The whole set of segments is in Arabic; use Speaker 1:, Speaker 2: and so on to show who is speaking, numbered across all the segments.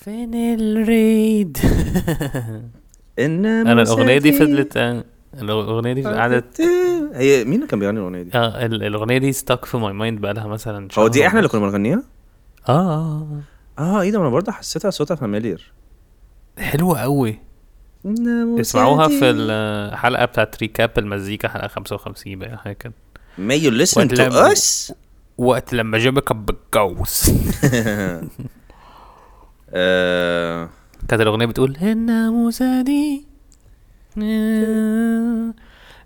Speaker 1: فين الريد
Speaker 2: انما
Speaker 3: انا الاغنيه دي
Speaker 2: ساتي
Speaker 3: فضلت آه، الاغنيه دي قعدت
Speaker 2: هي مين اللي كان بيغني الاغنيه دي؟
Speaker 3: اه ال- الاغنيه دي ستاك في ماي مايند بقى لها مثلا
Speaker 2: هو دي
Speaker 3: شهر
Speaker 2: احنا اللي
Speaker 3: ونص.
Speaker 2: كنا بنغنيها؟
Speaker 3: آه، اه
Speaker 2: اه ايه ده ما انا برضه حسيتها صوتها فاميليير
Speaker 3: آه. حلوه قوي اسمعوها في الحلقه بتاعت ريكاب المزيكا حلقه 55 بقى حاجه كده
Speaker 2: May you listen to
Speaker 3: ولا-
Speaker 2: us
Speaker 3: وقت لما جيبك بالجوز
Speaker 2: آه،
Speaker 3: كانت الاغنيه بتقول الناموسه دي آه،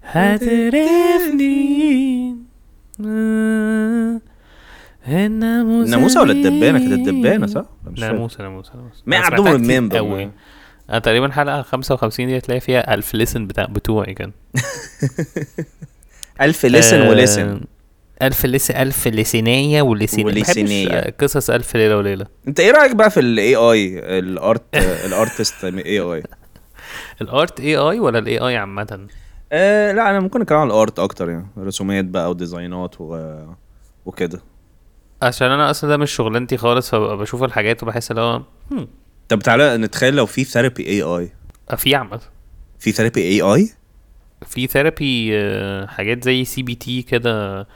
Speaker 3: هترفني آه، الناموسه
Speaker 2: الناموسة ولا الدبانة؟ كانت
Speaker 3: دي.
Speaker 2: الدبانة صح؟ أنا مش فاكر.
Speaker 3: ناموسه ناموسه ناموسة.
Speaker 2: ما
Speaker 3: أنا
Speaker 2: I don't
Speaker 3: سمعتها كتير
Speaker 2: remember.
Speaker 3: قوي انا تقريبا حلقه 55 دي هتلاقي فيها الف ليسن بتاع بتوعي كان
Speaker 2: الف لسن
Speaker 3: آه،
Speaker 2: ولسن
Speaker 3: ألف لس ألف لسينية ولسينية ما بحبش،
Speaker 2: ولسينية.
Speaker 3: آه، قصص ألف ليلة وليلة
Speaker 2: انت ايه رايك بقى في الاي اي الارت الارتست اي اي
Speaker 3: الارت اي اي ولا الاي اي عامة؟
Speaker 2: آه لا انا ممكن اتكلم عن الارت اكتر يعني رسومات بقى وديزاينات و... وكده
Speaker 3: عشان انا اصلا ده مش شغلانتي خالص فببقى بشوف الحاجات وبحس اللي هو هم،
Speaker 2: طب تعالى نتخيل لو في ثيرابي اي اي
Speaker 3: آه، في عامة
Speaker 2: في ثيرابي اي اي
Speaker 3: في ثيرابي حاجات زي سي بي تي كده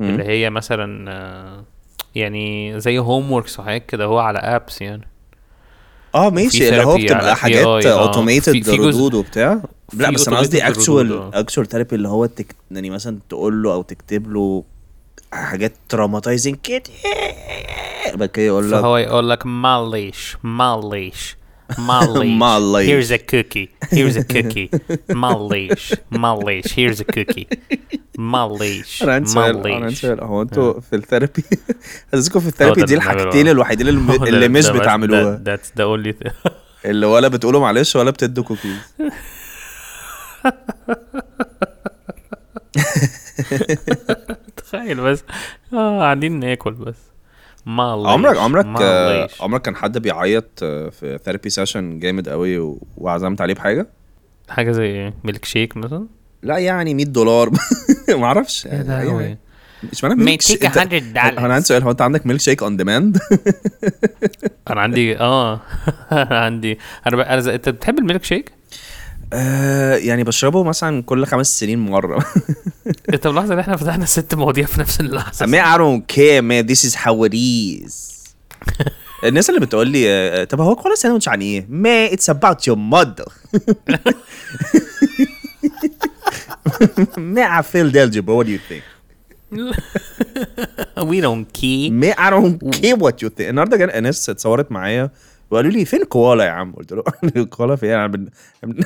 Speaker 3: اللي هي مثلا آه، يعني زي هوم وركس وحاجات كده هو على ابس يعني
Speaker 2: اه ماشي
Speaker 3: في
Speaker 2: اللي هو
Speaker 3: therapy
Speaker 2: بتبقى
Speaker 3: على
Speaker 2: حاجات
Speaker 3: AI آه. في-
Speaker 2: اوتوميتد
Speaker 3: في جزء-
Speaker 2: ردود وبتاع لا
Speaker 3: في
Speaker 2: بس انا
Speaker 3: automated
Speaker 2: قصدي اكشوال
Speaker 3: ردود،
Speaker 2: اكشوال ثيرابي اللي هو تك... يعني مثلا تقول له او تكتب له حاجات تروماتايزنج كده بعد كده يقول لك
Speaker 3: فهو يقول لك معلش معلش معلش
Speaker 2: معلش.
Speaker 3: here's a cookie here's a cookie معلش معلش here's a cookie معلش
Speaker 2: انا عندي سؤال انا عندي
Speaker 3: معلش.
Speaker 2: سؤال هو انتوا في الثيرابي حاسسكم في الثيرابي
Speaker 3: ده
Speaker 2: دي
Speaker 3: اللي بنعمله
Speaker 2: الحاجتين
Speaker 3: بقى.
Speaker 2: الوحيدين اللي,
Speaker 3: هو ده-
Speaker 2: إيه اللي مش
Speaker 3: ده بس- ده-
Speaker 2: بتعملوها
Speaker 3: that's the only thing.
Speaker 2: اللي ولا بتقولوا معلش ولا بتدوا كوكيز
Speaker 3: تخيل بس اه قاعدين ناكل بس معلش
Speaker 2: عمرك عمرك آه،
Speaker 3: معلش.
Speaker 2: عمرك كان حد بيعيط آه، في ثيرابي سيشن جامد قوي و- وعزمت عليه بحاجه
Speaker 3: حاجه زي ايه ميلك شيك مثلا
Speaker 2: لا يعني 100 دولار ما اعرفش
Speaker 3: يا
Speaker 2: يعني
Speaker 3: لهوي.
Speaker 2: أيوة. مش معنى
Speaker 3: ما
Speaker 2: ميلك شيك
Speaker 3: يديك 100 دولار.
Speaker 2: انا عندي سؤال هو انت عندك ميلك شيك اون ديماند
Speaker 3: انا عندي اه انا عندي انا بقى أنا زي- انت بتحب الميلك شيك؟
Speaker 2: يعني بشربه مثلا كل خمس سنين مره
Speaker 3: انت ملاحظ ان احنا فتحنا ست مواضيع في نفس اللحظه
Speaker 2: I mean, I don't care man this is how it is الناس اللي بتقول لي آه، طب هو كل ساندوتش عن ايه؟ ما it's about your mother ما I feel algebra what do you think؟
Speaker 3: وي دونت كي
Speaker 2: ما I don't care what you think النهارده كان ناس اتصورت معايا وقالوا لي فين كوالا يا عم؟ قلت له كوالا فين؟ انا بن-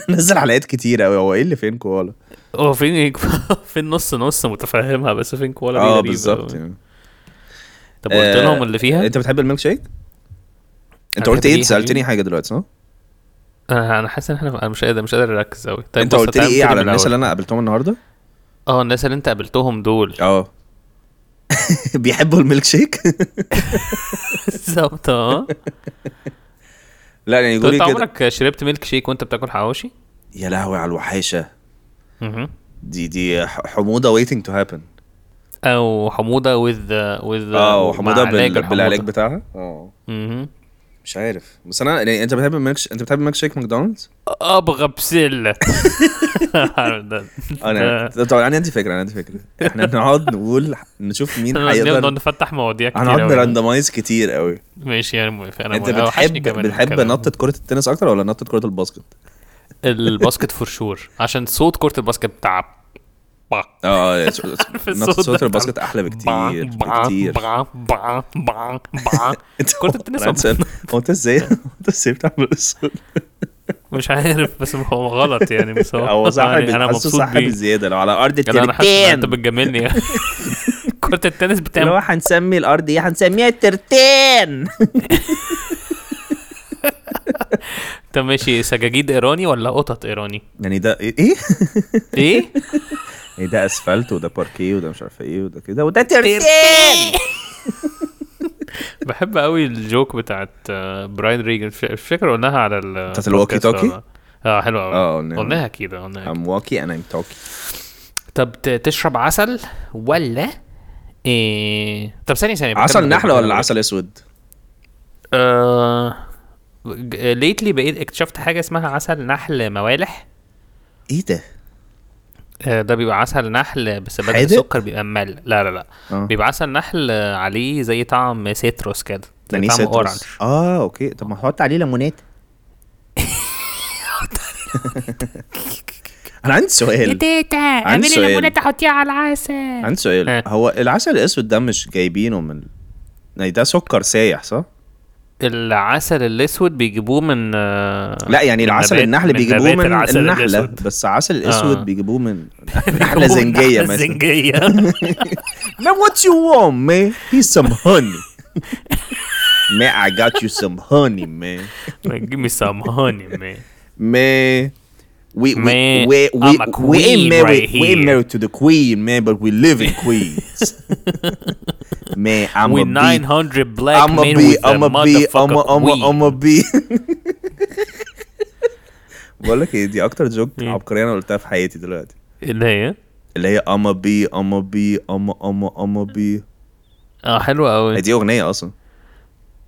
Speaker 2: بنزل حلقات كتير قوي هو ايه اللي فين كوالا؟
Speaker 3: هو فين فين نص نص متفهمها بس فين كوالا دي
Speaker 2: اه
Speaker 3: غريبة
Speaker 2: بالظبط
Speaker 3: أوي.
Speaker 2: يعني.
Speaker 3: طب قلت
Speaker 2: آه،
Speaker 3: لهم اللي فيها
Speaker 2: انت بتحب الميلك شيك؟ انت
Speaker 3: أنا بحب
Speaker 2: قلت
Speaker 3: إيه
Speaker 2: ايه؟
Speaker 3: يا
Speaker 2: سالتني
Speaker 3: حبيبي؟
Speaker 2: حاجه دلوقتي صح؟
Speaker 3: انا أنا حاسس ان احنا انا مش قادر مش قادر اركز قوي طيب
Speaker 2: انت
Speaker 3: بص،
Speaker 2: قلت لي
Speaker 3: تعال نبتدي
Speaker 2: ايه على
Speaker 3: من
Speaker 2: الناس
Speaker 3: الأول.
Speaker 2: اللي انا قابلتهم النهارده؟
Speaker 3: اه الناس اللي انت قابلتهم دول
Speaker 2: اه بيحبوا الميلك شيك؟
Speaker 3: بالظبط اه
Speaker 2: لا يعني
Speaker 3: طب
Speaker 2: يقول
Speaker 3: انت
Speaker 2: لي كده
Speaker 3: عمرك شربت ميلك شيك وانت بتاكل حواوشي؟
Speaker 2: يا لهوي على الوحشه
Speaker 3: مهم.
Speaker 2: دي دي ح- حموضه ويتنج تو هابن
Speaker 3: او حموضه وذ وذ
Speaker 2: اه حموضه
Speaker 3: uh, مع
Speaker 2: بال...
Speaker 3: الحموضة.
Speaker 2: بالعلاج بتاعها اه
Speaker 3: مهم.
Speaker 2: مش عارف بس انا يعني انت بتحب الميلك ش... انت بتحب الميلك شيك ماكدونالدز؟
Speaker 3: ابغى بسله ده-
Speaker 2: انا
Speaker 3: ده-
Speaker 2: آه، يعني طب طبعا انا عندي فكره انا عندي فكره احنا بنقعد نقول نشوف مين
Speaker 3: نقدر
Speaker 2: هيقدر
Speaker 3: نفتح مواضيع كتير
Speaker 2: هنقعد
Speaker 3: أوي.
Speaker 2: نراندمايز كتير قوي
Speaker 3: ماشي انا موافق انا
Speaker 2: انت
Speaker 3: موافق. أنا وحشني
Speaker 2: بتحب
Speaker 3: كمان
Speaker 2: بتحب
Speaker 3: الكلام.
Speaker 2: نطه كره التنس اكتر ولا نطه كره الباسكت؟
Speaker 3: الباسكت فور شور عشان صوت كره الباسكت بتاع با.
Speaker 2: اه يا- نطه
Speaker 3: الصوت ده
Speaker 2: صوت
Speaker 3: بتاع-
Speaker 2: الباسكت احلى
Speaker 3: با-
Speaker 2: بكتير
Speaker 3: با-
Speaker 2: بكتير
Speaker 3: با- با- با- با. كرة التنس
Speaker 2: أنا عندي سؤال. هو انت ازاي هو انت ازاي بتعمل الصوت
Speaker 3: مش عارف بس هو غلط يعني بس هو
Speaker 2: هو صح
Speaker 3: يعني
Speaker 2: انا
Speaker 3: انا مبسوط
Speaker 2: صح
Speaker 3: بيه
Speaker 2: بزياده لو على ارض
Speaker 3: يعني انا حاسس إن انت
Speaker 2: الترتان
Speaker 3: بتجاملني كرة التنس
Speaker 2: اللي هو
Speaker 3: بتعمل
Speaker 2: هنسمي الارض ايه هنسميها الترتان
Speaker 3: طب ماشي سجاجيد ايراني ولا قطط ايراني؟
Speaker 2: يعني ده ايه
Speaker 3: ايه؟
Speaker 2: ايه ده اسفلت وده باركيه وده مش عارف ايه وده كده وده ترتان
Speaker 3: بحب قوي الجوك بتاعت آه، براين ريجن مش مش فاكر قلناها على ال
Speaker 2: بتاعت الوالكي توكي؟
Speaker 3: ولا- اه حلوه قوي
Speaker 2: آه، قلناها. آه.
Speaker 3: قلناها كده قلناها كده.
Speaker 2: I'm walkie and I'm talking
Speaker 3: طب ت- تشرب عسل ولا إيه... طب ثانية ثانية
Speaker 2: عسل
Speaker 3: بكمل-
Speaker 2: نحله
Speaker 3: بكمل-
Speaker 2: ولا عسل اسود
Speaker 3: آه... ليتلي بقيت اكتشفت حاجه اسمها عسل نحل موالح
Speaker 2: ايه ده؟
Speaker 3: آه، ده بيبقى عسل نحل بس بدل
Speaker 2: حادق؟
Speaker 3: السكر بيبقى ممل لا لا لا
Speaker 2: اه
Speaker 3: بيبقى عسل نحل آه، عليه زي طعم سيتروس كده
Speaker 2: ده
Speaker 3: زي
Speaker 2: نيس
Speaker 3: طعم
Speaker 2: يعني إيه سيتروس.
Speaker 3: اورنج
Speaker 2: اه اوكي طب ما هحط عليه ليمونات انا عندي سؤال
Speaker 1: تيتا
Speaker 2: عندي
Speaker 1: اعملي
Speaker 2: سؤال.
Speaker 1: ليمونه تحطيها على العسل
Speaker 2: عندي سؤال
Speaker 3: آه.
Speaker 2: هو العسل الاسود ده مش جايبينه من يعني ده سكر سايح صح؟
Speaker 3: العسل الاسود بيجيبوه من آه،
Speaker 2: لا يعني
Speaker 3: من
Speaker 2: العسل
Speaker 3: نبات-
Speaker 2: النحل بيجيبوه
Speaker 3: نبات
Speaker 2: من
Speaker 3: العسل
Speaker 2: النحله
Speaker 3: الأسود.
Speaker 2: بس العسل الاسود
Speaker 3: آه.
Speaker 2: بيجيبوه من نحله زنجيه
Speaker 3: نحلة
Speaker 2: مثلا
Speaker 3: زنجية
Speaker 2: Now what you want man he's some honey man I got you some honey man
Speaker 3: give me some honey man
Speaker 2: man. We,
Speaker 3: Man,
Speaker 2: we, we, we,
Speaker 3: I'm a
Speaker 2: we ain't
Speaker 3: queen
Speaker 2: married.
Speaker 3: right
Speaker 2: we ain't
Speaker 3: here.
Speaker 2: married to the queen, man, but we live in Queens. man, I'm
Speaker 3: with
Speaker 2: a bee.
Speaker 3: 900 black
Speaker 2: I'm a
Speaker 3: men
Speaker 2: bee.
Speaker 3: with
Speaker 2: I'm
Speaker 3: a
Speaker 2: a bee. I'm a I'm a I'm
Speaker 3: motherfucker
Speaker 2: a bee. بقول لك ايه دي اكتر جوك
Speaker 3: إيه؟
Speaker 2: عبقريه انا قلتها في حياتي دلوقتي
Speaker 3: اللي هي
Speaker 2: اللي هي اما بي اما بي اما اما اما بي
Speaker 3: اه حلوة قوي
Speaker 2: هي دي اغنيه اصلا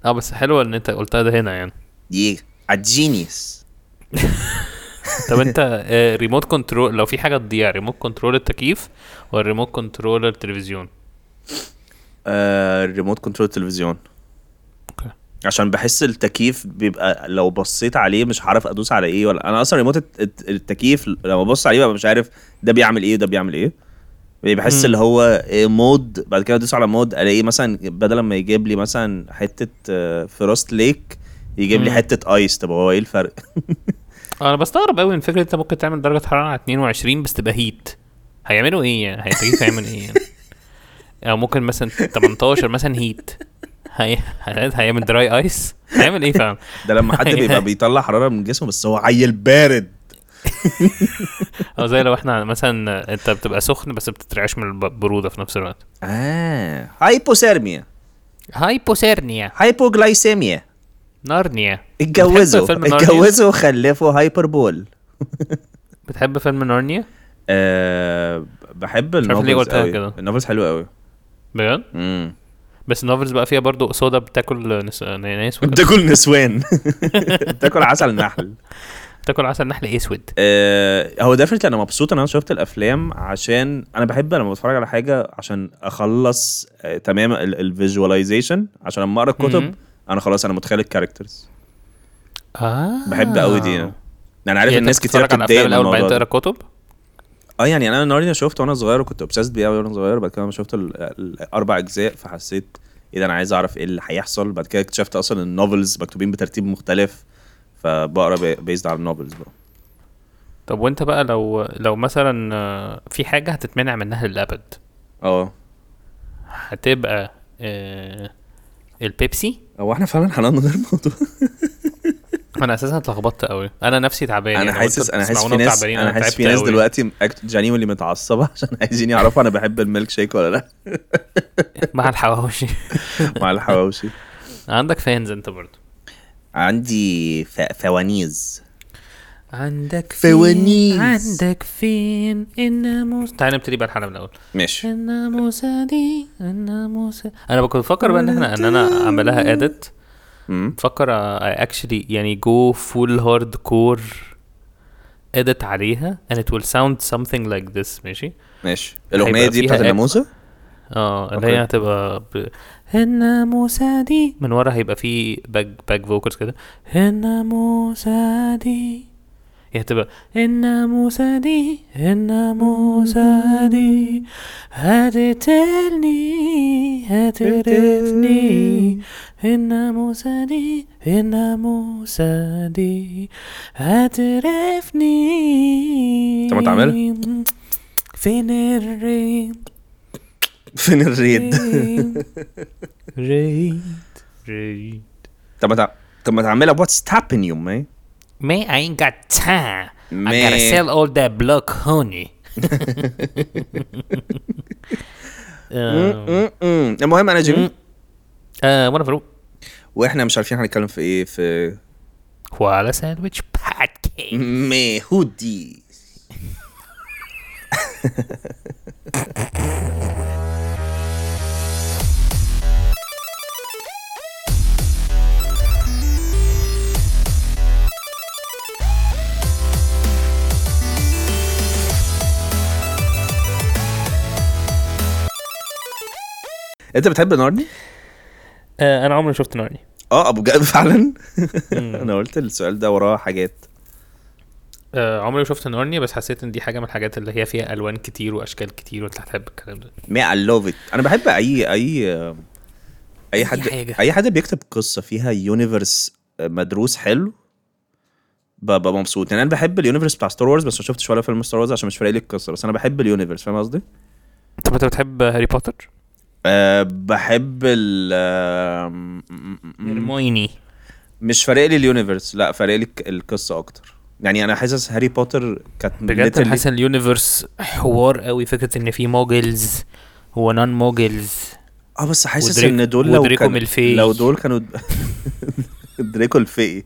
Speaker 3: اه بس حلوة ان انت قلتها ده هنا يعني
Speaker 2: دي الجينيس
Speaker 3: طب انت ريموت كنترول لو في حاجة تضيع ريموت كنترول التكييف ولا ريموت كنترول التلفزيون
Speaker 2: الريموت كنترول آه، التلفزيون
Speaker 3: اوكي
Speaker 2: عشان بحس التكييف بيبقى لو بصيت عليه مش عارف ادوس على ايه ولا انا اصلا ريموت الت- الت- التكييف لما ببص عليه ببقى مش عارف ده بيعمل ايه وده بيعمل ايه بحس اللي هو إيه مود بعد كده ادوس على مود الاقيه مثلا بدل ما يجيب لي مثلا حته آه، فروست ليك يجيب لي
Speaker 3: مم.
Speaker 2: حته ايس طب هو ايه الفرق؟
Speaker 3: انا بستغرب قوي من فكرة انت ممكن تعمل درجة حرارة على 22 بس تبقى هيت هيعملوا ايه يعني هيتكيف هيعمل ايه يعني او ممكن مثلا 18 مثلا هيت هي... هيعمل دراي ايس هيعمل ايه فعلا
Speaker 2: ده لما حد
Speaker 3: أيوة.
Speaker 2: بيبقى بيطلع حراره من جسمه بس هو عيل بارد
Speaker 3: او زي لو احنا مثلا انت بتبقى سخن بس بتترعش من البروده في نفس الوقت
Speaker 2: اه هايبوثيرميا
Speaker 3: هايبوسيرنيا
Speaker 2: هايبوجلايسيميا
Speaker 3: نارنيا
Speaker 2: اتجوزوا
Speaker 3: بتحب فيلم نارنيا؟
Speaker 2: اتجوزوا وخلفوا هايبربول
Speaker 3: بتحب فيلم نارنيا
Speaker 2: أه بحب
Speaker 3: عارف ليه
Speaker 2: النوفلز
Speaker 3: قلتها
Speaker 2: قوي
Speaker 3: كده.
Speaker 2: النوفلز حلوه قوي
Speaker 3: بجد
Speaker 2: امم
Speaker 3: بس النوفلز بقى فيها برضو سودا بتاكل نس... ناس وكده.
Speaker 2: بتاكل نسوان بتاكل عسل نحل
Speaker 3: بتاكل عسل نحل اسود
Speaker 2: أه هو ديفنتلي انا مبسوط ان انا شفت الافلام عشان انا بحب لما بتفرج على حاجه عشان اخلص أه تمام الفيجواليزيشن عشان لما اقرا الكتب
Speaker 3: مم.
Speaker 2: انا خلاص انا متخيل الكاركترز
Speaker 3: اه
Speaker 2: بحب قوي دي انا انا عارف
Speaker 3: يعني
Speaker 2: الناس
Speaker 3: أنت
Speaker 2: كتير
Speaker 3: بتتفرج على
Speaker 2: بتتضايق
Speaker 3: افلام
Speaker 2: من
Speaker 3: الاول بعدين
Speaker 2: الموضوع
Speaker 3: تقرا
Speaker 2: ده.
Speaker 3: كتب
Speaker 2: اه يعني انا نارنيا شفته وانا صغير وكنت اوبسيست بيه قوي وانا صغير بعد كده لما شفت ال- ال- الاربع اجزاء فحسيت ايه ده انا عايز اعرف ايه اللي هيحصل بعد كده اكتشفت اصلا إن النوفلز مكتوبين بترتيب مختلف فبقرا بيزد على النوفلز بقى
Speaker 3: طب وانت بقى لو لو مثلا آه، في حاجه هتتمنع منها للابد
Speaker 2: اه
Speaker 3: هتبقى آه البيبسي
Speaker 2: هو احنا فعلا حنان غير الموضوع
Speaker 3: انا اساسا اتلخبطت قوي انا نفسي تعبان
Speaker 2: انا
Speaker 3: يعني
Speaker 2: حاسس
Speaker 3: قلت
Speaker 2: انا حاسس في
Speaker 3: بتسمعونا
Speaker 2: ناس
Speaker 3: تعبانين،
Speaker 2: انا حاسس
Speaker 3: تعبت
Speaker 2: في ناس
Speaker 3: قوي.
Speaker 2: دلوقتي جانيولي متعصبه عشان عايزين يعرفوا انا بحب الميلك شيك ولا لا
Speaker 3: مع الحواوشي
Speaker 2: مع الحواوشي
Speaker 3: عندك فانز انت برضو
Speaker 2: عندي ف- فوانيز
Speaker 3: عندك فين
Speaker 2: فوانيس.
Speaker 3: عندك فين الناموس تعال نبتدي بقى الحلقه من الاول
Speaker 2: ماشي
Speaker 3: الناموسه دي الناموسه انا كنت بفكر بقى ان احنا ان انا اعملها اديت
Speaker 2: مم.
Speaker 3: بفكر اكشلي يعني جو فول هارد كور اديت عليها and it will sound something like this ماشي
Speaker 2: ماشي الاغنيه
Speaker 3: هيبقى
Speaker 2: دي
Speaker 3: فيها
Speaker 2: بتاعت
Speaker 3: act.
Speaker 2: الناموسه
Speaker 3: اه اللي
Speaker 2: أوكي.
Speaker 3: هي هتبقى ب... الناموسة دي من ورا هيبقى في باك باك فوكلز كده الناموسة دي هي هتبقى الناموسة دي الناموسة دي هتقتلني هتقرفني الناموسة دي الناموسة دي هتقرفني
Speaker 2: طب ما تعملها.
Speaker 3: فين الريم
Speaker 2: فين الريد
Speaker 3: ريد ريد
Speaker 2: طب ما تع- طب ما تعملها واتس تابن يو مان
Speaker 3: Man, I ain't got time. I gotta
Speaker 2: Man.
Speaker 3: sell all that block honey. آه،
Speaker 2: م-م. المهم انا جيمي
Speaker 3: آه، وانا فاروق
Speaker 2: واحنا مش عارفين هنتكلم في ايه في
Speaker 3: وعلى ساندويتش بودكاست
Speaker 2: مهودي انت بتحب النار دي؟
Speaker 3: آه انا عمري ما شفت نارني
Speaker 2: اه بجد فعلا
Speaker 3: مم.
Speaker 2: انا قلت السؤال ده وراه حاجات
Speaker 3: آه عمري ما شفت نارني بس حسيت ان دي حاجه من الحاجات اللي هي فيها الوان كتير واشكال كتير وانت هتحب الكلام ده
Speaker 2: ما اي لاف ات انا بحب اي اي اي حد
Speaker 3: حاجة.
Speaker 2: اي حد بيكتب قصه فيها يونيفرس مدروس حلو ب- ببقى مبسوط يعني انا بحب اليونيفرس بتاع ستار وورز بس ما شفتش ولا فيلم ستار وورز عشان مش فارق لي القصه بس انا بحب اليونيفرس فاهم قصدي؟
Speaker 3: طب انت بتحب هاري بوتر؟
Speaker 2: أه بحب ال آم، م- م- م-
Speaker 3: هرمويني
Speaker 2: مش فارق لي اليونيفرس لا فارق لي الك- القصه اكتر يعني انا حاسس هاري بوتر كانت
Speaker 3: بجد
Speaker 2: literally-
Speaker 3: انا حاسس ان اليونيفرس حوار قوي فكره ان في موجلز ونون موجلز
Speaker 2: اه بس حاسس
Speaker 3: ودريك-
Speaker 2: ان دول لو
Speaker 3: ودريكو
Speaker 2: كانوا
Speaker 3: ملفي.
Speaker 2: لو دول كانوا دريكو الفقي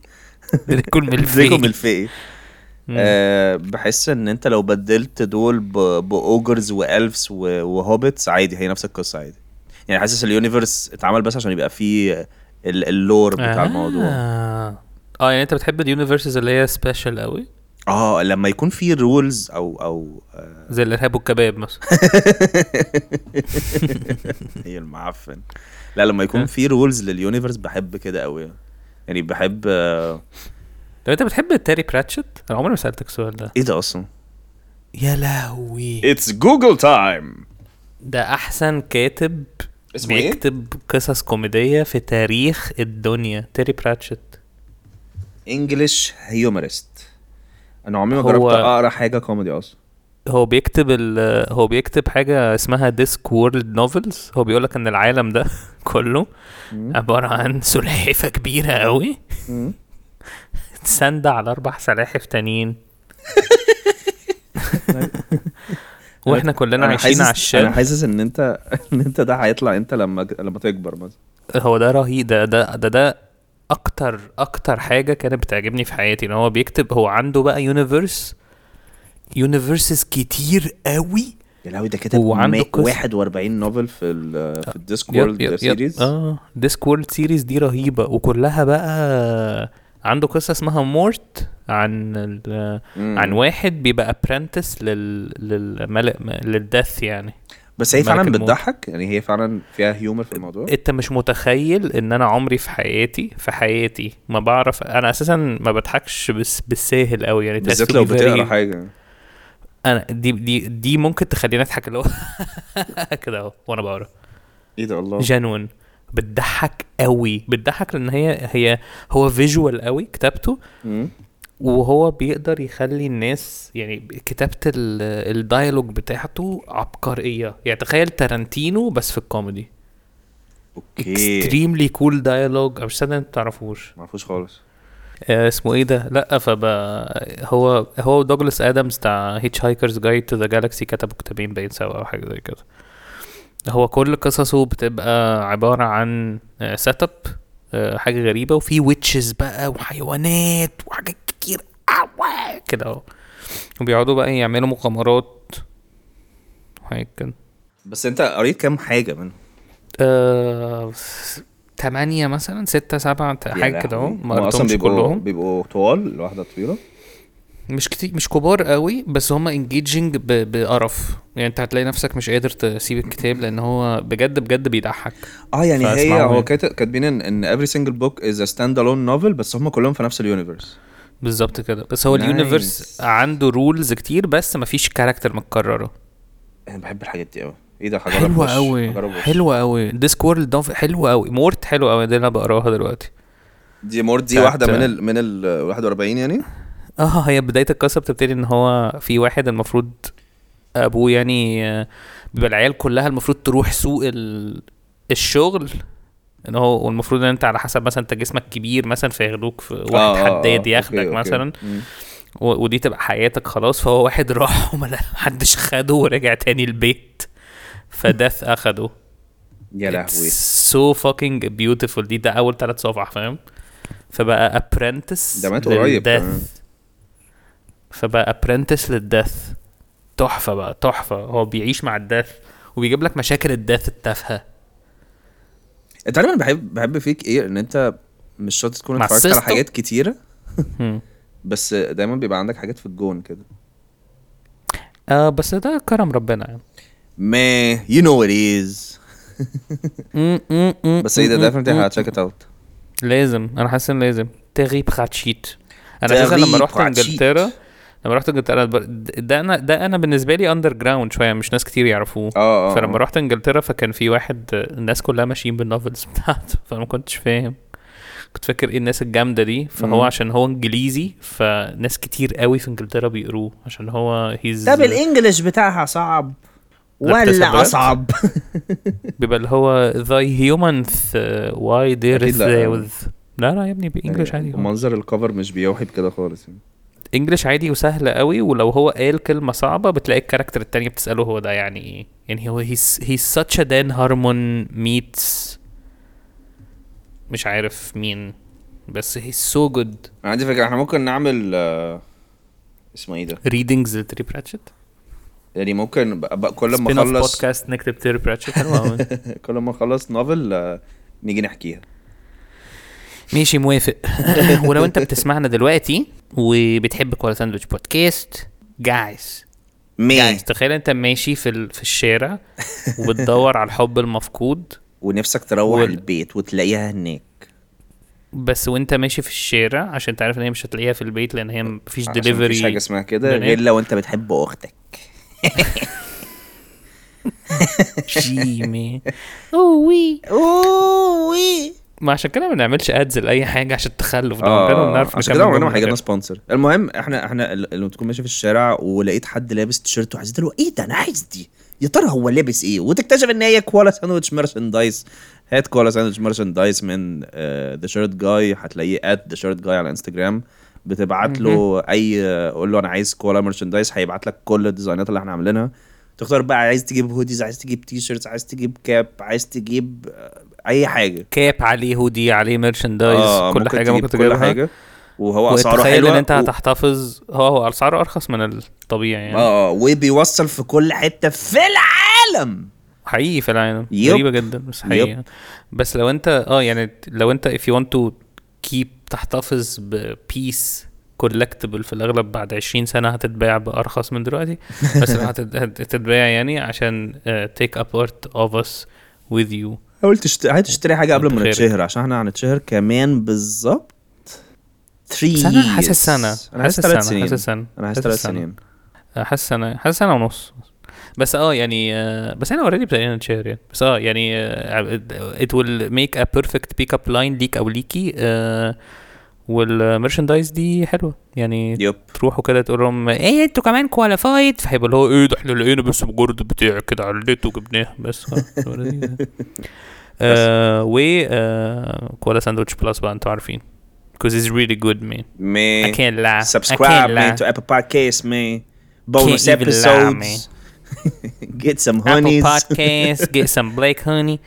Speaker 3: دريكو
Speaker 2: دريكو
Speaker 3: ملفي
Speaker 2: ملفقي
Speaker 3: مم.
Speaker 2: آه بحس ان انت لو بدلت دول ب- باوجرز والفز و- وهوبتس عادي هي نفس القصه عادي يعني حاسس اليونيفرس اتعمل بس عشان يبقى فيه ال- اللور
Speaker 3: آه.
Speaker 2: بتاع الموضوع
Speaker 3: اه آه، يعني انت بتحب اليونيفرسز اللي هي سبيشال قوي
Speaker 2: اه لما يكون فيه رولز او او آه،
Speaker 3: زي الارهاب والكباب مثلا
Speaker 2: هي إيه المعفن لا لما
Speaker 3: آه.
Speaker 2: يكون فيه رولز لليونيفرس بحب كده قوي يعني بحب آه،
Speaker 3: طب انت بتحب تاري براتشت؟ انا عمري ما سالتك السؤال ده
Speaker 2: ايه ده اصلا
Speaker 3: يا لهوي
Speaker 2: اتس جوجل تايم
Speaker 3: ده احسن كاتب
Speaker 2: اسمه إيه؟
Speaker 3: بيكتب قصص كوميديه في تاريخ الدنيا تيري براتشت
Speaker 2: انجلش هيومرست انا عمري ما
Speaker 3: هو-
Speaker 2: جربت اقرا حاجه كوميدي اصلا
Speaker 3: هو بيكتب ال هو بيكتب حاجه اسمها ديسك وورلد نوفلز هو بيقولك ان العالم ده كله عباره عن سلحفه كبيره قوي تسند على اربع سلاحف تانيين واحنا كلنا عايشين على الشام
Speaker 2: انا حاسس ان انت ان انت ده هيطلع انت لما لما تكبر مثلا
Speaker 3: هو ده رهيب ده ده ده, ده اكتر اكتر حاجه كانت بتعجبني في حياتي ان هو بيكتب هو عنده بقى يونيفرس يونيفرسز كتير قوي
Speaker 2: يا لهوي ده كتب
Speaker 3: وعنده
Speaker 2: مي-
Speaker 3: قصة.
Speaker 2: 41 نوفل في ال في الديسك
Speaker 3: يب-
Speaker 2: وورلد
Speaker 3: يب- يب.
Speaker 2: سيريز
Speaker 3: اه ديسك وورلد سيريز دي رهيبه وكلها بقى عنده قصه اسمها مورت عن ال-
Speaker 2: مم.
Speaker 3: عن واحد بيبقى ابرنتس لل للملك للدث يعني
Speaker 2: بس هي
Speaker 3: ملك
Speaker 2: فعلا
Speaker 3: الموت.
Speaker 2: بتضحك يعني هي فعلا فيها هيومر في الموضوع
Speaker 3: انت مش متخيل ان انا عمري في حياتي في حياتي ما بعرف انا اساسا ما بضحكش بس بالساهل قوي يعني it has
Speaker 2: بالذات
Speaker 3: to
Speaker 2: لو
Speaker 3: be very-
Speaker 2: بتقرا حاجه
Speaker 3: انا دي دي دي ممكن تخليني اضحك اللي هو كده اهو وانا بقرا
Speaker 2: ايه ده الله
Speaker 3: جنون بتضحك قوي بتضحك لان هي هي هو فيجوال قوي كتابته
Speaker 2: مم.
Speaker 3: وهو بيقدر يخلي الناس يعني كتابة ال- الديالوج بتاعته عبقرية يعني تخيل تارانتينو بس في الكوميدي
Speaker 2: اوكي
Speaker 3: اكستريملي كول دايالوج انا مش صادق انت تعرفوش
Speaker 2: معرفوش خالص
Speaker 3: آه، اسمه ايه ده لا فب هو هو دوجلاس ادمز بتاع هيتش هايكرز جايد تو ذا جالاكسي كتبوا كتابين باين سوا او حاجه زي كده هو كل قصصه بتبقى عباره عن آه، سيت اب حاجه غريبه وفي ويتشز بقى وحيوانات وحاجات كتير قوي كده اهو وبيقعدوا بقى يعملوا مغامرات وحاجات كده
Speaker 2: بس انت قريت كام حاجه منهم
Speaker 3: آه، تمانية مثلا ستة سبعة حاجة كده اهو ما
Speaker 2: هم اصلا
Speaker 3: قريتهمش
Speaker 2: بيبقوا
Speaker 3: كلهم
Speaker 2: بيبقوا طوال الواحده طويله
Speaker 3: مش كتير مش كبار قوي بس هما انجيجنج بقرف يعني انت هتلاقي نفسك مش قادر تسيب الكتاب لان هو بجد بجد بيضحك
Speaker 2: اه يعني هي
Speaker 3: فاسمعوا
Speaker 2: هو
Speaker 3: يعني.
Speaker 2: كات- كاتبين ان ان every single book is a stand alone novel بس هم كلهم في نفس اليونيفرس
Speaker 3: بالظبط كده بس هو
Speaker 2: Nice.
Speaker 3: اليونيفرس عنده رولز كتير بس مفيش كاركتر متكرره
Speaker 2: انا بحب الحاجات دي قوي ايه ده هجرب
Speaker 3: حلوة
Speaker 2: وش،
Speaker 3: قوي
Speaker 2: هجرب وش.
Speaker 3: حلوة قوي ديسكورد حلوة قوي مورت حلوة قوي ده اللي انا بقراها دلوقتي
Speaker 2: دي مورد دي
Speaker 3: بتاعت-
Speaker 2: واحده من ال من ال 41 يعني
Speaker 3: اه هي بداية القصة بتبتدي ان هو في واحد المفروض ابوه يعني آه، بيبقى العيال كلها المفروض تروح سوق ال... الشغل ان هو والمفروض ان انت على حسب مثلا انت جسمك كبير مثلا فياخدوك في واحد
Speaker 2: آه، آه،
Speaker 3: حداد
Speaker 2: آه،
Speaker 3: ياخدك
Speaker 2: أوكي، أوكي.
Speaker 3: مثلا
Speaker 2: مم.
Speaker 3: و... ودي تبقى حياتك خلاص فهو واحد راح وما حدش خده ورجع تاني البيت فداث اخده
Speaker 2: يا لهوي
Speaker 3: سو فاكينج بيوتيفول دي ده اول ثلاث صفح فاهم فبقى ابرنتس
Speaker 2: ده مات قريب كمان.
Speaker 3: فبقى ابرنتس للدث تحفه بقى تحفه هو بيعيش مع الدث وبيجيب لك مشاكل الدث التافهه
Speaker 2: انت عارف انا بحب بحب فيك ايه ان انت مش شرط تكون
Speaker 3: مع
Speaker 2: اتفرجت على
Speaker 3: السيستم.
Speaker 2: حاجات كتيره
Speaker 3: مم.
Speaker 2: بس دايما بيبقى عندك حاجات في الجون كده
Speaker 3: آه، اه بس ده كرم ربنا يعني
Speaker 2: ما يو نو ات از بس ايه ده definitely هتشيك ات اوت
Speaker 3: لازم انا حاسس ان لازم تغيب خاتشيت انا اساسا لما
Speaker 2: تغيب
Speaker 3: رحت
Speaker 2: خاتشيت.
Speaker 3: انجلترا لما رحت انجلترا ب- ده انا ده انا بالنسبه لي اندر جراوند شويه مش ناس كتير يعرفوه
Speaker 2: اه اه
Speaker 3: فلما رحت انجلترا فكان في واحد آه، الناس كلها ماشيين بالنوفلز بتاعته فانا ما كنتش فاهم كنت فاكر ايه الناس الجامده دي فهو
Speaker 2: مم.
Speaker 3: عشان هو انجليزي فناس كتير قوي في انجلترا بيقروه عشان هو هيز
Speaker 2: ده بالانجلش بتاعها صعب
Speaker 3: لا، بتسأل بجد؟
Speaker 2: ولا اصعب
Speaker 3: بيبقى اللي هو ذا humans uh, why there
Speaker 2: أكيد
Speaker 3: is
Speaker 2: لا. أيوة.
Speaker 3: with لا لا يا ابني بانجلش عادي
Speaker 2: يعني منظر الكفر مش بيوحي بكده خالص يعني.
Speaker 3: انجلش عادي وسهل قوي ولو هو قال كلمه صعبه بتلاقي الكاركتر التاني بتساله هو ده يعني ايه يعني هو he's he's such a Dan Harmon meets مش عارف مين بس he's so good
Speaker 2: انا عندي فكره احنا ممكن نعمل آه، اسمه ايه ده
Speaker 3: readings لتري براتشت
Speaker 2: يعني ممكن ب- ب- كل ما
Speaker 3: spin off
Speaker 2: اخلص
Speaker 3: podcast نكتب تري براتشت حلو قوي
Speaker 2: كل ما اخلص نوفل آه، نيجي نحكيها
Speaker 3: ماشي موافق ولو انت بتسمعنا دلوقتي وبتحب كولا ساندويتش بودكاست جايز
Speaker 2: مين
Speaker 3: جايز تخيل انت ماشي في ال- في الشارع وبتدور على الحب المفقود
Speaker 2: ونفسك تروح
Speaker 3: وال-
Speaker 2: البيت وتلاقيها هناك
Speaker 3: بس وانت ماشي في الشارع عشان تعرف ان هي مش هتلاقيها في البيت لان هي مفيش
Speaker 2: عشان مفيش حاجه
Speaker 3: دليفري
Speaker 2: اسمها كده
Speaker 3: بنات.
Speaker 2: غير لو انت بتحب اختك
Speaker 3: جيمي
Speaker 1: أوي
Speaker 2: اوه
Speaker 3: ما عشان كده ما بنعملش ادز لاي حاجه عشان التخلف ده عمرنا ما
Speaker 2: اه
Speaker 3: بنعرف
Speaker 2: عشان كده
Speaker 3: نكمل
Speaker 2: عمرنا ما
Speaker 3: جملة
Speaker 2: هيجينا
Speaker 3: غير.
Speaker 2: سبونسر المهم احنا احنا ال- لما تكون ماشي في الشارع ولقيت حد لابس تيشيرت وعايز تقول له، ايه ده انا عايز دي يا ترى هو لابس ايه وتكتشف ان هي كوالا ساندويتش مارشندايز هات كوالا ساندويتش مارشندايز من آه، ذا شيرت جاي هتلاقيه ات ذا شيرت جاي على انستجرام بتبعت له اي آه، قول له انا عايز كوالا مارشندايز هيبعت لك كل الديزاينات اللي احنا عاملينها تختار بقى عايز تجيب هوديز عايز تجيب تي شيرتس عايز تجيب كاب عايز تجيب آه، اي حاجه
Speaker 3: كاب عليه هودي عليه
Speaker 2: آه،
Speaker 3: ميرشندايز كل حاجه
Speaker 2: تجيب
Speaker 3: ممكن
Speaker 2: كل
Speaker 3: تجيبها
Speaker 2: حاجه وهو اسعاره
Speaker 3: وتخيل
Speaker 2: حلوه
Speaker 3: ان انت
Speaker 2: و-
Speaker 3: هتحتفظ هو هو اسعاره ارخص من الطبيعي يعني
Speaker 2: اه وبيوصل في كل حته في العالم
Speaker 3: حقيقي في العالم
Speaker 2: يب.
Speaker 3: غريبه جدا بس
Speaker 2: يب.
Speaker 3: حقيقي يعني. بس لو انت اه يعني لو انت if you want to keep تحتفظ ببيس كولكتبل في الاغلب بعد 20 سنه هتتباع بارخص من دلوقتي بس لو هتت- هتتباع يعني عشان uh, take a part of us with you
Speaker 2: حاول تشتري عايز تشتري حاجه قبل ما
Speaker 3: متخيل.
Speaker 2: نتشهر عشان احنا هنتشهر كمان بالظبط 3
Speaker 3: بس انا حاسس سنه
Speaker 2: انا حاسس
Speaker 3: سنه
Speaker 2: ثلاث سنين
Speaker 3: حاسس سنه
Speaker 2: انا حاسس ثلاث سنين
Speaker 3: آه، حاسس سنه حاسس سنه ونص بس اه يعني آه، بس انا اوريدي بدأنا نشير يعني بس اه يعني ات ويل ميك ا بيرفكت بيك اب لاين ليك او ليكي آه، والمرشندايز دي حلوه يعني
Speaker 2: يب
Speaker 3: تروحوا كده تقول لهم ايه انتوا كمان كواليفايد فهيبقى اللي هو ايه ده احنا لقينا بس مجرد بتاع كده على النت وجبناه بس خلاص، هو لذيذ يعني. آه، و آه، كوالا ساندوتش بلس بقى انتوا عارفين because it's really good man I
Speaker 2: مي
Speaker 3: can't lie I
Speaker 2: سبسكرايب
Speaker 3: can't
Speaker 2: مي
Speaker 3: lie.
Speaker 2: تو ابل بودكاست مي بونس
Speaker 3: even lie,
Speaker 2: ابيسودز جيت سم
Speaker 3: Apple
Speaker 2: هونيز
Speaker 3: Podcasts, get some Black Honey,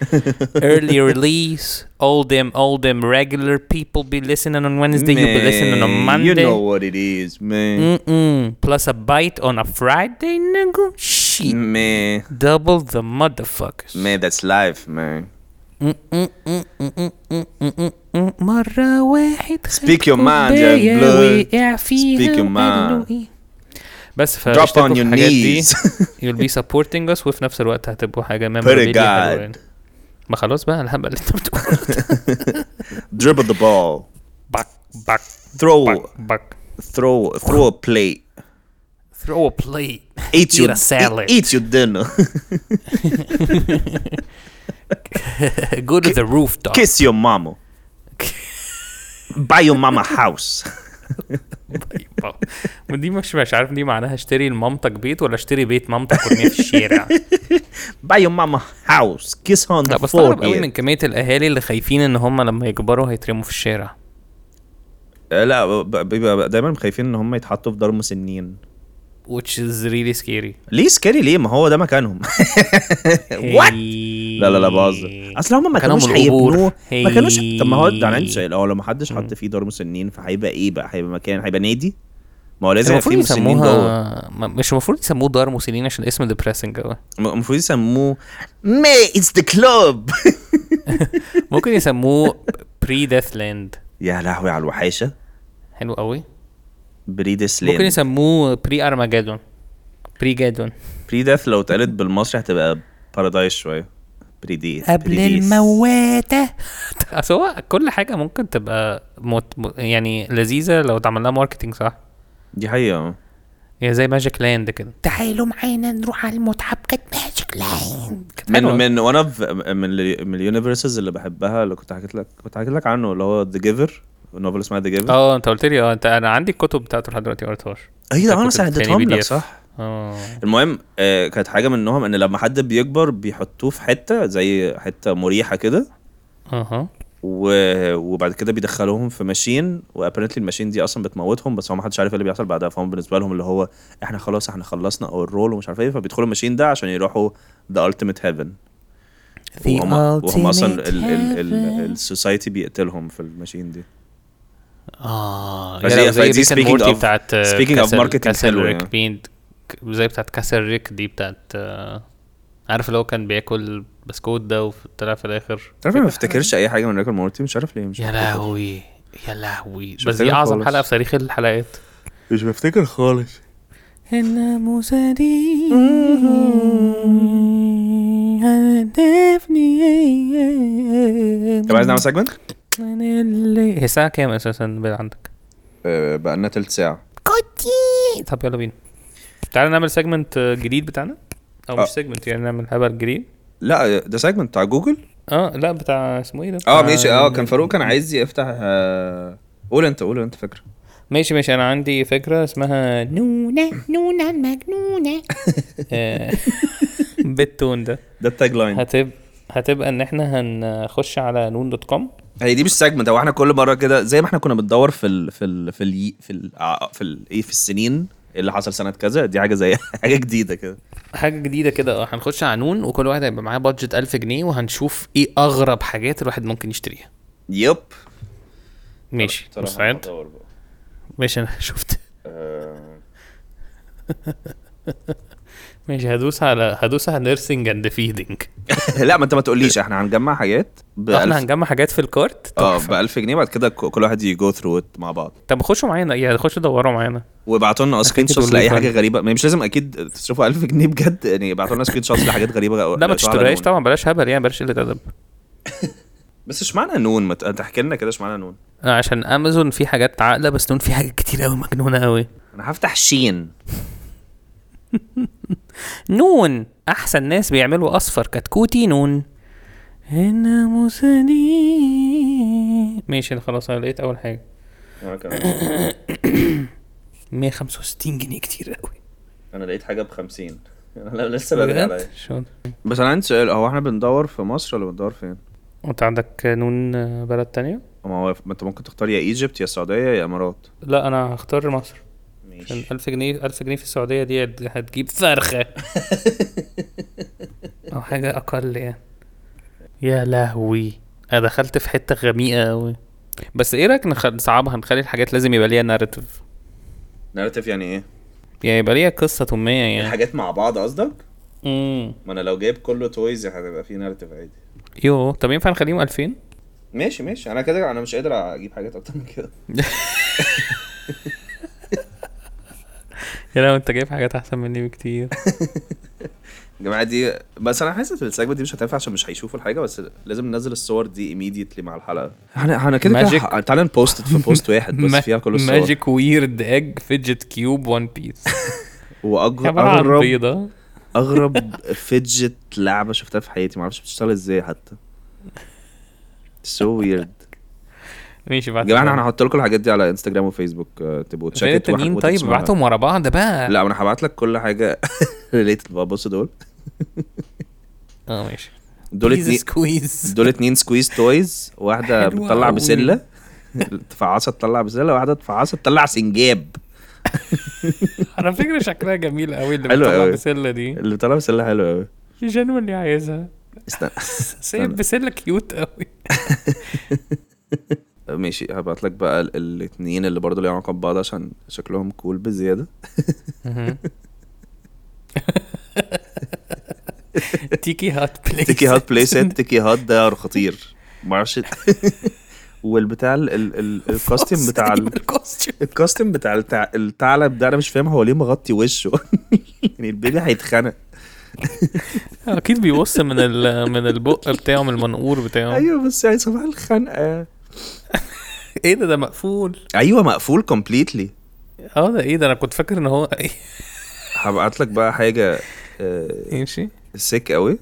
Speaker 3: early release. All them, all them regular people be listening on Wednesday. You be listening on Monday.
Speaker 2: You know what it is, man.
Speaker 3: Mm-mm. Plus a bite on a Friday, nigga. Shit,
Speaker 2: Man,
Speaker 3: double the motherfuckers. Mm,
Speaker 2: man, that's life, man.
Speaker 1: مرة واحد
Speaker 2: Speak your
Speaker 1: خدكوا
Speaker 2: mind, young
Speaker 1: بيا
Speaker 2: blood.
Speaker 1: وقع فيها
Speaker 2: Speak your
Speaker 1: وقالوا
Speaker 2: mind.
Speaker 1: إيه.
Speaker 3: بس
Speaker 2: Drop
Speaker 3: فاشتركوا طيب،
Speaker 2: on
Speaker 3: في
Speaker 2: your
Speaker 3: الحاجات دي.
Speaker 2: knees.
Speaker 3: You'll be supporting us وفي نفس الوقت هتبقوا حاجة memorabilia حلوة
Speaker 2: God.
Speaker 3: يعني. ما خلاص بقى الهبل اللي انت بتقوله ده.
Speaker 2: Dribble the ball.
Speaker 3: باك باك
Speaker 2: Throw,
Speaker 3: باك باك
Speaker 2: throw, throw a plate.
Speaker 3: throw a plate
Speaker 2: eat
Speaker 3: Eat
Speaker 2: your
Speaker 3: a salad.
Speaker 2: Eat, eat your dinner.
Speaker 3: go to the rooftop
Speaker 2: Kiss your mama. Buy your mama house.
Speaker 3: طيب. ودي مش مش عارف دي معناها اشتري لمامتك بيت ولا اشتري بيت مامتك وارميه في الشارع
Speaker 2: Buy your mama house. Kiss her on
Speaker 3: لا
Speaker 2: the
Speaker 3: بستغرب قوي من
Speaker 2: forehead.
Speaker 3: كميه الاهالي اللي خايفين ان هم لما يكبروا هيترموا في الشارع
Speaker 2: آه، لا ب- ب- بيبقى دايما خايفين ان هم يتحطوا في دار مسنين
Speaker 3: which is really scary
Speaker 2: ليه سكاري ليه ما هو ده مكانهم وات لا لا لا بهزر اصل هم ما
Speaker 3: مكانهم
Speaker 2: كانوش
Speaker 3: إيه. القبور.
Speaker 2: هيبنوه ما كانوش
Speaker 3: Hey.
Speaker 2: طب ما هو ده عندي سؤال هو لو ما حدش حط فيه دار مسنين فهيبقى ايه بقى هيبقى مكان هيبقى نادي ما هو لازم يبقى
Speaker 3: إيه، المفروض
Speaker 2: فيه مسنين جوه
Speaker 3: يسموها ما- مش المفروض يسموه دار مسنين عشان الاسم depressing قوي
Speaker 2: المفروض يسموه ما اتس ذا كلوب
Speaker 3: ممكن يسموه بري ديث لاند
Speaker 2: يا لهوي على الوحاشه
Speaker 3: حلو قوي
Speaker 2: بريد سلين
Speaker 3: ممكن يسموه بري ارماجدون بري جادون
Speaker 2: بري ديث لو اتقالت بالمصري هتبقى بارادايس شويه بريديس
Speaker 1: قبل المواتة
Speaker 3: اصل هو كل حاجه ممكن تبقى مت... م- يعني لذيذه لو اتعمل لها ماركتنج صح
Speaker 2: دي حقيقة
Speaker 3: هي زي ماجيك لاند كده
Speaker 1: تعالوا معانا نروح على المتعة بجد ماجيك لاين
Speaker 3: كانت
Speaker 2: من
Speaker 3: حلوة.
Speaker 2: من وان اوف من ال- من اليونيفرسز اللي بحبها اللي كنت حكيت لك كنت حكيت لك عنه اللي هو ذا جيفر نوفل اسمها ذا جيفر
Speaker 3: اه انت قلت لي اه انت انا عندي الكتب بتاعته لحد دلوقتي ما قريتهاش
Speaker 2: ايوه ده
Speaker 3: كنت
Speaker 2: انا
Speaker 3: بتديني
Speaker 2: ساعدتهم
Speaker 3: بي دي
Speaker 2: لك
Speaker 3: إف.
Speaker 2: صح
Speaker 3: اه
Speaker 2: المهم آه، كانت حاجه منهم ان لما حد بيكبر بيحطوه في حته زي حته مريحه كده
Speaker 3: اها
Speaker 2: و- وبعد كده بيدخلوهم في ماشين وابرنتلي الماشين دي اصلا بتموتهم بس هو ما حدش عارف ايه اللي بيحصل بعدها فهم بالنسبه لهم اللي هو احنا خلاص احنا خلصنا اور رول ومش عارف ايه فبيدخلوا الماشين ده عشان يروحوا ذا التيميت هيفن وهم وهم اصلا السوسايتي بيقتلهم في الماشين دي
Speaker 3: اه
Speaker 2: بس
Speaker 3: يا
Speaker 2: هي-
Speaker 3: لو زي
Speaker 2: فدي
Speaker 3: ريك
Speaker 2: speaking
Speaker 3: مورتي
Speaker 2: of-
Speaker 3: بتاعت آه،
Speaker 2: speaking of marketing
Speaker 3: كاسل
Speaker 2: حلوة
Speaker 3: ريك
Speaker 2: يعني.
Speaker 3: بيند زي بتاعت كاسل ريك دي بتاعت آه، عارف اللي هو كان بياكل بسكوت ده وطلع في الاخر
Speaker 2: تعرف أنا ما افتكرش اي حاجه من ريكورد مورتي مش عارف ليه مش
Speaker 3: يا
Speaker 2: بفتكر.
Speaker 3: لهوي يا لهوي
Speaker 2: مش
Speaker 3: بس دي
Speaker 2: فاكرها
Speaker 3: اعظم
Speaker 2: خالص.
Speaker 3: حلقه في تاريخ الحلقات
Speaker 2: مش بفتكر خالص
Speaker 1: الناموسة دي هدفني
Speaker 2: طب عايز نعمل سيجمنت؟
Speaker 3: من اللي هي الساعه كام اساسا بقى عندك
Speaker 2: بقى لنا آه، تلت ساعه
Speaker 1: كوتي
Speaker 3: طب يلا بينا تعالى نعمل سيجمنت جديد بتاعنا او
Speaker 2: آه.
Speaker 3: مش سيجمنت يعني نعمل هبل جديد
Speaker 2: لا ده سيجمنت بتاع جوجل
Speaker 3: اه لا بتاع اسمه ايه ده
Speaker 2: اه
Speaker 3: بتاع-
Speaker 2: ماشي اه كان فاروق كان عايز يفتح آه، قول انت قول انت فكره
Speaker 3: ماشي ماشي انا عندي فكره اسمها
Speaker 1: نونة نونة المجنونة
Speaker 3: آه، بالتون ده
Speaker 2: ده التاج لاين
Speaker 3: هتبقى هتبقى ان احنا هنخش على نون دوت كوم
Speaker 2: هي دي مش سيجمنت هو احنا كل مره كده زي ما احنا كنا بندور في ال في ال في ال في ال في ال ايه في السنين اللي حصل سنه كذا دي حاجه زي حاجه جديده كده
Speaker 3: حاجه جديده كده اه هنخش على نون وكل واحد هيبقى معاه بادجت 1000 جنيه وهنشوف ايه اغرب حاجات الواحد ممكن يشتريها
Speaker 2: يب
Speaker 3: ماشي
Speaker 2: طلع-
Speaker 3: مستعد
Speaker 2: هدور بقى.
Speaker 3: ماشي انا شفت
Speaker 2: آه،
Speaker 3: ماشي هدوس على هدوس على نيرسينج اند فيدنج
Speaker 2: لا ما انت ما تقوليش احنا هنجمع حاجات ب
Speaker 3: احنا
Speaker 2: 1000
Speaker 3: هنجمع حاجات في الكارت
Speaker 2: اه
Speaker 3: تحفة.
Speaker 2: ب 1000 جنيه بعد كده ك- كل واحد يجو ثرو مع بعض
Speaker 3: طب خشوا معانا يعني خشوا دوروا معانا
Speaker 2: وابعتوا لنا سكرين
Speaker 3: أكيد
Speaker 2: شوتس لاي
Speaker 3: ال
Speaker 2: حاجه غريبه ما مش لازم اكيد تصرفوا 1000 جنيه بجد يعني ابعتوا لنا سكرين شوتس لحاجات غريبه
Speaker 3: لا ما
Speaker 2: لقيتوها على
Speaker 3: تشتريهاش
Speaker 2: نون.
Speaker 3: طبعا بلاش هبل يعني بلاش قله ادب
Speaker 2: بس اشمعنى نون ما ت- تحكي لنا كده اشمعنى نون
Speaker 3: آه، عشان امازون في حاجات عاقله بس نون في حاجات كتير قوي مجنونه قوي
Speaker 2: انا هفتح شين
Speaker 3: نون احسن ناس بيعملوا اصفر كتكوتي نون هنا مسلي ماشي خلاص انا لقيت اول حاجه 165 جنيه كتير قوي
Speaker 2: انا لقيت حاجه ب 50 انا لسه
Speaker 3: بجد شاطر.
Speaker 2: بس انا عندي سؤال هو احنا بندور في مصر ولا بندور فين؟
Speaker 3: انت عندك نون آه، بلد تانية
Speaker 2: ما هو ما انت ممكن تختار يا ايجيبت يا السعوديه يا امارات
Speaker 3: لا انا هختار مصر عشان
Speaker 2: ماشي
Speaker 3: 1000 جنيه 1000 جنيه في السعوديه دي هت- هتجيب فرخه او حاجه اقل يعني يا لهوي انا دخلت في حته غميقه قوي بس ايه رايك نخ- نصعبها نخلي الحاجات لازم يبقى ليها ناريتيف
Speaker 2: ناريتيف يعني ايه؟
Speaker 3: يعني يبقى ليها قصه تميه يعني
Speaker 2: الحاجات مع بعض قصدك؟
Speaker 3: امم
Speaker 2: ما انا لو جايب كله تويز هتبقى فيه ناريتيف عادي
Speaker 3: يو طب ينفع نخليهم 2000
Speaker 2: ماشي ماشي انا كده انا مش قادر اجيب حاجات اكتر من كده
Speaker 3: يا لو انت جايب حاجات احسن مني بكتير
Speaker 2: الجماعه دي بس انا حاسس ان السجمنت دي مش هتنفع عشان مش هيشوفوا الحاجه بس لازم ننزل الصور دي ايميديتلي مع الحلقه احنا احنا كده كده
Speaker 3: Magic.
Speaker 2: ح- تعالى نبوست في بوست واحد بس
Speaker 3: ما-
Speaker 2: فيها كل الصور
Speaker 3: ماجيك ويرد اج فيدجت كيوب وان بيس
Speaker 2: واغرب
Speaker 3: عباره عن
Speaker 2: اغرب
Speaker 3: بيضه
Speaker 2: اغرب فيدجت لعبه شفتها في حياتي معرفش بتشتغل ازاي حتى سو ويرد
Speaker 3: ماشي
Speaker 2: يا
Speaker 3: بعد
Speaker 2: جماعه انا هحط لكم الحاجات دي على انستجرام وفيسبوك آه، تبقوا
Speaker 3: فين
Speaker 2: تشيك it
Speaker 3: التانيين
Speaker 2: وهت-
Speaker 3: طيب
Speaker 2: وتسمعوها.
Speaker 3: ابعتهم ورا بعض بقى
Speaker 2: لا انا هبعت لك كل حاجه ريليتد بقى بص دول
Speaker 3: اه ماشي
Speaker 2: دول
Speaker 3: Please
Speaker 2: اتنين
Speaker 3: squeeze.
Speaker 2: دول اتنين سكويز تويز واحده
Speaker 3: حلوة
Speaker 2: بتطلع
Speaker 3: أوي.
Speaker 2: بسله تفعصها تطلع بسله واحده تفعصها تطلع سنجاب
Speaker 3: على فكره شكلها جميل قوي اللي
Speaker 2: حلوة
Speaker 3: بتطلع
Speaker 2: قوي.
Speaker 3: بسله دي
Speaker 2: اللي بتطلع بسله حلوه قوي
Speaker 3: جنو اللي عايزها
Speaker 2: استنى
Speaker 3: بس هي بسله كيوت قوي
Speaker 2: ماشي هبعت لك بقى ال- الاتنين اللي برضه ليهم علاقه ببعض عشان شكلهم كول بزياده
Speaker 3: تيكي هات بليس
Speaker 2: تيكي هات بلاي سيت تيكي هات ده خطير معرفش والبتاع ال- ال- ال- الكاستم بتاع ال-
Speaker 3: الكوستيوم
Speaker 2: الكاستم بتاع التع- الثعلب ده انا مش فاهم هو ليه مغطي وشه يعني البيبي هيتخنق
Speaker 3: اكيد بيبص من ال- من البق بتاعه من المنقور بتاعه
Speaker 2: ايوه بس يعني صباح الخنقه
Speaker 3: ايه ده ده مقفول
Speaker 2: ايوه إيه مقفول كومبليتلي
Speaker 3: اه ده ايه ده انا كنت فاكر ان هو
Speaker 2: هبعت لك بقى حاجه
Speaker 3: ماشي
Speaker 2: سيك قوي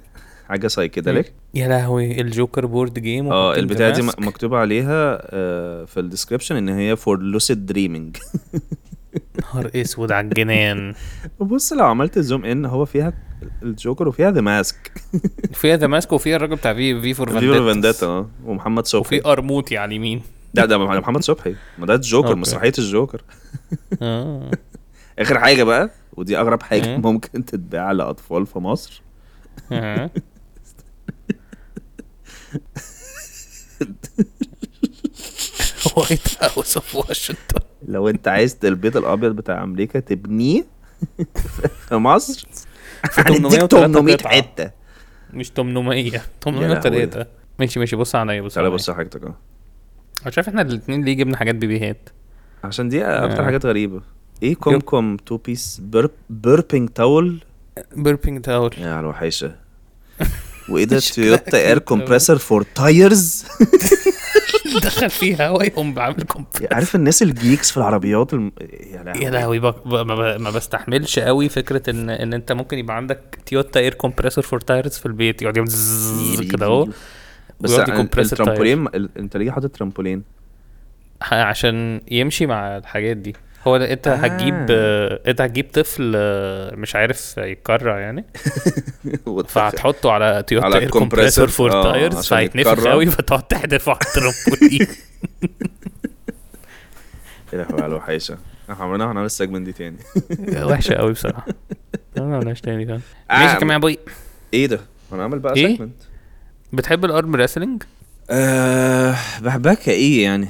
Speaker 2: حاجه سايكيدليك
Speaker 3: يا لهوي الجوكر بورد جيم
Speaker 2: اه البتاع دي م- مكتوب عليها آه، في الديسكربشن ان هي فور لوسيد دريمينج
Speaker 3: نهار اسود على الجنان
Speaker 2: بص لو عملت زوم ان هو فيها الجوكر وفيها ذا ماسك
Speaker 3: فيها ذا ماسك وفيها الراجل بتاع في في فور
Speaker 2: فيفا فانديتا
Speaker 3: فانديتا
Speaker 2: اه ومحمد صبحي
Speaker 3: وفي ارموتي على اليمين
Speaker 2: ده ده محمد صبحي ما ده الجوكر
Speaker 3: أوكي.
Speaker 2: مسرحيه الجوكر
Speaker 3: اه
Speaker 2: اخر حاجه بقى ودي اغرب حاجه
Speaker 3: مم.
Speaker 2: ممكن تتباع لاطفال في مصر
Speaker 3: آه. وايت هاوس اوف واشنطن
Speaker 2: لو انت عايز البيت الابيض بتاع امريكا تبنيه في مصر هنديك
Speaker 3: 803
Speaker 2: 800
Speaker 3: قطعة.
Speaker 2: حته
Speaker 3: مش 800
Speaker 2: يا لهوي.
Speaker 3: 803 ماشي ماشي بص عليا بص
Speaker 2: تعالى
Speaker 3: عليا
Speaker 2: بص على حاجتك اه
Speaker 3: مش عارف احنا الاثنين ليه جبنا حاجات بيبيهات
Speaker 2: عشان دي اكتر
Speaker 3: آه.
Speaker 2: حاجات غريبه ايه كوم كوم تو بيس بيرب بيربينج تاول
Speaker 3: بيربينج تاول
Speaker 2: يا على الوحيشه وايه ده
Speaker 3: شكلها
Speaker 2: تويوتا
Speaker 3: كيوت
Speaker 2: اير
Speaker 3: أوي.
Speaker 2: كومبريسور فور تايرز
Speaker 3: دخل فيها هوا يقوم بعمل كومبريس
Speaker 2: عارف الناس الجيكس في العربيات الم... يا لهوي
Speaker 3: يا لهوي بق- ب- ما ب- ما بستحملش قوي فكره ان ان انت ممكن يبقى عندك تويوتا اير كومبريسور فور تايرز في البيت يقعد يعمل زززز كده اهو
Speaker 2: بس
Speaker 3: ويقعد
Speaker 2: ال-
Speaker 3: يكمبرس التاير.
Speaker 2: الترامبولين ال- انت ليه حاطط ترامبولين
Speaker 3: ح- عشان يمشي مع الحاجات دي هو ده- انت
Speaker 2: آه.
Speaker 3: هتجيب آه، انت هتجيب طفل آه، مش عارف يتكرع يعني فهتحطه على تويوتا
Speaker 2: على
Speaker 3: اير
Speaker 2: الكمبرسور،
Speaker 3: كومبريسور فور
Speaker 2: آه،
Speaker 3: تايرز
Speaker 2: عشان
Speaker 3: فهيتنفخ
Speaker 2: يتكرر.
Speaker 3: قوي فتقعد تحدف على الترامبولين
Speaker 2: يا لهوي على الوحيشه احنا عمرنا ما هنعمل السجمنت دي تاني
Speaker 3: وحشه قوي بصراحه لا، ما عملناش تاني كمان
Speaker 2: آه.
Speaker 3: ماشي كمان يا بوي
Speaker 2: ايه ده؟ انا عامل بقى
Speaker 3: إيه؟
Speaker 2: سجمنت
Speaker 3: بتحب الارم ريسلينج
Speaker 2: آه بهبكه ايه يعني؟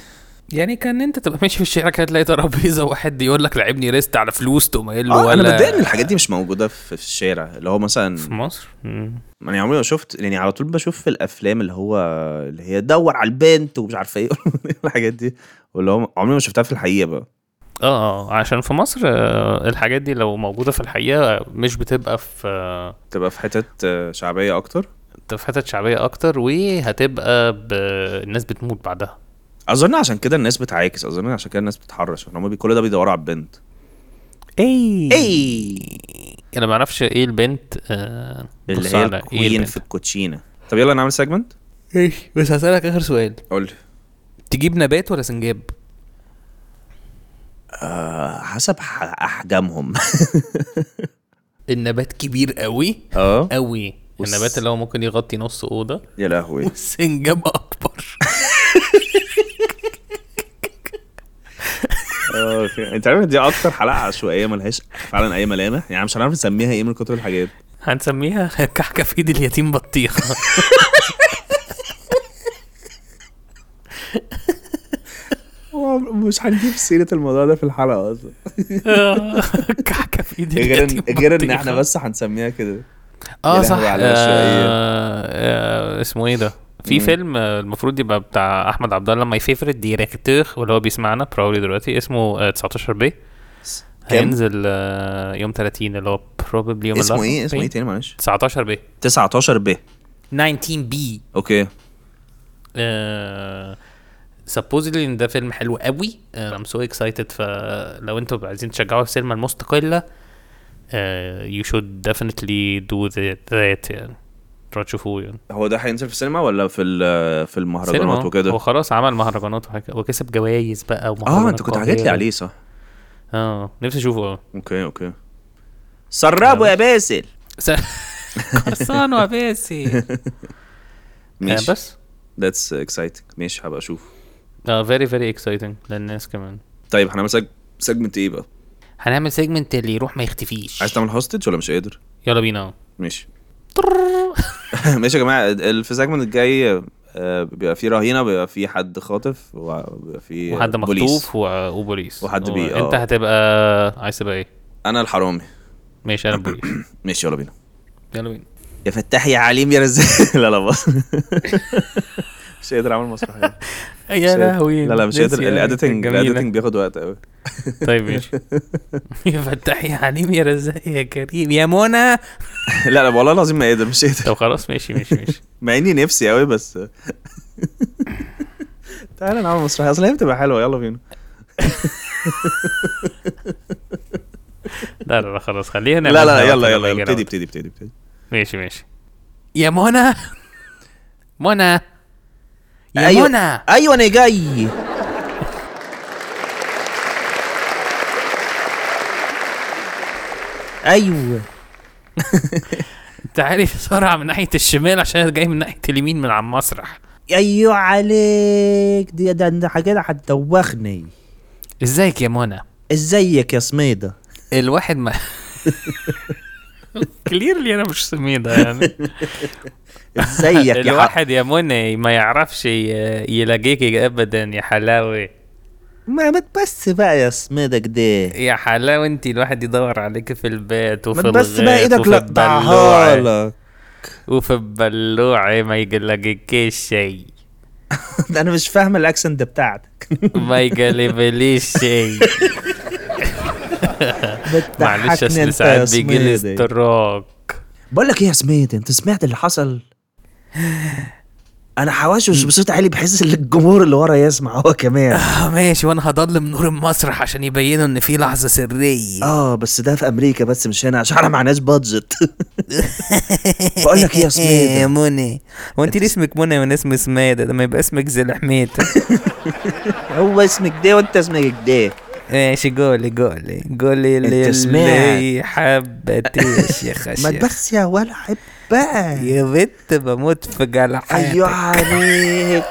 Speaker 3: يعني كان انت تبقى ماشي في الشارع كده تلاقي ترابيزه واحد يقول لك لعبني ريست على فلوس تقوم قايل له
Speaker 2: آه انا
Speaker 3: ولا
Speaker 2: متضايق ان الحاجات دي مش موجوده في في الشارع اللي هو مثلا
Speaker 3: في مصر مم.
Speaker 2: يعني عمري ما شفت يعني على طول بشوف في الافلام اللي هو اللي هي دور على البنت ومش عارفه ايه الحاجات دي واللي هو عمري ما شفتها في الحقيقه بقى
Speaker 3: اه اه عشان في مصر آه، الحاجات دي لو موجوده في الحقيقه مش بتبقى في آه،
Speaker 2: تبقى في حتت آه، شعبيه اكتر
Speaker 3: بتبقى في حتت شعبيه اكتر وهتبقى ب... الناس بتموت بعدها
Speaker 2: اظن عشان كده الناس بتعاكس اظن عشان كده الناس بتتحرش ان هم بي- كل ده بيدوروا على البنت
Speaker 3: اي
Speaker 2: إيه. اي
Speaker 3: انا ما اعرفش ايه البنت آه،
Speaker 2: إيه. اللي
Speaker 3: إيه. بص
Speaker 2: هي
Speaker 3: على ايه
Speaker 2: الكوين
Speaker 3: البنت
Speaker 2: في الكوتشينه طب يلا نعمل سيجمنت
Speaker 3: ايش إيه، بس هسألك اخر سؤال
Speaker 2: قول لي
Speaker 3: تجيب نبات ولا سنجاب؟
Speaker 2: آه، حسب ح- احجامهم
Speaker 3: النبات كبير قوي
Speaker 2: اه
Speaker 3: قوي
Speaker 2: والس-
Speaker 3: النبات اللي هو ممكن يغطي نص اوضه
Speaker 2: يا لهوي
Speaker 3: والسنجاب اكبر
Speaker 2: اه اوكي انت عارف دي اكتر حلقه عشوائيه ملهاش فعلا اي ملامح يعني مش هنعرف نسميها ايه من كتر الحاجات
Speaker 3: هنسميها كحكه في ايد اليتيم بطيخه
Speaker 2: مش هنجيب سيره الموضوع ده في الحلقه اصلا
Speaker 3: كحكه في ايد
Speaker 2: إيه غير
Speaker 3: اليتيم
Speaker 2: ان غير ان
Speaker 3: بطيخة.
Speaker 2: احنا بس هنسميها كده
Speaker 3: اه
Speaker 2: يا
Speaker 3: صح
Speaker 2: لهوي على
Speaker 3: آه،
Speaker 2: العشوائية.
Speaker 3: آه، اسمه ايه ده؟ في
Speaker 2: مم.
Speaker 3: فيلم آه، المفروض يبقى بتاع احمد عبد الله ماي فيفرت ديريكتور واللي هو بيسمعنا بروبلي دلوقتي اسمه آه، 19 بي هينزل آه، يوم 30 اللي هو بروبلي يوم
Speaker 2: اسمه ايه
Speaker 3: الأربعاء.
Speaker 2: اسمه ايه تاني معلش
Speaker 3: 19 بي
Speaker 2: 19 ب
Speaker 3: 19 بي
Speaker 2: اوكي
Speaker 3: سبوزلي ان آه، ده فيلم حلو قوي آه، ام سو اكسايتد فلو انتوا عايزين تشجعوا آه، السينما المستقله يو شود ديفينتلي دو ذات يعني تروحوا تشوفوه يعني
Speaker 2: هو ده هينزل في السينما ولا في ال- في المهرجانات
Speaker 3: سينما. هو
Speaker 2: وكده
Speaker 3: خلاص عمل مهرجانات وحاجة وكسب جوائز بقى
Speaker 2: اه
Speaker 3: ومهرجانات
Speaker 2: انت كنت حكيت لي
Speaker 3: قوية.
Speaker 2: عليه صح
Speaker 3: اه نفسي اشوفه اه
Speaker 2: اوكي اوكي سربوا يا
Speaker 3: آه،
Speaker 2: باسل
Speaker 3: س- قرصان وباسي
Speaker 2: ماشي
Speaker 3: آه، بس
Speaker 2: ذاتس اكسايتنج ماشي هبقى اشوف
Speaker 3: اه فيري فيري اكسايتنج للناس كمان
Speaker 2: طيب هنعمل سج- سجمنت ايه بقى
Speaker 3: هنعمل سيجمنت اللي يروح ما يختفيش
Speaker 2: عايز تعمل هوستج ولا مش قادر
Speaker 3: يلا بينا
Speaker 2: ماشي ماشي يا جماعه ال- في السيجمنت الجاي آه، بيبقى في رهينه بيبقى في حد خاطف وبيبقى في
Speaker 3: وحد
Speaker 2: بوليس.
Speaker 3: مخطوف و- وبوليس
Speaker 2: وحد
Speaker 3: و-
Speaker 2: بي- آه.
Speaker 3: انت هتبقى عايز تبقى ايه؟
Speaker 2: انا الحرامي
Speaker 3: ماشي انا بوليس
Speaker 2: ماشي يلا بينا
Speaker 3: يلا بينا
Speaker 2: يا فتاح يا عليم يا رزاق لا لا بص مش قادر اعمل مسرحيه مش
Speaker 3: يا
Speaker 2: قادر.
Speaker 3: لهوي
Speaker 2: لا لا مش قادر الاديتنج الاديتنج بياخد وقت قوي
Speaker 3: طيب ماشي يا فتاح يا حليم يا رزاق يا كريم يا منى
Speaker 2: لا لا والله العظيم ما قادر مش قادر
Speaker 3: طب خلاص ماشي ماشي ماشي
Speaker 2: مع اني نفسي قوي بس تعالى نعمل مسرحيه اصل هي بتبقى حلوه يلا بينا
Speaker 3: لا لا لا خلاص خلينا
Speaker 2: لا
Speaker 3: نعملها
Speaker 2: لا لا
Speaker 3: وقت
Speaker 2: يلا
Speaker 3: لما
Speaker 2: يلا
Speaker 3: يجي
Speaker 2: يلا ابتدي
Speaker 3: الوقت.
Speaker 2: ابتدي ابتدي ابتدي
Speaker 3: ماشي ماشي يا منى منى يا
Speaker 2: أيوة.
Speaker 3: منى
Speaker 2: ايوه انا جاي ايوه
Speaker 3: تعالي بسرعه من ناحيه الشمال عشان جاي من ناحيه اليمين من على المسرح
Speaker 2: ايوه عليك دي ده انت كده هتدوخني
Speaker 3: ازيك يا منى
Speaker 2: ازيك يا سميده
Speaker 3: الواحد ما كليرلي انا مش سميدة يعني
Speaker 2: ازيك يا حق
Speaker 3: الواحد يا منى ما يعرفش ي- يلاقيك ابدا يا حلاوي
Speaker 2: ما ما تبس بقى يا سميده كده
Speaker 3: يا حلاوي انت الواحد يدور عليك أيوة، في البيت وفي
Speaker 2: ما تبس
Speaker 3: الغيط
Speaker 2: بقى ايدك
Speaker 3: وفي
Speaker 2: لقطعها
Speaker 3: البلوعة
Speaker 2: لك
Speaker 3: وفي البلوعة ما يلاقيكيش شيء
Speaker 2: انا مش فاهم الاكسنت ده بتاعتك
Speaker 3: ما يقلبليش شيء معلش
Speaker 2: بتضحكني
Speaker 3: اصل
Speaker 2: انت يا
Speaker 3: ساعات بيجي لي
Speaker 2: سميدة
Speaker 3: ستروك
Speaker 2: بقول لك ايه يا سميد انت سمعت اللي حصل انا حواشوش بصوت عالي بحس ان الجمهور اللي ورا يسمع هو كمان
Speaker 3: اه ماشي وانا هضلم نور المسرح عشان يبينوا ان في لحظة سرية
Speaker 2: اه بس ده في امريكا بس مش هنا عشان احنا معناش بادجت بقول لك ايه يا
Speaker 3: يا
Speaker 2: سميد
Speaker 3: إيه، منى هو انت ليه اسمك منى وانا اسمي سماده ده ما يبقى اسمك زل حميته
Speaker 2: هو اسمك ده وانت اسمك ده
Speaker 3: ماشي قولي قولي قولي اللي
Speaker 2: سمعت.
Speaker 3: حبتيش يا خشية
Speaker 2: ما بس يا ولا عيب بقى
Speaker 3: يا بت بموت في جلحتك
Speaker 2: ايوه عليك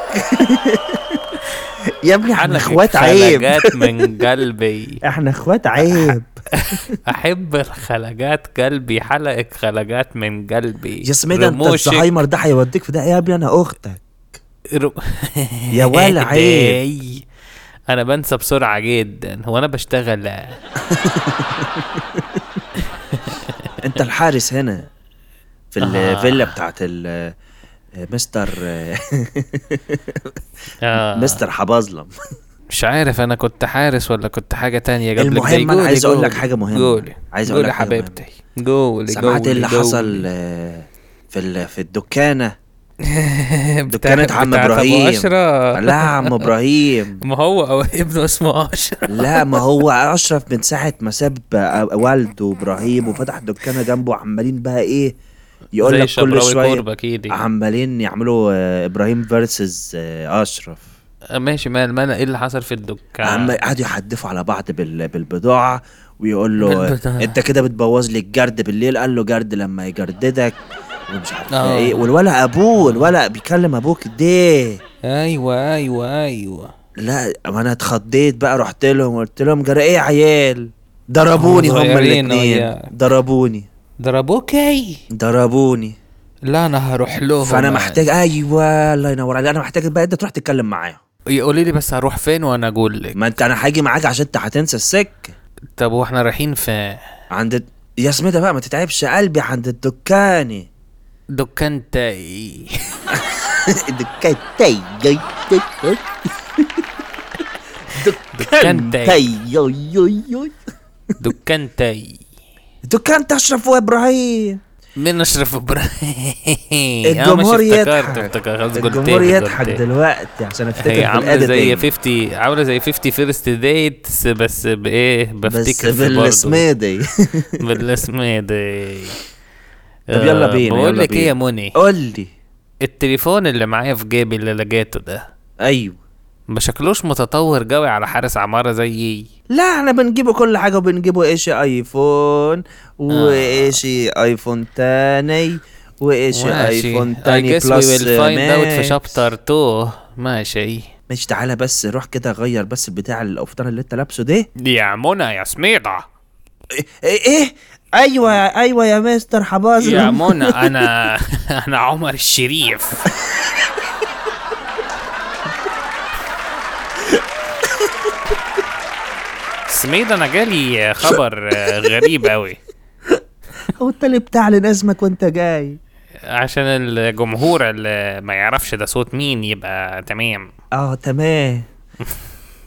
Speaker 2: يا ابني احنا
Speaker 3: حلقك
Speaker 2: اخوات عيب
Speaker 3: خلقات من قلبي
Speaker 2: احنا اخوات عيب
Speaker 3: احب الخلقات قلبي حلقك خلقات من قلبي
Speaker 2: يا سميد انت
Speaker 3: رموشك-
Speaker 2: الزهايمر ده هيوديك في ده يا ابني انا اختك
Speaker 3: رو...
Speaker 2: يا ولا عيب.
Speaker 3: داي. انا بنسى بسرعه جدا هو انا بشتغل
Speaker 2: انت الحارس هنا في
Speaker 3: آه.
Speaker 2: الفيلا بتاعت ال مستر
Speaker 3: آه.
Speaker 2: مستر حبازلم
Speaker 3: مش عارف انا كنت حارس ولا كنت حاجه تانية قبل
Speaker 2: المهم
Speaker 3: كده.
Speaker 2: أنا
Speaker 3: قولي-
Speaker 2: عايز أقول
Speaker 3: قولي-
Speaker 2: لك حاجة مهمة.
Speaker 3: قولي
Speaker 2: عايز أقول
Speaker 3: قولي
Speaker 2: لك حاجة مهمة.
Speaker 3: حبيبتي قولي
Speaker 2: سمعت إيه
Speaker 3: قولي-
Speaker 2: اللي
Speaker 3: قولي.
Speaker 2: حصل آه، في ال- في الدكانه
Speaker 3: بتاع-
Speaker 2: دكانة عم
Speaker 3: بتاعت أبو
Speaker 2: إبراهيم.
Speaker 3: أشرف.
Speaker 2: لا يا عم ابراهيم
Speaker 3: ما هو أو ابنه اسمه اشرف
Speaker 2: لا ما هو اشرف من ساعه ما ساب آه، والده ابراهيم وفتح دكانه جنبه عمالين بقى ايه
Speaker 3: زي
Speaker 2: يقول لك كل
Speaker 3: شبراوي
Speaker 2: شويه
Speaker 3: كوربة كده.
Speaker 2: عمالين يعملوا آه، ابراهيم فيرسز اشرف
Speaker 3: آه، ماشي مال مال ايه اللي حصل في الدكان
Speaker 2: عم قعدوا يحدفوا على بعض بال... بالبضاعة ويقول له
Speaker 3: بالبضاعة.
Speaker 2: انت كده بتبوظ لي الجرد بالليل قال له جرد لما يجرددك ومش عارف
Speaker 3: آه.
Speaker 2: ايه والولا ابوه الولا بيكلم ابوك ده
Speaker 3: ايوه ايوه ايوه
Speaker 2: لا ما انا اتخضيت بقى رحت لهم قلت لهم جرى ايه يا عيال ضربوني
Speaker 3: هم
Speaker 2: هما
Speaker 3: صغيرين آه،
Speaker 2: الاثنين
Speaker 3: وياك.
Speaker 2: ضربوني
Speaker 3: ضربوك اي
Speaker 2: ضربوني
Speaker 3: لا انا هروح لهم
Speaker 2: فانا محتاج ايوه الله ينور عليك انا محتاج بقى انت تروح تتكلم معاهم
Speaker 3: يقولي لي بس هروح فين وانا اقول لك
Speaker 2: ما انت انا هاجي معاك عشان انت هتنسى السكه
Speaker 3: طب واحنا رايحين فين
Speaker 2: عند الد- يا سميدة بقى ما تتعبش قلبي عند الدكاني
Speaker 3: دكان تاي
Speaker 2: دكان تاي ياي تاي ياي.
Speaker 3: دكان تاي
Speaker 2: تاي ياي ياي ياي.
Speaker 3: دكان تاي
Speaker 2: دكان تشرف وابراهيم
Speaker 3: من اشرف ابراهيم
Speaker 2: الجمهور
Speaker 3: إيه، افتكرت
Speaker 2: يضحك
Speaker 3: افتكرت
Speaker 2: الجمهور يضحك دلوقتي عشان افتكر
Speaker 3: إيه هي
Speaker 2: في يعني.
Speaker 3: عامله إيه، زي
Speaker 2: الاديتنج
Speaker 3: 50 عامله زي 50 فيرست ديت بس بايه
Speaker 2: بس
Speaker 3: بفتكر في برضه.
Speaker 2: بالسميدي
Speaker 3: بالسميدي
Speaker 2: طب يلا بينا،
Speaker 3: بقول
Speaker 2: يلا
Speaker 3: لك ايه
Speaker 2: بينا.
Speaker 3: يا موني
Speaker 2: قول لي
Speaker 3: التليفون اللي معايا في جيبي اللي لقيته ده
Speaker 2: ايوه
Speaker 3: ما شكلوش متطور قوي على حارس عماره زيي
Speaker 2: لا احنا بنجيبه كل حاجه وبنجيبه ايش ايفون وايش
Speaker 3: آه.
Speaker 2: ايفون تاني وايش ايفون تاني بلس
Speaker 3: اوت في
Speaker 2: ماكس.
Speaker 3: شابتر 2 ماشي
Speaker 2: ماشي تعالى بس روح كده غير بس البتاع القفطان اللي انت لابسه ده
Speaker 3: يا منى يا سميطه
Speaker 2: ايه ايه ايوه ايوه يا مستر حبازي
Speaker 3: يا منى انا انا عمر الشريف سميد انا جالي خبر آه، غريب قوي
Speaker 2: هو انت اللي بتعلن اسمك وانت جاي
Speaker 3: عشان
Speaker 2: آه،
Speaker 3: الجمهور اللي ما يعرفش ده صوت مين يبقى تمام
Speaker 2: اه تمام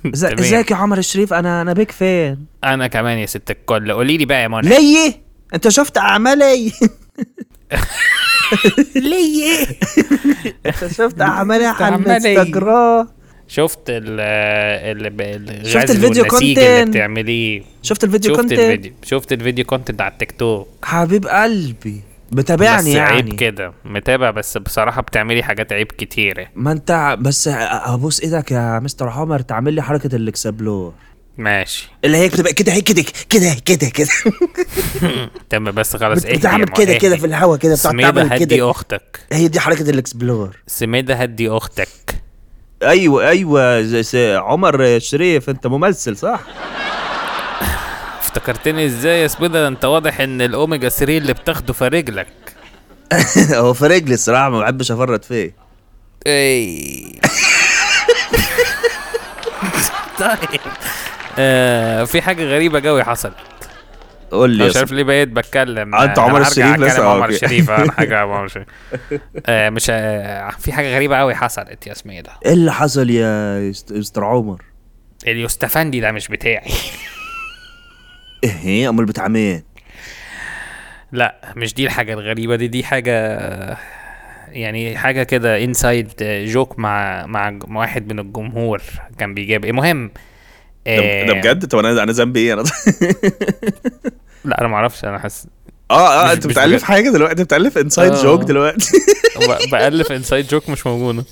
Speaker 2: إز-
Speaker 3: تمام.
Speaker 2: ازيك يا عمر الشريف انا انا بيك فان
Speaker 3: انا كمان يا ست الكل قولي لي بقى يا منى
Speaker 2: ليه انت شفت اعمالي
Speaker 1: ليه
Speaker 2: انت شفت اعمالي على
Speaker 1: أعمالي.
Speaker 2: الانستجرام
Speaker 3: شفت ال ال الغاز
Speaker 2: شفت الفيديو
Speaker 3: والنسيج اللي
Speaker 2: content.
Speaker 3: بتعمليه
Speaker 2: شفت الفيديو
Speaker 3: شفت
Speaker 2: كنت
Speaker 3: الفيديو شفت الفيديو كونتنت على التيك توك
Speaker 2: حبيب قلبي
Speaker 3: بس
Speaker 2: بتابعني
Speaker 3: عيب
Speaker 2: يعني
Speaker 3: كده متابع بس بصراحه بتعملي حاجات عيب كتيره
Speaker 2: ما انت ع- بس ه- هبوس ايدك يا مستر عمر تعمل لي حركه الاكسبلور
Speaker 3: ماشي
Speaker 2: اللي هي بتبقى كده هي كده كده كده كده
Speaker 3: تمام بس خلاص ايه
Speaker 2: بتعمل كده كده في الهوا كده بتقعد
Speaker 3: سميدة
Speaker 2: تعمل
Speaker 3: هدي
Speaker 2: كده
Speaker 3: اختك
Speaker 2: هي دي حركه الاكسبلور
Speaker 3: سميدة هدي اختك
Speaker 2: ايوه ايوه ز- س- عمر شريف انت ممثل صح؟
Speaker 3: افتكرتني ازاي يا سميدة ده انت واضح ان الاوميجا 3 اللي بتاخده في رجلك
Speaker 2: هو في رجلي الصراحه ما بحبش افرط فيه
Speaker 3: اي طيب آه في حاجة غريبة قوي حصلت
Speaker 2: قول لي يا
Speaker 3: أنا مش
Speaker 2: صاحبي.
Speaker 3: عارف ليه بقيت بتكلم
Speaker 2: آه، أنت
Speaker 3: أنا
Speaker 2: عمر
Speaker 3: هرجع
Speaker 2: الشريف
Speaker 3: أتكلم
Speaker 2: لسه، آه،
Speaker 3: عمر
Speaker 2: أوكي.
Speaker 3: الشريف آه، انا حاجة عمر الشريف آه، مش آه، في حاجة غريبة قوي حصلت يا إيه سميدة
Speaker 2: ايه اللي حصل يا است- مستر عمر؟
Speaker 3: اليوستفندي ده مش بتاعي
Speaker 2: ايه امال بتاع مين؟
Speaker 3: لا مش دي الحاجة الغريبة دي دي حاجة يعني حاجة كده انسايد جوك مع مع ج- مع واحد من الجمهور كان بيجاب المهم آه،
Speaker 2: ده بجد طب انا انا ذنبي ايه انا
Speaker 3: لا انا معرفش انا حاسس
Speaker 2: اه اه
Speaker 3: مش-
Speaker 2: انت
Speaker 3: مش
Speaker 2: بتالف
Speaker 3: بجد.
Speaker 2: حاجه دلوقتي بتالف انسايد
Speaker 3: آه.
Speaker 2: جوك دلوقتي
Speaker 3: ب- بألف انسايد جوك مش موجودة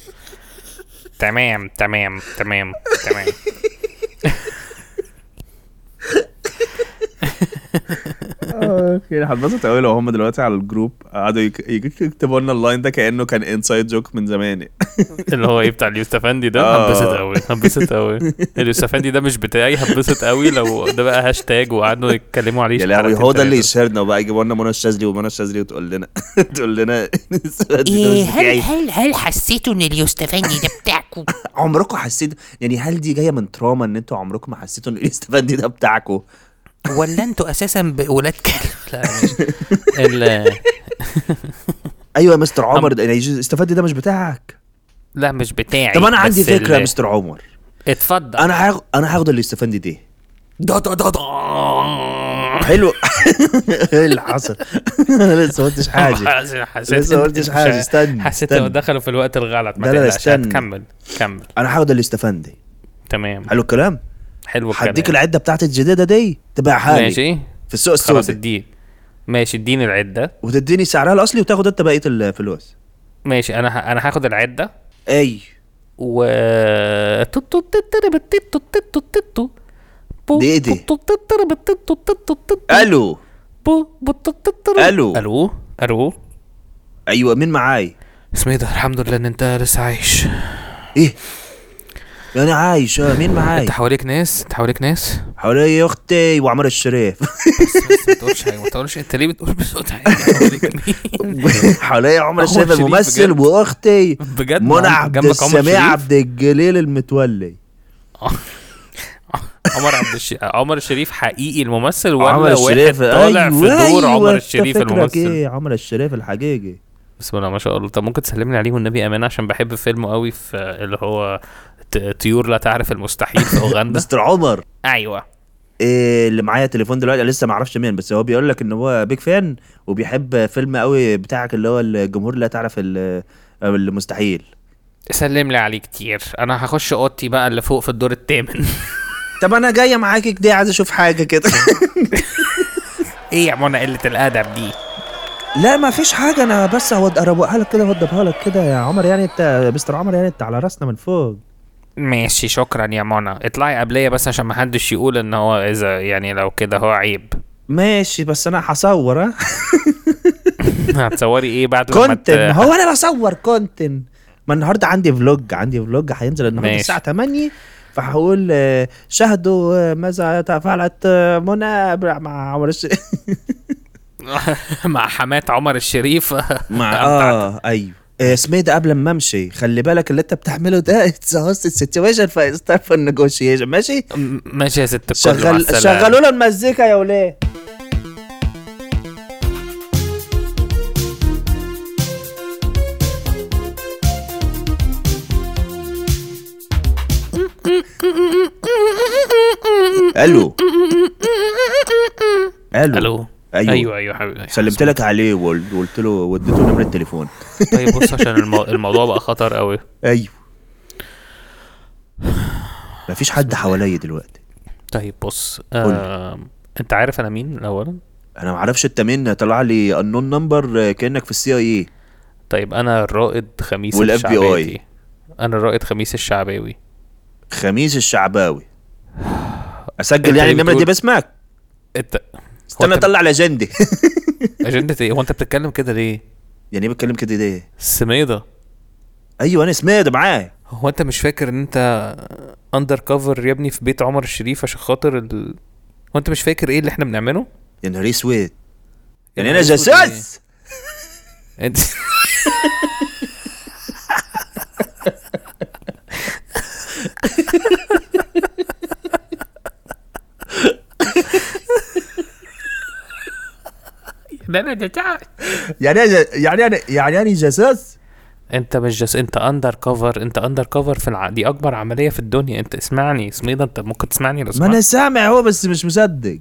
Speaker 3: تمام تمام تمام تمام
Speaker 2: اوكي انا هتبسط قوي لو هم دلوقتي على الجروب قعدوا يك- يك- يكتبوا لنا اللاين ده كانه كان انسايد جوك من زمان
Speaker 3: اللي هو ايه بتاع اليوستفندي ده
Speaker 2: آه.
Speaker 3: هبسط قوي هبسط قوي اليوستفندي ده مش بتاعي هبسط قوي لو ده بقى هاشتاج وقعدوا يتكلموا عليه
Speaker 2: يا لهوي
Speaker 3: شحنات
Speaker 2: هو ده اللي
Speaker 3: التلاتة.
Speaker 2: يشهرنا بقى يجيبوا لنا منى الشاذلي ومنى الشاذلي وتقول لنا تقول لنا السؤال ده
Speaker 1: إيه
Speaker 2: مش
Speaker 1: هل
Speaker 2: بتاعي.
Speaker 1: هل هل حسيتوا ان اليوستفاني ده بتاعكم
Speaker 2: عمركم حسيتوا يعني هل دي جايه من تراما ان انتوا عمركم ما حسيتوا ان الاستفاد ده بتاعكم
Speaker 1: ولا انتوا اساسا ب- ولاد كلب
Speaker 3: لا مش ال-
Speaker 2: ايوه يا مستر عمر ده يعني الاستفاد ده مش بتاعك
Speaker 3: لا مش بتاعي
Speaker 2: طب انا
Speaker 3: بس
Speaker 2: عندي فكره يا
Speaker 3: ال-
Speaker 2: مستر عمر
Speaker 3: اتفضل
Speaker 2: انا هاخد انا هاخد الاستفاد دي
Speaker 1: ده ده ده ده
Speaker 2: حلو ايه اللي حصل أنا لسه ما قلتش حاجه
Speaker 3: حسيت حسيت
Speaker 2: لسه ما قلتش حاجة، استنى،
Speaker 3: حسيت
Speaker 2: استنى.
Speaker 3: إنه دخلوا في الوقت الغلط ما
Speaker 2: لا، لا، لا،
Speaker 3: تقلقش
Speaker 2: استنى.
Speaker 3: كمل كمل
Speaker 2: انا هاخد الاستفاد دي
Speaker 3: تمام
Speaker 2: حلو الكلام
Speaker 3: حلو الكلام
Speaker 2: هديك العده بتاعت الجديده دي تبيعها لي
Speaker 3: إيه؟ ماشي
Speaker 2: في السوق
Speaker 3: خلاص
Speaker 2: السوداء
Speaker 3: الدين ماشي اديني العده
Speaker 2: وتديني سعرها الاصلي وتاخد انت بقيه الفلوس
Speaker 3: ماشي انا ه... انا هاخد العده
Speaker 2: اي
Speaker 3: و توتو تتربت تتو تتو تتو بو-
Speaker 2: دي إيه دي؟
Speaker 3: بو- تو- تتربت تتو تتو تتو.
Speaker 2: الو
Speaker 3: بو- بو- تو- تتربت.
Speaker 2: ألو.
Speaker 3: الو الو
Speaker 2: ايوه مين معاي
Speaker 3: اسمي ده الحمد لله ان انت لسه عايش
Speaker 2: ايه انا عايش آه، مين معاي
Speaker 3: انت حواليك ناس انت حواليك ناس
Speaker 2: حوالي اختي وعمر الشريف
Speaker 3: بس ما تقولش حاجه ما تقولش انت ليه بتقول بصوت عالي
Speaker 2: حوالي عمر
Speaker 3: عمر
Speaker 2: الشريف
Speaker 3: الشريف
Speaker 2: الممثل
Speaker 3: بجد؟
Speaker 2: واختي
Speaker 3: بجد
Speaker 2: منى
Speaker 3: عم-
Speaker 2: عبد
Speaker 3: جنبك عمر
Speaker 2: السميع
Speaker 3: شريف؟
Speaker 2: عبد الجليل المتولي
Speaker 3: عمر عبد الش... عمر الشريف حقيقي الممثل ولا
Speaker 2: عمر الشريف
Speaker 3: واحد طالع
Speaker 2: أيوة،
Speaker 3: في دور
Speaker 2: أيوة،
Speaker 3: عمر
Speaker 2: أنت
Speaker 3: الشريف
Speaker 2: فكرك
Speaker 3: الممثل
Speaker 2: ايه عمر الشريف الحقيقي
Speaker 3: بسم الله ما شاء الله طب ممكن تسلم لي عليه والنبي امانه عشان بحب فيلمه قوي في اللي هو ت- طيور لا تعرف المستحيل في اوغندا
Speaker 2: مستر عمر
Speaker 3: ايوه
Speaker 2: إيه اللي معايا تليفون دلوقتي لسه ما اعرفش مين بس هو بيقول لك ان هو بيج فان وبيحب فيلم قوي بتاعك اللي هو الجمهور لا تعرف ال- المستحيل
Speaker 3: سلم لي عليه كتير انا هخش اوضتي بقى اللي فوق في الدور الثامن
Speaker 2: طب انا جايه معاك كده عايز اشوف حاجه كده
Speaker 3: ايه يا منى قله الادب دي
Speaker 2: لا ما فيش حاجه انا بس هود- اروقها لك كده اوضبها لك كده يا عمر يعني انت يا مستر عمر يعني انت على راسنا من فوق
Speaker 3: ماشي شكرا يا منى اطلعي قبليه بس عشان ما حدش يقول ان هو اذا يعني لو كده هو عيب
Speaker 2: ماشي بس انا هصور ها
Speaker 3: هتصوري ايه بعد لما
Speaker 2: كونتن هو انا بصور كونتن ما النهارده عندي فلوج عندي فلوج هينزل النهارده
Speaker 3: ماشي.
Speaker 2: الساعه 8 فهقول آه، شاهدوا آه، ماذا فعلت آه، منى ب- مع عمر الش...
Speaker 3: مع حماة عمر الشريف
Speaker 2: مع
Speaker 3: قطعت.
Speaker 2: اه ايوه آه، اسمي ده قبل ما امشي خلي بالك اللي انت بتعمله ده اتس هوست سيتويشن فستارت فور نيجوشيشن ماشي
Speaker 3: م- ماشي يا ست الكل مع
Speaker 2: شغل
Speaker 3: السلامة.
Speaker 2: شغلوا له المزيكا يا ولاد الو الو
Speaker 3: الو
Speaker 2: ايوه,
Speaker 3: ايوه ايوه حبيبي
Speaker 2: سلمت لك عليه وقلت وقلت له وديته نمره التليفون
Speaker 3: طيب بص عشان المو... الموضوع بقى خطر قوي
Speaker 2: ايوه مفيش حد حواليا دلوقتي
Speaker 3: طيب بص آم... انت عارف انا مين الاول
Speaker 2: انا معرفش انت مين طلع لي النون نمبر كانك في السي إيه. اي
Speaker 3: طيب انا الرائد خميس
Speaker 2: وال FBI.
Speaker 3: الشعباوي انا الرائد خميس الشعباوي
Speaker 2: خميس الشعباوي اسجل
Speaker 3: أنت
Speaker 2: يعني
Speaker 3: ليه
Speaker 2: النمره دي
Speaker 3: بتقول-
Speaker 2: باسمك
Speaker 3: انت
Speaker 2: استنى
Speaker 3: أنت-
Speaker 2: اطلع الاجنده
Speaker 3: اجندة ايه هو انت بتتكلم كده ليه
Speaker 2: يعني ايه بتكلم كده ليه
Speaker 3: السميضة
Speaker 2: ايوه انا سمعت معاه
Speaker 3: هو انت مش فاكر ان انت اندر كفر يا ابني في بيت عمر الشريف عشان خاطر ال... هو انت مش فاكر ايه اللي احنا بنعمله
Speaker 2: يا نهار اسود يعني انا
Speaker 3: الأسود ده
Speaker 2: جاسوس
Speaker 3: انت إيه؟
Speaker 2: يعني انا يعني انا يعني انا جاسوس
Speaker 3: انت مش جس... انت اندر كفر انت اندر كفر في الع... دي اكبر عمليه في الدنيا انت اسمعني سميدة انت ممكن تسمعني لو
Speaker 2: ما انا
Speaker 3: سمعت
Speaker 2: سامع هو بس مش مصدق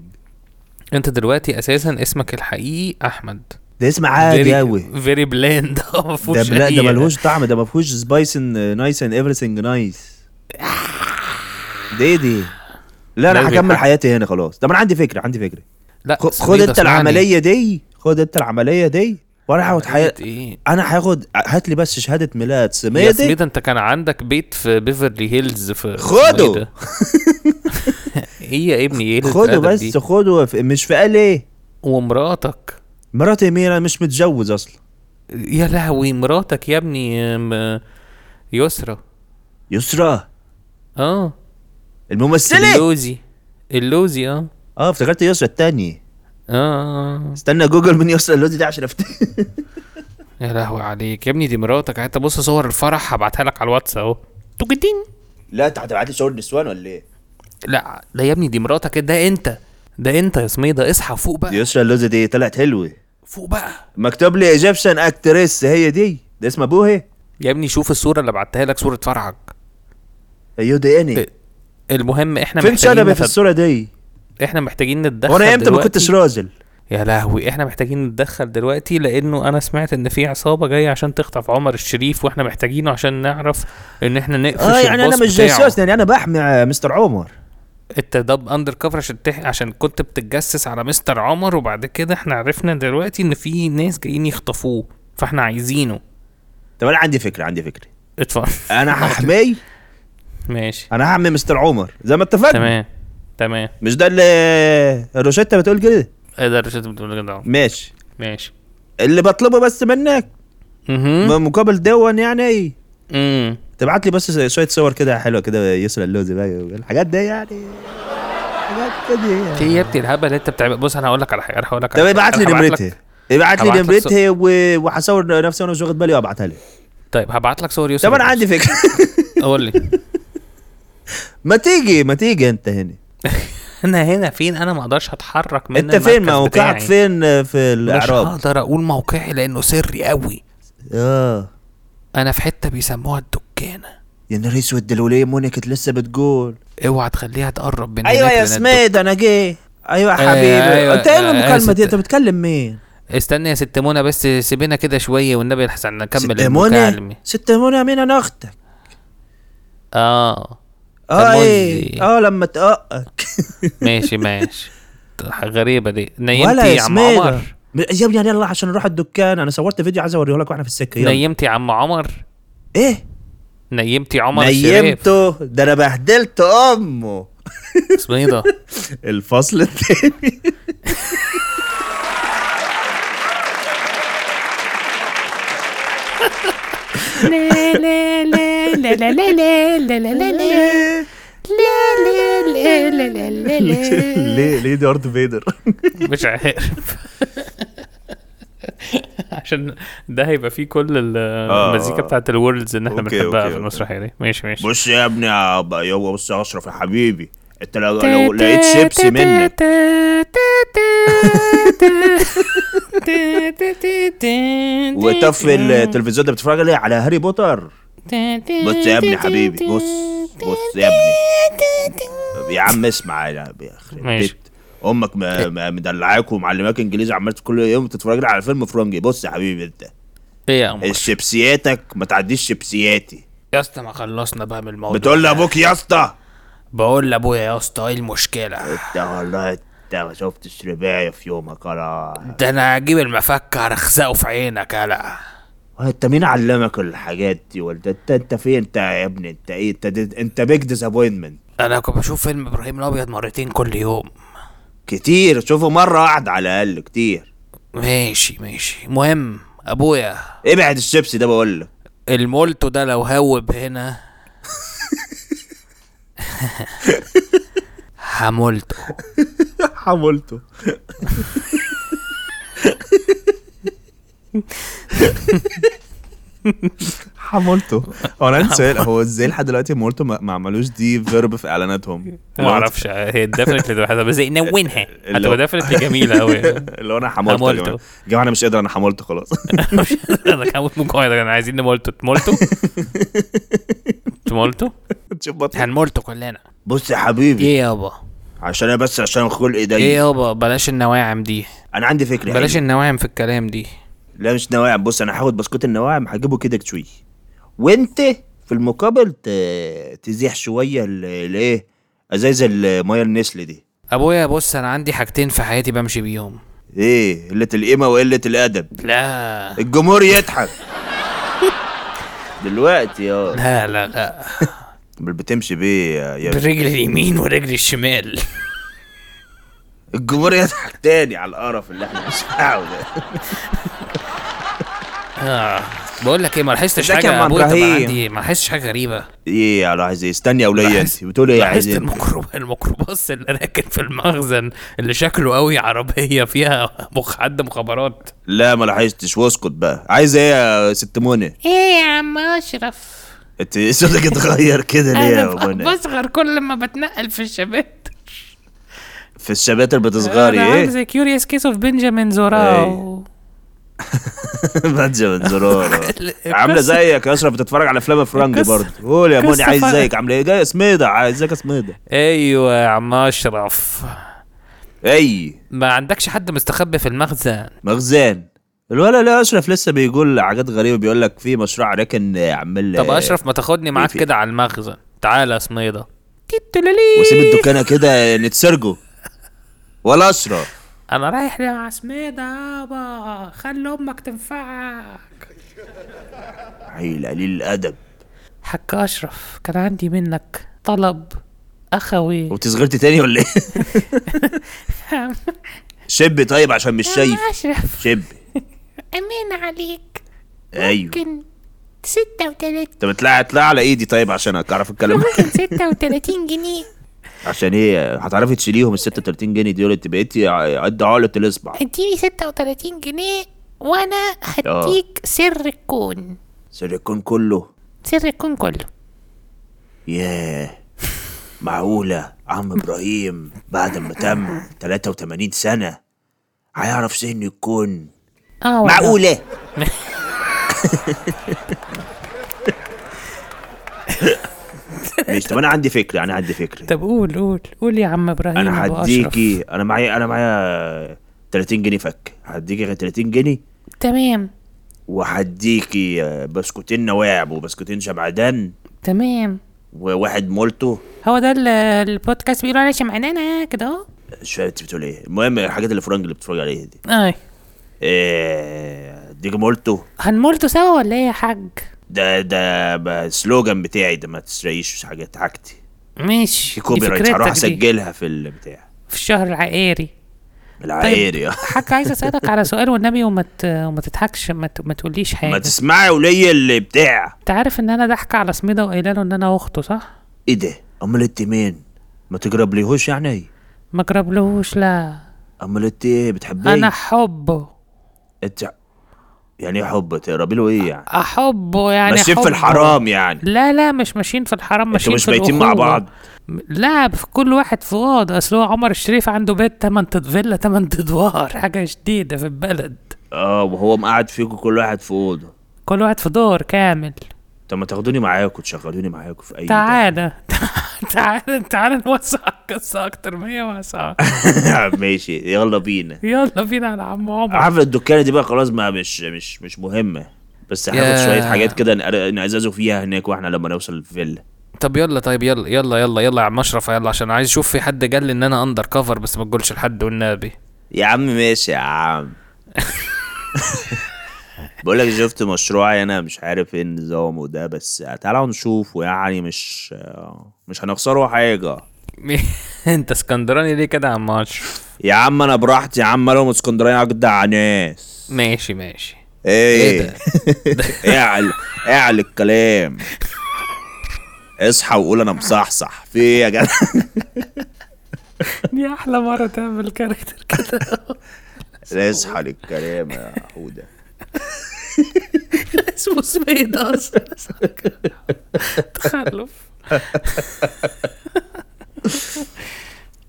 Speaker 3: انت دلوقتي اساسا اسمك الحقيقي احمد
Speaker 2: ده اسم عادي قوي
Speaker 3: فيري بلاند ده
Speaker 2: ده بلا ده ملهوش طعم ده ما فيهوش سبايس نايس اند ايفريثينج نايس ده ايه دي لا
Speaker 3: لازم
Speaker 2: انا هكمل
Speaker 3: يبقى-
Speaker 2: حياتي هنا خلاص طب انا عندي فكره عندي فكره
Speaker 3: لا
Speaker 2: خ- خد
Speaker 3: سميدة
Speaker 2: انت
Speaker 3: اسمعني.
Speaker 2: العمليه دي خد انت العمليه دي وانا هاخد حياة
Speaker 3: عملية ايه
Speaker 2: انا هاخد هات لي بس شهاده ميلاد
Speaker 3: يا
Speaker 2: سميدي
Speaker 3: سميدة انت كان عندك بيت في بيفرلي هيلز في
Speaker 2: خده.
Speaker 3: اسمه ايه ده؟ ايه يا ابني ايه اللي
Speaker 2: خده
Speaker 3: اتقدم
Speaker 2: بس
Speaker 3: دي؟
Speaker 2: خده في- مش في قال
Speaker 3: ومراتك
Speaker 2: مراتي مين انا مش متجوز اصلا
Speaker 3: يا لهوي مراتك يا ابني ام، يسرى
Speaker 2: يسرى
Speaker 3: اه
Speaker 2: الممثله
Speaker 3: اللوزي اللوزي اه
Speaker 2: اه افتكرت يسرى التانية
Speaker 3: اه، اه
Speaker 2: استنى جوجل من يسرى اللوزي ده عشان افتكر
Speaker 3: يا لهوي عليك يا ابني دي مراتك حتى بص صور الفرح هبعتها لك على الواتس اهو توجدين
Speaker 2: لا انت هتبعت لي صور نسوان ولا ايه؟
Speaker 3: لا ده يا ابني دي مراتك ده انت ده انت يا سميدة اصحى فوق بقى
Speaker 2: يسرى اللوزي دي طلعت حلوه
Speaker 3: فوق بقى
Speaker 2: مكتوب لي ايجيبشن اكتريس هي دي ده اسم ابوها
Speaker 3: يا ابني شوف الصوره اللي بعتها لك صوره فرحك
Speaker 2: ايوه دي اني
Speaker 3: إيه، المهم احنا
Speaker 2: فين شنبي في
Speaker 3: نت-
Speaker 2: الصوره دي؟
Speaker 3: احنا محتاجين نتدخل
Speaker 2: وانا امتى ما
Speaker 3: دلوقتي.
Speaker 2: كنتش راجل؟
Speaker 3: يا لهوي احنا محتاجين نتدخل دلوقتي لانه انا سمعت ان في عصابه جايه عشان تخطف عمر الشريف واحنا محتاجينه عشان نعرف ان احنا نقفش
Speaker 2: اه يعني انا
Speaker 3: البوس
Speaker 2: مش
Speaker 3: بتاعه.
Speaker 2: جاسوس يعني انا بحمي آه، مستر عمر
Speaker 3: انت ده اندر كفر عشان تح... عشان كنت بتتجسس على مستر عمر وبعد كده احنا عرفنا دلوقتي ان في ناس جايين يخطفوه فاحنا عايزينه
Speaker 2: طب انا عندي فكره عندي فكره
Speaker 3: اتفضل
Speaker 2: انا هحميه
Speaker 3: ماشي
Speaker 2: انا هحمي مستر عمر زي ما اتفقنا
Speaker 3: تمام تمام
Speaker 2: مش ده اللي الروشته بتقول كده
Speaker 3: ايه ده الرشاد بتقول كده اهو.
Speaker 2: ماشي
Speaker 3: ماشي
Speaker 2: اللي بطلبه بس منك
Speaker 3: اها
Speaker 2: مقابل دون يعني
Speaker 3: امم
Speaker 2: تبعت لي بس شويه صور كده حلوه كده يسرى اللوزي بقى الحاجات دي يعني حاجات كده يعني.
Speaker 3: في يا ابني الهبل اللي انت بتعمل بص انا هقول لك على حاجه انا هقول لك
Speaker 2: طب
Speaker 3: على حاجة.
Speaker 2: ابعت لي
Speaker 3: أنا هبعت لك-
Speaker 2: نمرتها ابعت لي
Speaker 3: هبعت لك
Speaker 2: نمرتها و- وهصور نفسي وانا مش واخد بالي وابعتها لك
Speaker 3: طيب هبعت لك صور يوسف
Speaker 2: طب انا عندي فكره
Speaker 3: قول لي
Speaker 2: ما تيجي ما تيجي انت هنا
Speaker 3: انا هنا فين انا ما اقدرش اتحرك من
Speaker 2: انت فين
Speaker 3: المركز
Speaker 2: موقعك
Speaker 3: بتاعي.
Speaker 2: فين آه، في
Speaker 3: مش
Speaker 2: الاعراب
Speaker 3: هقدر اقول موقعي لانه سري قوي
Speaker 2: اه
Speaker 3: انا في حته بيسموها الدكانه
Speaker 2: يا نهار اسود ده الوليه منى كانت لسه بتقول
Speaker 3: اوعى تخليها تقرب من
Speaker 2: ايوه
Speaker 3: هناك
Speaker 2: يا
Speaker 3: لأن الدك-
Speaker 2: سميد انا جاي ايوه يا
Speaker 3: أيوة،
Speaker 2: حبيبي
Speaker 3: أيوة،
Speaker 2: انت ايه
Speaker 3: أيوة،
Speaker 2: المكالمه دي
Speaker 3: ست-
Speaker 2: انت بتكلم مين
Speaker 3: استنى يا ست منى بس سيبنا كده شويه والنبي الحسن نكمل
Speaker 2: ست منى
Speaker 3: المكالمة.
Speaker 2: ست منى مين انا اختك
Speaker 3: اه
Speaker 2: اه
Speaker 3: تموزي.
Speaker 2: ايه اه لما تقك
Speaker 3: ماشي ماشي غريبه دي نيمتي
Speaker 2: ولا
Speaker 3: يا
Speaker 2: يا
Speaker 3: عم
Speaker 2: سميد
Speaker 3: عمر
Speaker 2: يا ابني يلا يعني عشان نروح الدكان انا صورت فيديو عايز اوريه لك واحنا في السكه يلا
Speaker 3: نيمتي يا عم عمر
Speaker 2: ايه
Speaker 3: نيمتي عمر الشريف
Speaker 2: نيمته ده انا بهدلت امه
Speaker 3: سميدة
Speaker 2: الفصل التاني
Speaker 1: لا لا لا لا لا لا لا لا لا لا لا لا لا لا لا
Speaker 2: ليه ليه دي ارض فيدر
Speaker 3: مش عارف عشان ده هيبقى فيه كل ال- المزيكا بتاعت الورلدز اللي احنا
Speaker 2: آه، أوكي،
Speaker 3: بنحبها
Speaker 2: أوكي،
Speaker 3: في المسرحيه دي ماشي ماشي
Speaker 2: بص يا ابني يا ب- يا بص يا اشرف يا حبيبي انت لو, لو لقيت شيبسي منك وطفي التلفزيون ده بتتفرج عليه على هاري بوتر بص يا ابني حبيبي بص بص يا ابني يا عم اسمع يا يخرب
Speaker 3: ماشي.
Speaker 2: بيت. امك ما- ما- مدلعاك ومعلماك انجليزي عمال كل يوم تتفرج لي على فيلم فرنجي بص يا حبيبي انت
Speaker 3: ايه يا عمر
Speaker 2: شيبسياتك ما تعديش شيبسياتي
Speaker 3: يا اسطى ما خلصنا بقى من الموضوع
Speaker 2: بتقول لابوك يا اسطى
Speaker 3: بقول لابويا يا اسطى ايه المشكله
Speaker 2: انت والله انت ما شفتش رباية في يومك انا
Speaker 3: ده انا هجيب المفك هرخزقه في عينك يالا
Speaker 2: انت مين علمك الحاجات دي ولا انت انت فين انت يا ابني انت ايه انت انت بيج ديسابوينتمنت
Speaker 3: انا كنت بشوف فيلم ابراهيم الابيض مرتين كل يوم
Speaker 2: كتير شوفه مرة واحدة على الأقل كتير
Speaker 3: ماشي ماشي مهم ابويا
Speaker 2: ابعد الشيبسي ده بقول لك
Speaker 3: المولتو ده لو هوب هنا همولته
Speaker 2: حمولته حمولته هو انا عندي سؤال هو ازاي لحد دلوقتي مولتو ما ما عملوش دي فيرب في اعلاناتهم؟
Speaker 3: ما اعرفش هي ديفنتلي تبقى بس نونها
Speaker 2: اللي هو-
Speaker 3: هتبقى ديفنتلي جميله قوي
Speaker 2: اللي هو انا حمولته
Speaker 3: حمولته.
Speaker 2: يا جماعه يا جماعه انا مش قادر انا حمولته خلاص
Speaker 3: مش انا كان ممكن انا عايزين نمولتو تمولتو تمولتو
Speaker 2: تشوف بطل.
Speaker 3: هنمولتو كلنا
Speaker 2: بص يا حبيبي
Speaker 3: ايه يابا
Speaker 2: عشان انا بس عشان خلقي
Speaker 3: ايه
Speaker 2: ضيق
Speaker 3: يابا بلاش النواعم دي
Speaker 2: انا عندي فكره
Speaker 3: بلاش
Speaker 2: حلوة.
Speaker 3: النواعم في الكلام دي
Speaker 2: لا مش نواعم بص انا هاخد بسكوت النواعم هجيبه كده تشوي وانت في المقابل ت- تزيح شويه ال- الايه ازايز الميه النسل دي
Speaker 3: ابويا بص انا عندي حاجتين في حياتي بمشي بيهم
Speaker 2: ايه قله القيمه وقله الادب
Speaker 3: لا
Speaker 2: الجمهور يضحك دلوقتي يا
Speaker 3: لا لا لا
Speaker 2: بل بتمشي بيه يا- يا
Speaker 3: بالرجل اليمين ورجل الشمال
Speaker 2: الجمهور يضحك تاني على القرف اللي احنا بنسمعه ده
Speaker 3: آه. بقول لك ايه ما لاحظتش
Speaker 2: ازيك يا
Speaker 3: حاجه يا
Speaker 2: عم
Speaker 3: ابويا طبعا
Speaker 2: إبراهيم؟
Speaker 3: عندي ما لاحظتش حاجه غريبه
Speaker 2: ايه يا عايز ايه استني يا وليه انت بتقول ايه يا
Speaker 3: لاحظت
Speaker 2: عايز ايه
Speaker 3: الميكروب الميكروباص اللي راكن في المخزن اللي شكله قوي عربيه فيها مخ حد مخابرات
Speaker 2: لا ما لاحظتش واسكت بقى عايز ايه يا ست منى
Speaker 3: إيه؟
Speaker 1: ايه يا عم اشرف
Speaker 2: انت صوتك اتغير كده ليه يا
Speaker 1: انا
Speaker 2: منى
Speaker 1: بصغر كل ما بتنقل في الشباتر
Speaker 2: في الشباتر بتصغري ايه
Speaker 1: ذا كيوريوس كيس اوف بنجامين
Speaker 2: إيه.
Speaker 1: زوراو
Speaker 2: بنجامين زرار
Speaker 3: القصة-
Speaker 2: عامله زيك يا اشرف بتتفرج على افلام فرنج
Speaker 1: القصة-
Speaker 2: برضه قول يا منى
Speaker 1: القصة
Speaker 2: عايز
Speaker 1: فرق.
Speaker 2: زيك عامله ايه جاي سميدة عايز زيك سميدة
Speaker 3: ايوه يا عم اشرف
Speaker 2: اي
Speaker 3: ما عندكش حد مستخبي في المخزن
Speaker 2: مخزان الولد لا اشرف لسه بيقول حاجات غريبه بيقول لك في مشروع راكن عمال
Speaker 3: طب اشرف ما تاخدني معاك
Speaker 2: إيه. في-
Speaker 3: كده على المخزن تعالى يا سميده
Speaker 2: وسيب الدكانه كده نتسرجوا ولا اشرف
Speaker 3: انا رايح
Speaker 1: يا سميدة يابا خلي امك تنفعك
Speaker 2: عيل قليل الادب
Speaker 1: حق اشرف كان عندي منك طلب اخوي
Speaker 2: وانت صغرت تاني ولا ايه؟ شب طيب عشان مش
Speaker 1: يا عم
Speaker 2: شايف
Speaker 1: اشرف
Speaker 2: شب
Speaker 1: امين عليك
Speaker 2: ايوه
Speaker 1: ممكن ستة وتلاتين
Speaker 2: طب اطلع اطلع على ايدي طيب عشان اعرف اتكلم
Speaker 1: ممكن ستة وتلاتين جنيه
Speaker 2: عشان ايه هتعرفي تشيليهم ال 36 جنيه دول انت بقيتي ع- قد عقله الاصبع
Speaker 1: اديني ستة وتلاتين جنيه وانا
Speaker 2: آه.
Speaker 1: هديك سر الكون
Speaker 2: سر الكون كله
Speaker 1: سر الكون كله
Speaker 2: ياه معقولة عم إبراهيم بعد ما تم 83 سنة هيعرف سن الكون
Speaker 1: اه والله.
Speaker 2: معقولة ماشي طب أنا عندي فكرة أنا عندي فكرة
Speaker 1: طب قول قول قول يا عم ابراهيم
Speaker 2: أنا
Speaker 1: أبو أشرف.
Speaker 2: هديكي أنا معايا أنا معايا 30 جنيه فك هديكي غير 30 جنيه
Speaker 1: تمام
Speaker 2: وهديكي آه، بسكوتين نواعب وبسكوتين شمعدان
Speaker 1: تمام
Speaker 2: وواحد مولتو
Speaker 1: هو ده ال- البودكاست بيقولوا عليه شمعنانة كده اهو
Speaker 2: مش فاهم انت بتقول ايه المهم الحاجات اللي فرنج اللي بتتفرج عليها دي
Speaker 1: اي
Speaker 2: إيه ديجي مولتو
Speaker 1: هنمولتوا سوا ولا ايه يا حاج
Speaker 2: ده ده ب- السلوجان بتاعي ده ما تسرقيش حاجات حاجتي
Speaker 1: ماشي
Speaker 2: في
Speaker 1: دي
Speaker 2: كوبي رايت
Speaker 1: فكرتك
Speaker 2: هروح
Speaker 1: دي
Speaker 2: اسجلها في البتاع
Speaker 1: في الشهر العقاري طيب،
Speaker 2: العقاري اه.
Speaker 1: حاج عايز اسالك على سؤال والنبي وما ت- وما تضحكش ما, ت... ما تقوليش
Speaker 2: ما
Speaker 1: حاجه
Speaker 2: تسمعي وليا اللي بتاع
Speaker 1: انت عارف ان انا ضحكه على سميده وقايله له ان انا اخته صح
Speaker 2: ايه ده امال انت مين ما تقرب ليهوش يعني
Speaker 1: ما جربلهوش لا
Speaker 2: امال انت ايه بتحبيه
Speaker 1: انا حبه
Speaker 2: انت يعني ايه حب تقربي له ايه يعني
Speaker 1: احبه يعني
Speaker 2: ماشيين في
Speaker 1: حبه.
Speaker 2: الحرام يعني
Speaker 1: لا لا مش ماشيين في الحرام
Speaker 2: انتوا
Speaker 1: ماشيين
Speaker 2: مش
Speaker 1: في
Speaker 2: بايتين مع
Speaker 1: الأخوة.
Speaker 2: بعض
Speaker 1: م- لا في كل واحد في اوضه اصل هو عمر الشريف عنده بيت تمن ت- فيلا تمن ادوار حاجه شديده في البلد
Speaker 2: آه، اه وهو مقعد فيكم كل واحد في اوضه
Speaker 1: كل واحد في دور كامل
Speaker 2: طب ما تاخدوني معاكم تشغلوني معاكم في اي
Speaker 1: تعالى تعالى تعالى نوسع القصه اكتر 100 واسعه
Speaker 2: ماشي يلا بينا
Speaker 1: يلا بينا على عم عمر
Speaker 2: حفله الدكانه دي بقى خلاص ما مش مش مش مهمه بس هاخد
Speaker 3: يا.
Speaker 2: شويه حاجات كده نقر- نعززوا فيها هناك واحنا لما نوصل الفيلا
Speaker 3: طب يلا طيب يلا يلا يلا يلا يا عم اشرف يلا عشان عايز اشوف في حد قال لي ان انا اندر كفر بس ما تقولش لحد والنبي
Speaker 2: يا عم ماشي يا عم بقول لك شفت مشروعي انا مش عارف ايه النظام وده بس تعالوا نشوفه يعني مش مش هنخسره حاجه
Speaker 3: انت اسكندراني ليه كده يا عم اشرف
Speaker 2: يا عم انا براحتي يا عم مالهم اسكندريه اجدع ناس
Speaker 3: ماشي ماشي إيه
Speaker 2: ايه
Speaker 3: ده؟
Speaker 2: اعل اعل الكلام اصحى وقول انا مصحصح في ايه يا جدع
Speaker 1: دي احلى مره تعمل كاركتر كده
Speaker 2: اصحى للكلام يا حوده
Speaker 1: اسمه سويد اصلا تخلف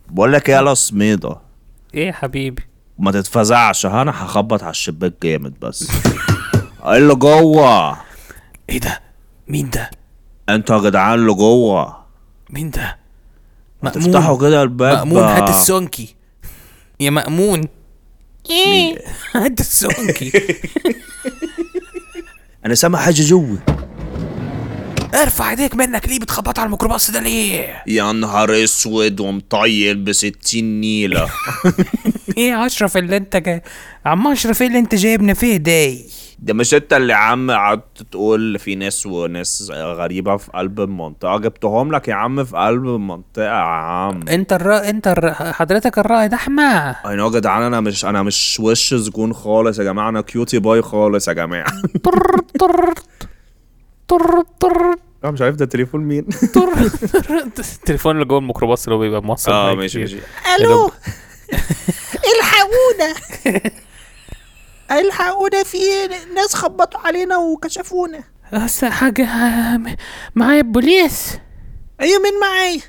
Speaker 2: بقول لك ايه يا سميضه
Speaker 1: إيه
Speaker 3: ايه يا حبيبي
Speaker 2: ما تتفزعش ها انا هخبط على الشباك جامد بس قال له جوه
Speaker 3: ايه ده مين ده
Speaker 2: انتوا يا جدعان اللي جوه
Speaker 3: مين ده
Speaker 2: ما تفتحوا كده الباب
Speaker 3: مأمون هات
Speaker 2: آه.
Speaker 3: السونكي يا مأمون
Speaker 1: إيه.
Speaker 2: مين؟
Speaker 3: هات السونكي
Speaker 2: انا سامع حاجه جوه
Speaker 3: ارفع ايديك منك ليه بتخبط على الميكروباص ده ليه
Speaker 2: يا نهار اسود ومطير ب 60 نيله
Speaker 3: ايه يا اشرف اللي انت جاي عم اشرف ايه اللي انت جايبنا فيه داي
Speaker 2: ده مش انت اللي يا عم قعدت تقول في ناس وناس غريبه في قلب المنطقه جبتهم لك يا عم في قلب المنطقه يا عم
Speaker 3: انت الرا... انت الرا... حضرتك الرائد احمد
Speaker 2: انا يا جدعان انا مش انا مش وش زجون خالص يا جماعه انا كيوتي باي خالص يا جماعه
Speaker 3: طر طر طر طر
Speaker 2: انا مش عارف ده تليفون مين
Speaker 3: طر التليفون اللي جوه الميكروباص اللي هو بيبقى موصل
Speaker 2: اه
Speaker 3: معاك
Speaker 2: ماشي
Speaker 3: كتير.
Speaker 2: ماشي
Speaker 4: الو الحقونا الحقونا في ناس خبطوا علينا وكشفونا
Speaker 1: بس حاجه م- معايا البوليس
Speaker 4: ايوه مين معايا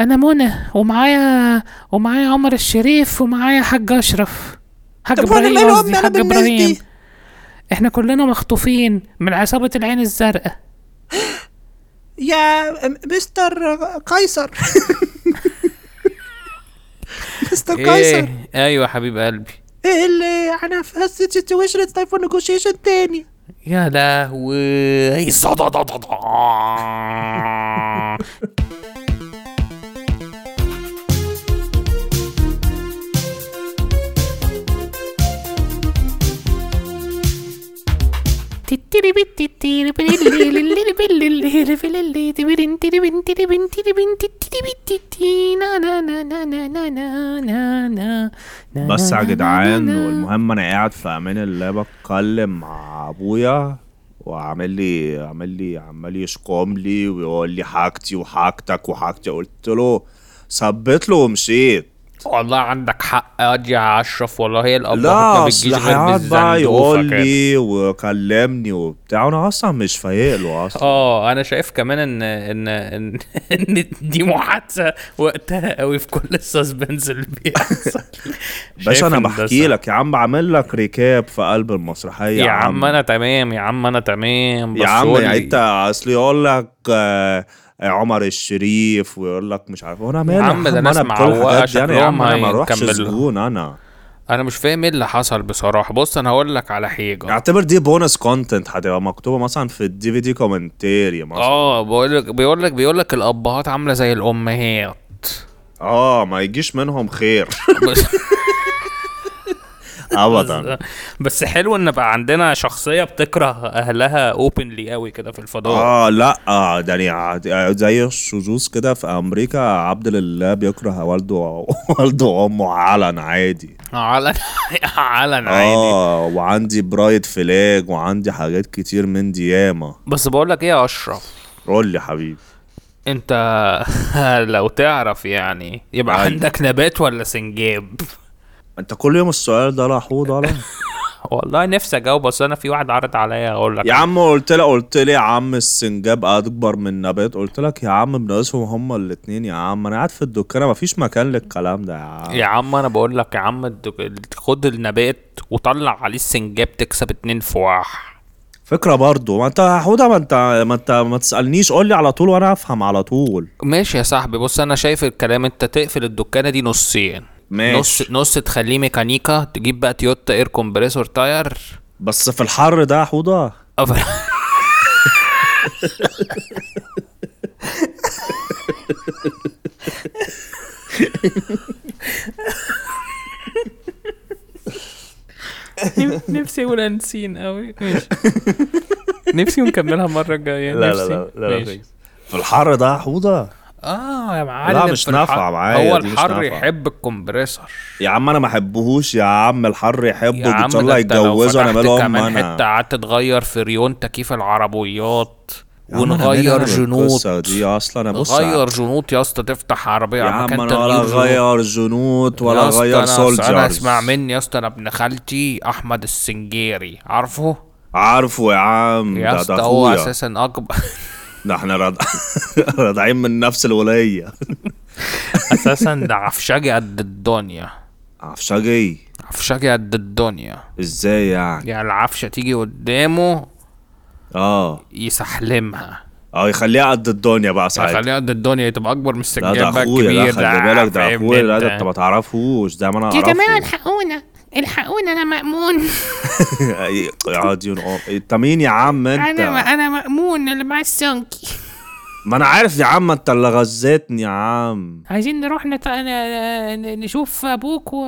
Speaker 1: انا منى ومعايا ومعايا عمر الشريف ومعايا حاج اشرف حاج
Speaker 4: طب وانا
Speaker 1: ابراهيم
Speaker 4: مال
Speaker 1: قصدي
Speaker 4: امي انا
Speaker 1: حاج
Speaker 4: بالناس
Speaker 1: ابراهيم
Speaker 4: دي
Speaker 1: احنا كلنا مخطوفين من عصابه العين الزرقاء
Speaker 4: يا م- مستر قيصر مستر قيصر
Speaker 3: ايه ايوه يا حبيب قلبي
Speaker 4: ايه اللي انا في هاست سيتويشن اتس تايم فور نيجوشيشن تاني
Speaker 3: يا لهوي
Speaker 2: بس يا جدعان والمهم انا قاعد في امان الله بتكلم مع ابويا وعامل لي عامل لي عمال يشكم لي ويقول لي حاجتي وحاجتك وحاجتي قلت له ثبت له ومشيت
Speaker 3: والله عندك حق قد يا اشرف والله هي الابهات ما
Speaker 2: لا
Speaker 3: بتجيش
Speaker 2: اصل
Speaker 3: غير
Speaker 2: هيقعد بقى
Speaker 3: بالزندوفه
Speaker 2: يقول
Speaker 3: كده
Speaker 2: لي وكلمني وبتاع وانا اصلا مش فايق له اصلا
Speaker 3: اه انا شايف كمان ان ان ان, إن دي محادثه وقتها قوي في كل السسبنس اللي بيحصل
Speaker 2: بس
Speaker 3: آه، شايف
Speaker 2: انا
Speaker 3: إن ده
Speaker 2: بحكي
Speaker 3: صح.
Speaker 2: لك يا عم بعمل لك ريكاب في قلب المسرحيه
Speaker 3: يا عم انا تمام يا عم انا تمام بس
Speaker 2: يا عم
Speaker 3: قول
Speaker 2: يعني
Speaker 3: لي-
Speaker 2: انت اصل يقول لك آه، عمر الشريف ويقول لك مش عارف هو انا مالي
Speaker 3: يا عم ده ناس
Speaker 2: انا بكل
Speaker 3: معوقة
Speaker 2: الحاجات دي انا يا عم
Speaker 3: شكلهم
Speaker 2: انا ما اروحش
Speaker 3: هيكملوا.
Speaker 2: سجون انا
Speaker 3: انا مش فاهم ايه اللي حصل بصراحه بص انا هقول لك على حاجه
Speaker 2: اعتبر دي بونس كونتنت هتبقى مكتوبه مثلا في الدي في دي كومنتاري مثلا
Speaker 3: اه بقول لك بيقول لك بيقول لك الابهات عامله زي الامهات
Speaker 2: اه ما يجيش منهم خير
Speaker 3: بس,
Speaker 2: ابدا
Speaker 3: بس حلو ان بقى عندنا شخصيه بتكره اهلها اوبنلي قوي كده في الفضاء
Speaker 2: اه لا آه ده يعني زي الشذوذ كده في امريكا عبد لله بيكره والده والده وامه علن عادي
Speaker 3: علن علن عادي
Speaker 2: اه وعندي برايد فلاج وعندي حاجات كتير من دي ياما
Speaker 3: بس بقول لك ايه يا اشرف
Speaker 2: قول لي حبيبي
Speaker 3: انت لو تعرف يعني يبقى
Speaker 2: أيوة.
Speaker 3: عندك نبات ولا سنجاب
Speaker 2: انت كل يوم السؤال ده لا حوض ولا
Speaker 3: والله نفسي اجاوب بس انا في واحد عرض عليا اقول لك
Speaker 2: يا عم قلت لي قلت لي يا عم السنجاب اكبر من نبات قلت لك يا عم بناقصهم هما الاتنين يا عم انا قاعد في الدكانه مفيش مكان للكلام ده يا عم
Speaker 3: يا عم انا بقول لك يا عم الدك- خد النبات وطلع عليه السنجاب تكسب اتنين في واحد
Speaker 2: فكره برضو ما انت يا حوده ما انت ما انت ما تسالنيش قول لي على طول وانا افهم على طول
Speaker 3: ماشي يا صاحبي بص انا شايف الكلام انت تقفل الدكانه دي نصين
Speaker 2: ماشي.
Speaker 3: نص نص تخليه ميكانيكا تجيب بقى تويوتا اير كومبريسور تاير
Speaker 2: بس في الحر ده يا حوده
Speaker 3: أفر...
Speaker 1: نفسي اقول انسين قوي ماشي نفسي نكملها المره الجايه
Speaker 2: لا
Speaker 1: نفسي.
Speaker 2: لا لا لا
Speaker 1: ماشي.
Speaker 2: فيكس. في الحر ده يا حوده
Speaker 3: اه يا معلم
Speaker 2: لا، مش
Speaker 3: في الحر-
Speaker 2: نافعة معايا،
Speaker 3: هو
Speaker 2: دي مش
Speaker 3: الحر
Speaker 2: نافعة.
Speaker 3: يحب الكمبريسور
Speaker 2: يا عم انا ما احبهوش يا عم الحر يحبه
Speaker 3: عم
Speaker 2: ان
Speaker 3: ده
Speaker 2: شاء الله
Speaker 3: انت لو
Speaker 2: يتجوزه انا
Speaker 3: فتحت
Speaker 2: ماله ام
Speaker 3: كمان
Speaker 2: انا
Speaker 3: حته قعدت تغير في ريون تكييف العربيات
Speaker 2: يا عم أنا مالي
Speaker 3: ونغير
Speaker 2: أنا
Speaker 3: جنوط
Speaker 2: بالقصة دي اصلا بص
Speaker 3: غير جنوط يا اسطى تفتح عربيه
Speaker 2: يا
Speaker 3: على
Speaker 2: عم
Speaker 3: مكان
Speaker 2: انا ولا
Speaker 3: تغيير جنوط.
Speaker 2: غير جنود ولا
Speaker 3: يا اسطى
Speaker 2: غير
Speaker 3: أنا- انا
Speaker 2: سولجرز
Speaker 3: اسمع مني يا اسطى انا ابن خالتي احمد السنجيري عارفه
Speaker 2: عارفه يا عم
Speaker 3: يا
Speaker 2: ده ده
Speaker 3: اسطى هو
Speaker 2: اخويا
Speaker 3: اساسا اكبر
Speaker 2: ده احنا رد... راضعين من نفس الولايه
Speaker 3: اساسا ده عفشاجي قد الدنيا
Speaker 2: عفشجي
Speaker 3: عفشاجي قد الدنيا
Speaker 2: ازاي يعني
Speaker 3: يعني العفشه تيجي قدامه
Speaker 2: اه
Speaker 3: يسحلمها
Speaker 2: اه يخليها قد الدنيا بقى ساعتها
Speaker 3: خليها قد الدنيا تبقى اكبر من
Speaker 2: لا
Speaker 3: السجاد
Speaker 2: طيب. ده
Speaker 3: بقى
Speaker 2: اخويا
Speaker 3: الكبير
Speaker 2: ده خلي بالك ده
Speaker 3: فاهم
Speaker 2: اخويا لا
Speaker 3: انت؟
Speaker 2: ده انت ما تعرفوش ده ما انا
Speaker 4: يا
Speaker 2: اعرفه
Speaker 4: جماعة الحقونا الحقونا أنا مأمون
Speaker 2: يقعد ينقر انت مين يا عم انت
Speaker 4: أنا أنا مأمون اللي مع السونكي
Speaker 2: ما انا عارف يا عم انت اللي غزيتني يا عم
Speaker 1: عايزين نروح نت... ن- ن- نشوف ابوك و...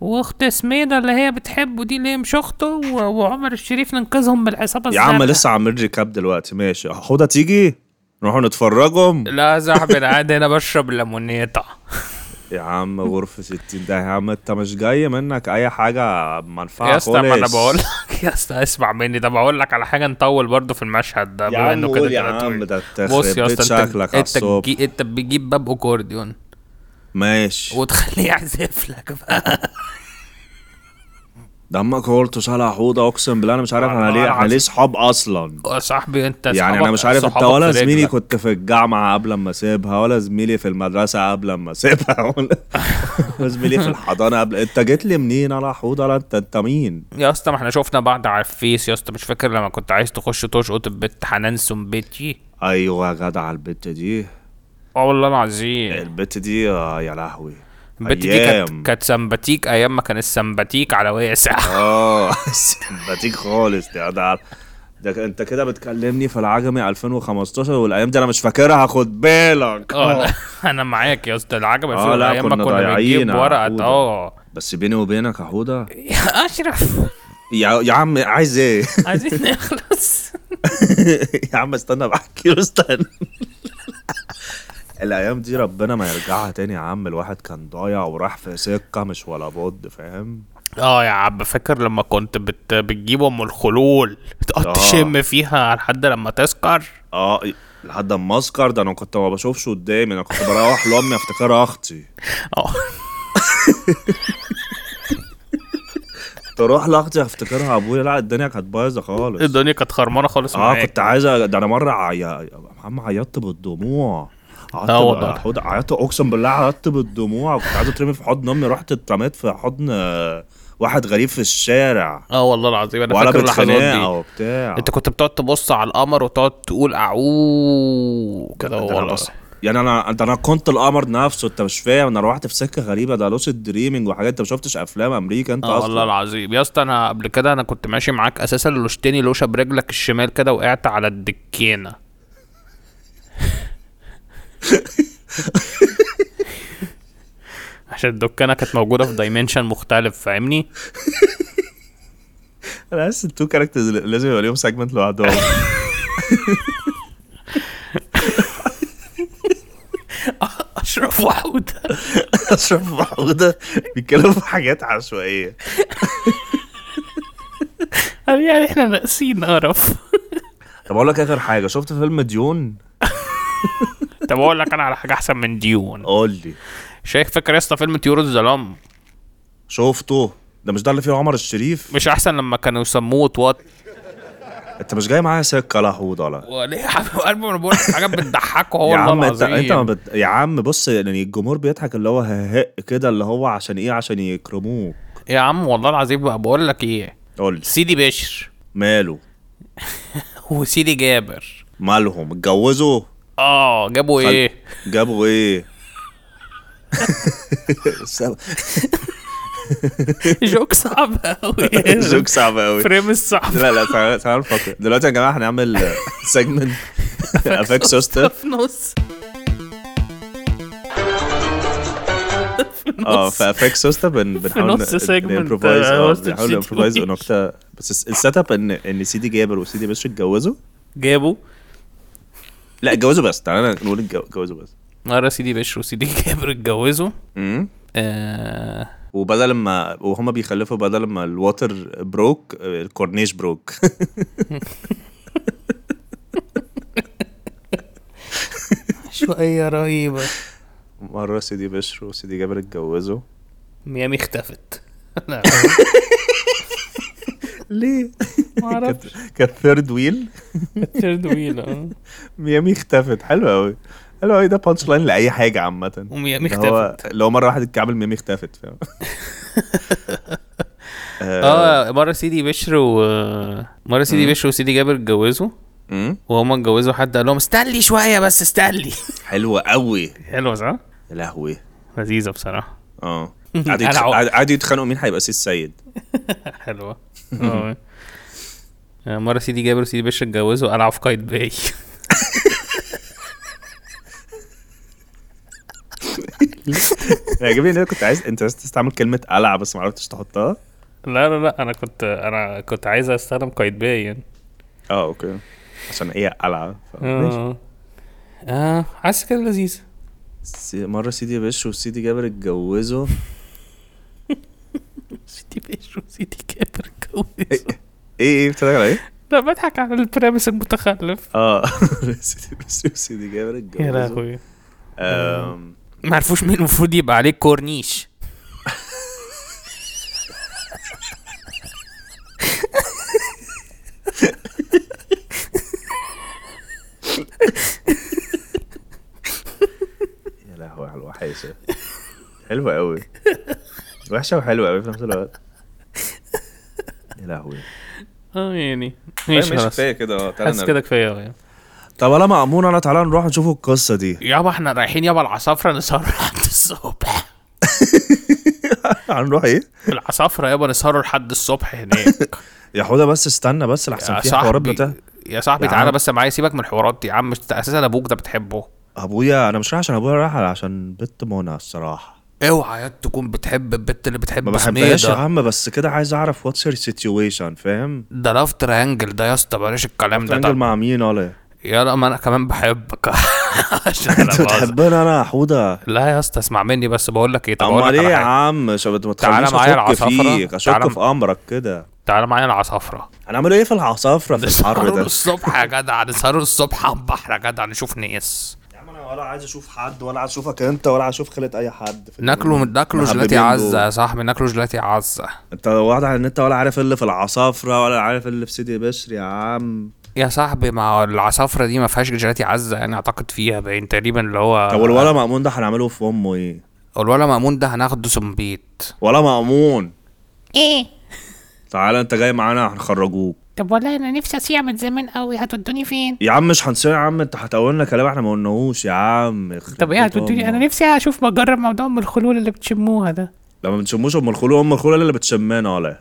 Speaker 1: واخت سميده اللي هي بتحبه دي اللي هي مش اخته و... وعمر الشريف ننقذهم من العصابه
Speaker 2: يا عم
Speaker 1: الزرقاء.
Speaker 2: لسه عامل ريكاب دلوقتي ماشي حوضه تيجي نروحوا نتفرجهم
Speaker 3: لا يا صاحبي انا قاعد هنا بشرب ليمونيتا
Speaker 2: يا عم غرفة 60 ده يا عم انت مش جاي منك اي حاجة منفعة
Speaker 3: يا اسطى ما انا
Speaker 2: خالص.
Speaker 3: بقول لك يا اسطى اسمع مني ده بقول لك على حاجه نطول برضه في المشهد ده
Speaker 2: يا
Speaker 3: بما
Speaker 2: عم
Speaker 3: إنه
Speaker 2: قول يا
Speaker 3: كده
Speaker 2: عم
Speaker 3: طويل.
Speaker 2: ده
Speaker 3: بص يا
Speaker 2: تخرب بيت
Speaker 3: اسطى انت
Speaker 2: شكلك على
Speaker 3: انت
Speaker 2: الصبح
Speaker 3: بتجي- انت بتجيب باب اكورديون
Speaker 2: ماشي
Speaker 3: وتخليه يعزف لك بقى
Speaker 2: دمك قلت صالح حوضة اقسم بالله انا مش عارف انا ليه احنا ليه صحاب اصلا
Speaker 3: يا صاحبي انت
Speaker 2: يعني انا
Speaker 3: صحابك-
Speaker 2: مش عارف انت
Speaker 3: صحابك
Speaker 2: ولا
Speaker 3: في
Speaker 2: زميلي
Speaker 3: رجلك.
Speaker 2: كنت في الجامعة قبل ما اسيبها ولا زميلي في المدرسة قبل ما اسيبها ولا ولا زميلي في الحضانة قبل انت جيت لي منين يا حوضة لا انت انت مين
Speaker 3: يا اسطى ما احنا شفنا بعض على الفيس يا اسطى مش فاكر لما كنت عايز تخش تشقط البت حنان سمبتي
Speaker 2: ايوه يا جدع البت دي
Speaker 3: اه والله العظيم
Speaker 2: البت دي آه، يا لهوي
Speaker 3: البت دي
Speaker 2: أيام.
Speaker 3: كانت كانت سمباتيك ايام ما كان السمباتيك على واسع آه.
Speaker 2: اه سمباتيك خالص ده ده ده انت كده بتكلمني في العجمي 2015 والايام دي انا مش فاكرها خد بالك
Speaker 3: اه
Speaker 2: آه.
Speaker 3: لا، انا معاك يا اسطى العجب
Speaker 2: آه، لا،
Speaker 3: ايام ما
Speaker 2: كنا
Speaker 3: كنا
Speaker 2: ضايعين
Speaker 3: بنجيب
Speaker 2: على
Speaker 3: ورقه
Speaker 2: العقود.
Speaker 3: اه
Speaker 2: بس بيني وبينك يا حوده
Speaker 1: يا اشرف
Speaker 2: يا يا عم عايز ايه؟
Speaker 1: عايزين نخلص
Speaker 2: يا عم استنى بحكي له استنى الايام دي ربنا ما يرجعها تاني يا عم الواحد كان ضايع وراح في سكه مش ولا بد فاهم؟
Speaker 3: اه يا عم فاكر لما كنت بت... بتجيب ام الخلول
Speaker 2: آه.
Speaker 3: تقعد تشم فيها لحد لما تسكر
Speaker 2: اه لحد ما اسكر ده انا كنت ما بشوفش قدامي انا كنت بروح لامي افتكرها اختي
Speaker 3: اه
Speaker 2: تروح لاختي افتكرها ابويا لا الدنيا كانت بايظه خالص
Speaker 3: الدنيا كانت خرمانه خالص
Speaker 2: اه
Speaker 3: معاك
Speaker 2: كنت عايز أ- ده انا مره عي... يا محمد عيطت بالدموع عيطت
Speaker 3: آه
Speaker 2: ب-
Speaker 3: والله.
Speaker 2: حض- عيطت اقسم بالله عيطت بالدموع وكنت عايز اترمي في حضن امي رحت اترميت في حضن آه، واحد غريب في الشارع
Speaker 3: اه والله العظيم انا
Speaker 2: ولا
Speaker 3: فاكر اللحظات دي
Speaker 2: بتخانق وبتاع
Speaker 3: انت كنت بتقعد تبص على القمر وتقعد تقول اعوووو كده
Speaker 2: ده أنا
Speaker 3: والله
Speaker 2: بص- يعني انا انت انا كنت القمر نفسه انت مش فاهم انا روحت في سكه غريبه ده لوس الدريمينج وحاجات انت ما شفتش افلام امريكا انت
Speaker 3: اه والله
Speaker 2: اصلا
Speaker 3: العظيم يا اسطى انا قبل كده انا كنت ماشي معاك اساسا لوشتني لوشه برجلك الشمال كده وقعت على الدكينه عشان الدكانه كانت موجوده في دايمنشن مختلف فاهمني
Speaker 2: انا حاسس التو كاركترز لازم يبقى ليهم سيجمنت لوحدهم
Speaker 3: اشرف وحوده
Speaker 2: اشرف محموده بيتكلم في حاجات عشوائيه
Speaker 1: قال يعني احنا ناقصين قرف
Speaker 2: طب اقول لك اخر حاجه شفت فيلم ديون
Speaker 3: طب اقول لك انا على حاجه احسن من ديون
Speaker 2: قول لي
Speaker 3: شايف فاكر يا اسطى فيلم طيور الظلام
Speaker 2: شفته ده مش ده اللي فيه عمر الشريف
Speaker 3: مش احسن لما كانوا يسموه توت
Speaker 2: انت مش جاي معايا سكه لا حوض ولا
Speaker 3: وليه يا حبيب قلبي انا بقول لك حاجات بتضحكه هو
Speaker 2: يا عم
Speaker 3: والله
Speaker 2: انت
Speaker 3: العظيم
Speaker 2: انت ما بت... يا عم بص يعني الجمهور بيضحك اللي هو ههق كده اللي هو عشان ايه عشان يكرموه
Speaker 3: يا عم والله العظيم بقى بقول لك ايه
Speaker 2: قول لي
Speaker 3: سيدي بشر
Speaker 2: ماله
Speaker 3: وسيدي جابر
Speaker 2: مالهم اتجوزوا
Speaker 3: اه جابوا
Speaker 2: خل-
Speaker 3: ايه
Speaker 2: جابوا ايه
Speaker 1: جوك صعب قوي
Speaker 2: جوك صعب قوي
Speaker 1: فريم الصعب
Speaker 2: لا لا تعال تعال نفكر دلوقتي يا جماعه هنعمل سيجمنت افاك سوستر
Speaker 1: في نص
Speaker 2: اه في افاك سوستر بن بنحاول
Speaker 1: نص segment،
Speaker 2: نمبروفايز
Speaker 1: آه،
Speaker 2: اه
Speaker 1: وسط
Speaker 2: بنحاول
Speaker 1: الشيت
Speaker 2: نمبروفايز
Speaker 1: وش.
Speaker 2: نكته بس السيت اب ان ان سيدي جابر وسيدي بشر اتجوزوا
Speaker 3: جابوا
Speaker 2: لا اتجوزوا بس تعالى نقول اتجو- اتجوزوا بس
Speaker 3: مرة سيدي بشر وسيدي جابر اتجوزوا
Speaker 2: امم
Speaker 3: آه
Speaker 2: وبدل ما وهما بيخلفوا بدل ما الواتر بروك آه، الكورنيش بروك
Speaker 3: شوية رهيبة
Speaker 2: مره سيدي بشر وسيدي جابر اتجوزوا
Speaker 3: ميامي اختفت لا
Speaker 2: ليه؟
Speaker 3: معرفش.
Speaker 2: كانت ثيرد ويل
Speaker 3: الثيرد ويل اه
Speaker 2: ميامي اختفت حلو قوي حلو قوي ده بانش لاين لاي حاجه عامه
Speaker 3: وميامي
Speaker 2: اللي هو
Speaker 3: اختفت
Speaker 2: لو مره واحد اتكعبل ميامي اختفت فاهم
Speaker 3: اه مرة سيدي بشر و مرة سيدي بشر وسيدي جابر اتجوزوا
Speaker 2: مم.
Speaker 3: وهما اتجوزوا حد قال لهم استني شوية بس استني
Speaker 2: حلوه قوي
Speaker 3: حلوة صح؟
Speaker 2: يا لهوي
Speaker 3: لذيذة بصراحة
Speaker 2: اه قعدوا
Speaker 3: أنا
Speaker 2: يتخ-
Speaker 3: عو-
Speaker 2: قعدوا يتخانقوا مين هيبقى سي السيد
Speaker 3: حلوة آه. آه، مرة سيدي جابر وسيدي باشا اتجوزوا قلعوا في قايتباي
Speaker 2: أنا عاجبني ان انا كنت عايز انت عايز تستعمل كلمه قلعه بس ما عرفتش تحطها
Speaker 3: لا لا لا انا كنت انا كنت عايز استخدم قايتباي يعني
Speaker 2: اه اوكي عشان ايه قلعه ف- ماشي.
Speaker 3: اه اه حاسس كده لذيذ
Speaker 2: سي- مره سيدي بشر وسيدي جابر اتجوزوا
Speaker 3: سيدي باشا وسيدي جابر اتجوزوا
Speaker 2: ايه ايه بتضحك على ايه؟
Speaker 3: لا بضحك على البرامس المتخلف
Speaker 2: اه سيدي بشر وسيدي جابر اتجوزوا
Speaker 3: يا لهوي
Speaker 2: آم،
Speaker 3: ما عرفوش مين المفروض يبقى عليه كورنيش
Speaker 2: يا لهوي على الوحشه حلوه قوي وحشه وحلوه قوي في نفس الوقت يا لهوي طيب،
Speaker 3: اه يعني
Speaker 2: ماشي
Speaker 3: ماشي خلاص
Speaker 2: كفايه كده آه، تعالى
Speaker 3: حاسس
Speaker 2: نرجع.
Speaker 3: كده كفايه أوي يعني.
Speaker 2: طب انا مأمون انا تعالى نروح نشوف القصه دي
Speaker 3: يابا احنا رايحين يابا العصافره نسهر لحد الصبح
Speaker 2: هنروح ايه؟
Speaker 3: العصافره يابا نسهروا لحد الصبح هناك
Speaker 2: يا حوده بس استنى بس لحسن
Speaker 3: يا
Speaker 2: في حوارات
Speaker 3: صاحبي
Speaker 2: بتاع
Speaker 3: يا صاحبي
Speaker 2: يا
Speaker 3: تعالى
Speaker 2: عم.
Speaker 3: بس معايا سيبك من الحوارات دي يا عم مش- اساسا ابوك ده بتحبه
Speaker 2: ابويا انا مش رايح عشان ابويا رايح عشان بنت منى الصراحه
Speaker 3: اوعى يا تكون بتحب البت اللي بتحب
Speaker 2: ما بحبهاش يا
Speaker 3: سميدة
Speaker 2: عم بس كده عايز اعرف واتس يور سيتويشن فاهم؟
Speaker 3: ده لاف تريانجل ده يا اسطى بلاش الكلام ده
Speaker 2: بتنجل
Speaker 3: ده
Speaker 2: مع مين ولا إيه؟
Speaker 3: يلا ما انا كمان بحبك عشان أنا
Speaker 2: انت
Speaker 3: بهزر.
Speaker 2: بتحبني انا يا حوده
Speaker 3: لا يا اسطى اسمع مني بس بقول لك ايه طب أقول
Speaker 2: امال
Speaker 3: لك
Speaker 2: ايه
Speaker 3: على
Speaker 2: يا
Speaker 3: حاجة.
Speaker 2: عم عشان ما
Speaker 3: تعالى
Speaker 2: تخلينيش
Speaker 3: معايا
Speaker 2: اشك
Speaker 3: العصافرة.
Speaker 2: فيك اشك
Speaker 3: تعالى-
Speaker 2: في امرك كده
Speaker 3: تعالى معايا العصافره
Speaker 2: هنعمل ايه في العصافره في الحر
Speaker 3: نسهروا
Speaker 2: ده؟
Speaker 3: الصبح يا جدع نسهروا الصبح على البحر يا جدع نشوف ناس
Speaker 2: يا عم انا ولا عايز اشوف حد ولا عايز اشوفك انت ولا عايز اشوف خلقه اي حد في
Speaker 3: ناكله
Speaker 2: الدنيا.
Speaker 3: ناكله جيلاتي
Speaker 2: محببين
Speaker 3: عزه
Speaker 2: دول.
Speaker 3: يا صاحبي ناكله جيلاتي عزه
Speaker 2: انت واضح ان انت ولا عارف اللي في العصافره ولا عارف اللي في سيدي بشر يا عم
Speaker 3: يا صاحبي مع العصافره دي ما فيهاش جيلاتي عزه يعني اعتقد فيها باين تقريبا اللي هو
Speaker 2: طب والولا مأمون ده هنعمله في امه ايه؟
Speaker 3: الولا مأمون ده هناخده سمبيت
Speaker 2: ولا مأمون
Speaker 1: ايه
Speaker 2: تعالى انت جاي معانا هنخرجوك
Speaker 1: طب والله انا نفسي اصيع من زمان قوي هتودوني فين
Speaker 2: يا عم مش هنصير يا عم انت هتقولنا كلام احنا ما قلناهوش يا عم يخرب
Speaker 1: طب ايه
Speaker 2: بيت
Speaker 1: هتودوني
Speaker 2: امك.
Speaker 1: انا نفسي اشوف بجرب موضوع ام الخلول اللي بتشموها ده
Speaker 2: لما بنشموش ام الخلول ام الخلول اللي بتشمنا ولا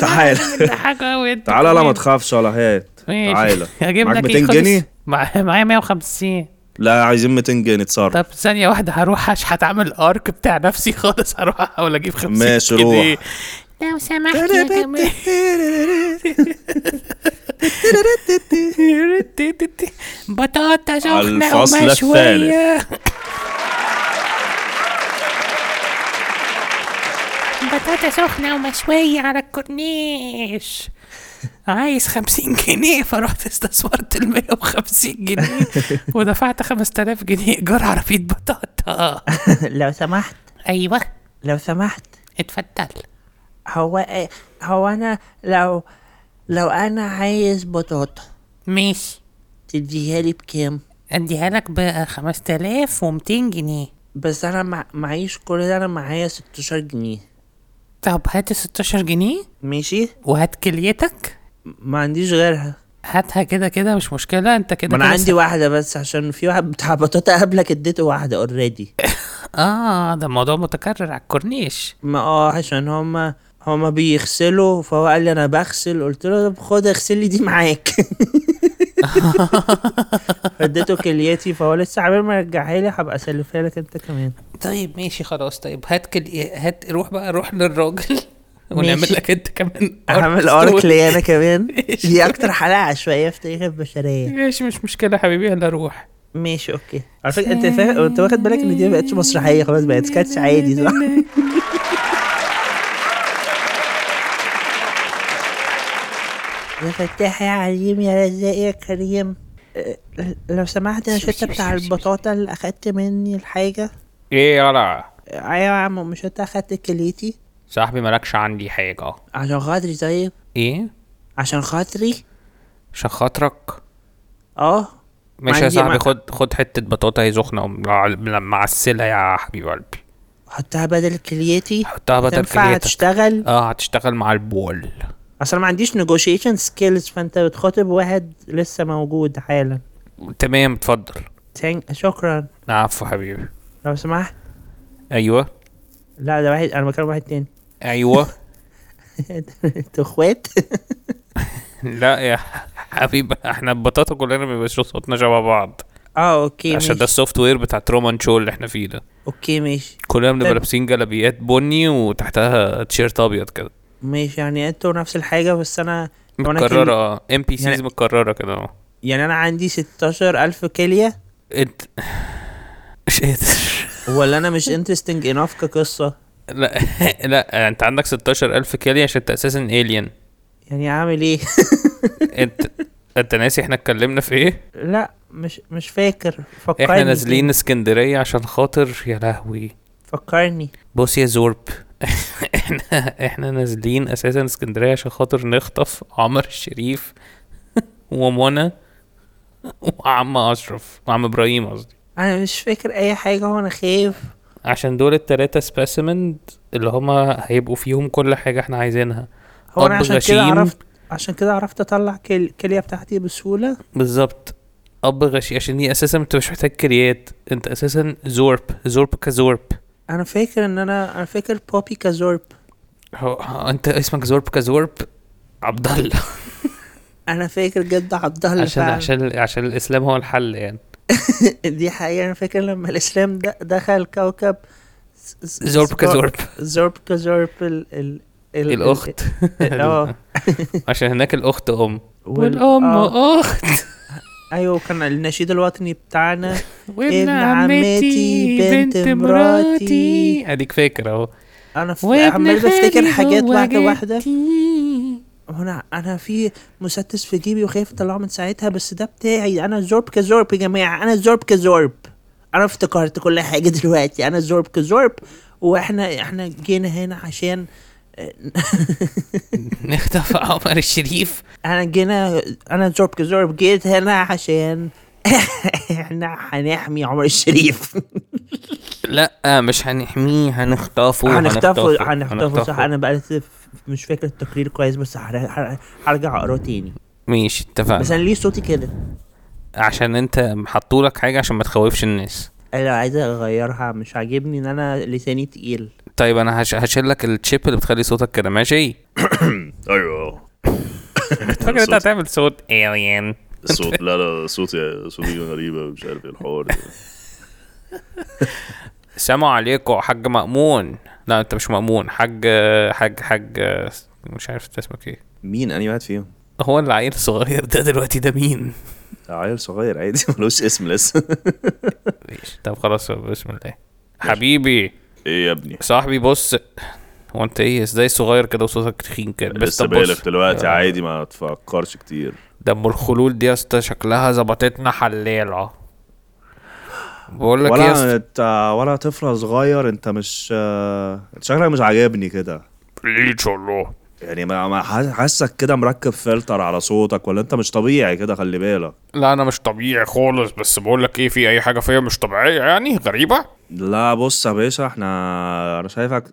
Speaker 2: تعال
Speaker 1: بتضحكوا قوي انت
Speaker 2: تعالى لا ما
Speaker 1: كمان.
Speaker 2: تخافش ولا هات
Speaker 1: ماشي.
Speaker 2: تعالى
Speaker 1: هجيب
Speaker 2: معاك
Speaker 1: لك إيه؟
Speaker 2: 200 جنيه
Speaker 1: معايا 150
Speaker 2: لا عايزين 200 جنيه اتصرف
Speaker 1: طب ثانية واحدة هروح اشحت اعمل ارك بتاع نفسي خالص هروح احاول اجيب 50
Speaker 2: ماشي،
Speaker 1: جنيه.
Speaker 2: روح.
Speaker 1: لو سمحت يا جماعة بطاطا سخنة
Speaker 2: الفصل
Speaker 1: ومشوية بطاطا سخنة ومشوية على الكورنيش عايز خمسين جنيه فرحت استثمرت ال 150 جنيه ودفعت 5000 جنيه ايجار عربية بطاطا
Speaker 5: لو سمحت
Speaker 1: ايوه
Speaker 5: لو سمحت
Speaker 1: اتفضل
Speaker 5: هو إيه، هو انا لو لو انا عايز بطاطا
Speaker 1: ماشي
Speaker 5: تديها لي بكام
Speaker 1: اديها لك ب 5200 جنيه
Speaker 5: بس انا مع... معيش كل ده انا معايا 16 جنيه
Speaker 1: طب هات 16 جنيه
Speaker 5: ماشي
Speaker 1: وهات كليتك
Speaker 2: ما عنديش غيرها
Speaker 1: هاتها كده كده مش مشكلة انت كده
Speaker 2: ما انا
Speaker 1: كده
Speaker 2: عندي واحده بس عشان في واحد بتاع بطاطا قبلك اديته واحده اوريدي
Speaker 1: اه ده الموضوع متكرر على الكورنيش
Speaker 2: ما اه عشان هما هما بيغسلوا فهو قال لي انا بغسل قلت له طب خد اغسل لي دي معاك اديته كليتي فهو لسه عمال ما يرجعها لي هبقى اسلفها لك انت كمان
Speaker 1: طيب ماشي خلاص طيب هات كل هات روح بقى روح للراجل ونعمل لك انت كمان
Speaker 2: هعمل
Speaker 1: ارك
Speaker 2: ارك
Speaker 1: ستوري.
Speaker 2: لي انا كمان دي اكتر حلقه عشوائيه في تاريخ البشريه
Speaker 1: ماشي مش مشكلة حبيبي يلا روح
Speaker 2: ماشي اوكي على فكره انت فاهم انت واخد بالك ان دي ما بقتش مسرحيه خلاص بقت سكتش عادي صح
Speaker 5: يا فتاح يا عليم يا رزاق يا كريم أه، لو سمحت انا شفت بتاع البطاطا اللي اخدت مني الحاجه
Speaker 3: ايه يلا
Speaker 5: ايوه يا عم مش انت اخدت كليتي
Speaker 3: صاحبي مالكش عندي حاجه
Speaker 5: عشان خاطري طيب
Speaker 3: ايه
Speaker 5: عشان خاطري
Speaker 3: عشان خاطرك
Speaker 5: اه
Speaker 3: ماشي يا
Speaker 5: عندي
Speaker 3: صاحبي
Speaker 5: مع-
Speaker 3: خد خد حته بطاطا هي سخنه معسله يا حبيب قلبي
Speaker 5: حطها بدل كليتي
Speaker 3: حطها بدل
Speaker 5: تنفع
Speaker 3: كليتك
Speaker 5: تشتغل
Speaker 3: اه هتشتغل مع البول
Speaker 5: اصلا ما عنديش نيجوشيشن سكيلز فانت بتخاطب واحد لسه موجود حالا
Speaker 3: تمام اتفضل
Speaker 5: تانك شكرا
Speaker 3: عفو حبيبي
Speaker 5: لو سمحت
Speaker 3: ايوه
Speaker 5: لا ده واحد انا بكلم واحد تاني أيوة.
Speaker 3: ايوه
Speaker 5: انتوا اخوات
Speaker 3: لا يا حبيبي احنا البطاطا كلنا بيبقاش صوتنا شبه بعض
Speaker 5: اه اوكي
Speaker 3: عشان
Speaker 5: ماشي
Speaker 3: ده السوفت وير بتاعت رومان شو اللي احنا فيه ده
Speaker 5: اوكي ماشي
Speaker 3: كلنا بنبقى
Speaker 5: طيب.
Speaker 3: لابسين جلابيات بني وتحتها تيشيرت ابيض كده
Speaker 5: ماشي يعني انتوا نفس الحاجه بس انا لو أنا كل-
Speaker 3: متكرره ام بي سيز
Speaker 5: يعني-
Speaker 3: متكرره كده اهو
Speaker 5: يعني انا عندي 16000 كليه
Speaker 3: انت مش قادر
Speaker 5: ولا انا مش انترستنج انف كقصه
Speaker 3: لا لا انت عندك 16000 كيلي عشان انت اساسا الين
Speaker 5: يعني اعمل ايه
Speaker 3: انت انت ناسي احنا اتكلمنا في ايه؟
Speaker 5: لا مش مش فاكر فكرني
Speaker 3: احنا نازلين اسكندريه عشان خاطر يا لهوي
Speaker 5: فكرني
Speaker 3: بص يا زورب احنا احنا نازلين اساسا اسكندريه عشان خاطر نخطف عمر الشريف ومنى وعم اشرف وعم ابراهيم قصدي
Speaker 5: انا مش فاكر اي حاجه وانا خايف
Speaker 3: عشان دول التلاتة سبيسيمن اللي هما هيبقوا فيهم كل حاجه احنا عايزينها
Speaker 5: هو انا
Speaker 3: أب
Speaker 5: عشان
Speaker 3: غشيم.
Speaker 5: كده عرفت عشان كده عرفت اطلع كل- الكليه بتاعتي بسهوله
Speaker 3: بالظبط اب غشي عشان دي اساسا انت مش محتاج كريات انت اساسا زورب زورب كزورب
Speaker 5: انا فاكر ان انا انا فاكر بوبي كزورب
Speaker 3: هو هو انت اسمك زورب كزورب عبد الله
Speaker 5: انا فاكر جد عبد الله
Speaker 3: عشان
Speaker 5: فعلا.
Speaker 3: عشان عشان الاسلام هو الحل يعني
Speaker 5: دي حقيقه انا فاكر لما الاسلام د- دخل كوكب س- س-
Speaker 3: زورب
Speaker 5: سبا-
Speaker 3: كزورب
Speaker 5: زورب كزورب ال ال ال-
Speaker 3: الاخت
Speaker 5: ال- اه
Speaker 3: عشان هناك الاخت ام
Speaker 1: والأم
Speaker 5: آه.
Speaker 1: أخت
Speaker 5: ايوه كان النشيد الوطني بتاعنا
Speaker 1: وابن عمتي بنت مراتي
Speaker 5: إيه.
Speaker 3: اديك فاكر اهو
Speaker 5: انا ف-
Speaker 1: وابن
Speaker 5: عمال بفتكر
Speaker 1: خالي
Speaker 5: حاجات
Speaker 1: هو
Speaker 5: واحده واحده
Speaker 1: جدي.
Speaker 5: هنا انا في مسدس في جيبي وخايف اطلعه من ساعتها بس ده بتاعي انا زورب كزورب يا جماعه انا زورب كزورب انا افتكرت كل حاجه دلوقتي انا زورب كزورب واحنا احنا جينا هنا عشان
Speaker 3: نخطف عمر الشريف
Speaker 5: انا جينا انا زورب كزورب جيت هنا عشان احنا هنحمي عمر الشريف
Speaker 3: لا مش هنحميه هنخطفه
Speaker 5: هنخطفه هنخطفه صح انا بقى مش فاكر التقرير كويس بس هر- هر- هرجع اقراه تاني
Speaker 3: ماشي
Speaker 5: بس
Speaker 3: اتفقنا
Speaker 5: انا ليه صوتي كده
Speaker 3: عشان انت حطولك حاجه عشان ما تخوفش الناس
Speaker 5: انا عايزه اغيرها مش عاجبني ان انا لساني تقيل
Speaker 3: طيب انا هش... هشيل لك الشيب اللي بتخلي صوتك كده ماشي
Speaker 6: ايوه
Speaker 3: فاكر انت هتعمل صوت الين
Speaker 6: الصوت لا لا صوتي صوتي غريبه مش عارف ايه الحوار ده.
Speaker 3: السلام عليكم حاج مأمون لا انت مش مأمون حاج حاج حاج مش عارف انت اسمك ايه
Speaker 2: مين اني واحد فيهم
Speaker 3: هو العيل الصغير ده دلوقتي ده مين
Speaker 2: عيل صغير عادي ملوش اسم لسه
Speaker 3: ماشي طب خلاص بسم الله حبيبي
Speaker 6: ايه يا ابني
Speaker 3: صاحبي بص هو انت ايه ازاي صغير كده وصوتك تخين كده بس
Speaker 6: لسه
Speaker 3: طب بص
Speaker 6: بالغ
Speaker 2: آه.
Speaker 6: دلوقتي عادي ما تفكرش كتير
Speaker 3: ده ام الخلول دي يا اسطى شكلها ظبطتنا حلاله بقول لك
Speaker 1: إيه
Speaker 3: يا
Speaker 6: ولا
Speaker 3: اسطى
Speaker 6: انت ولا طفل صغير انت مش آه، انت شكلك مش عاجبني كده
Speaker 3: ليش الله
Speaker 6: يعني ما ما حاس- حاسك كده مركب فلتر على صوتك ولا انت مش طبيعي كده خلي بالك
Speaker 3: لا انا مش طبيعي خالص بس بقول لك ايه في اي حاجه فيا مش طبيعيه يعني غريبه
Speaker 6: لا بص يا باشا احنا انا شايفك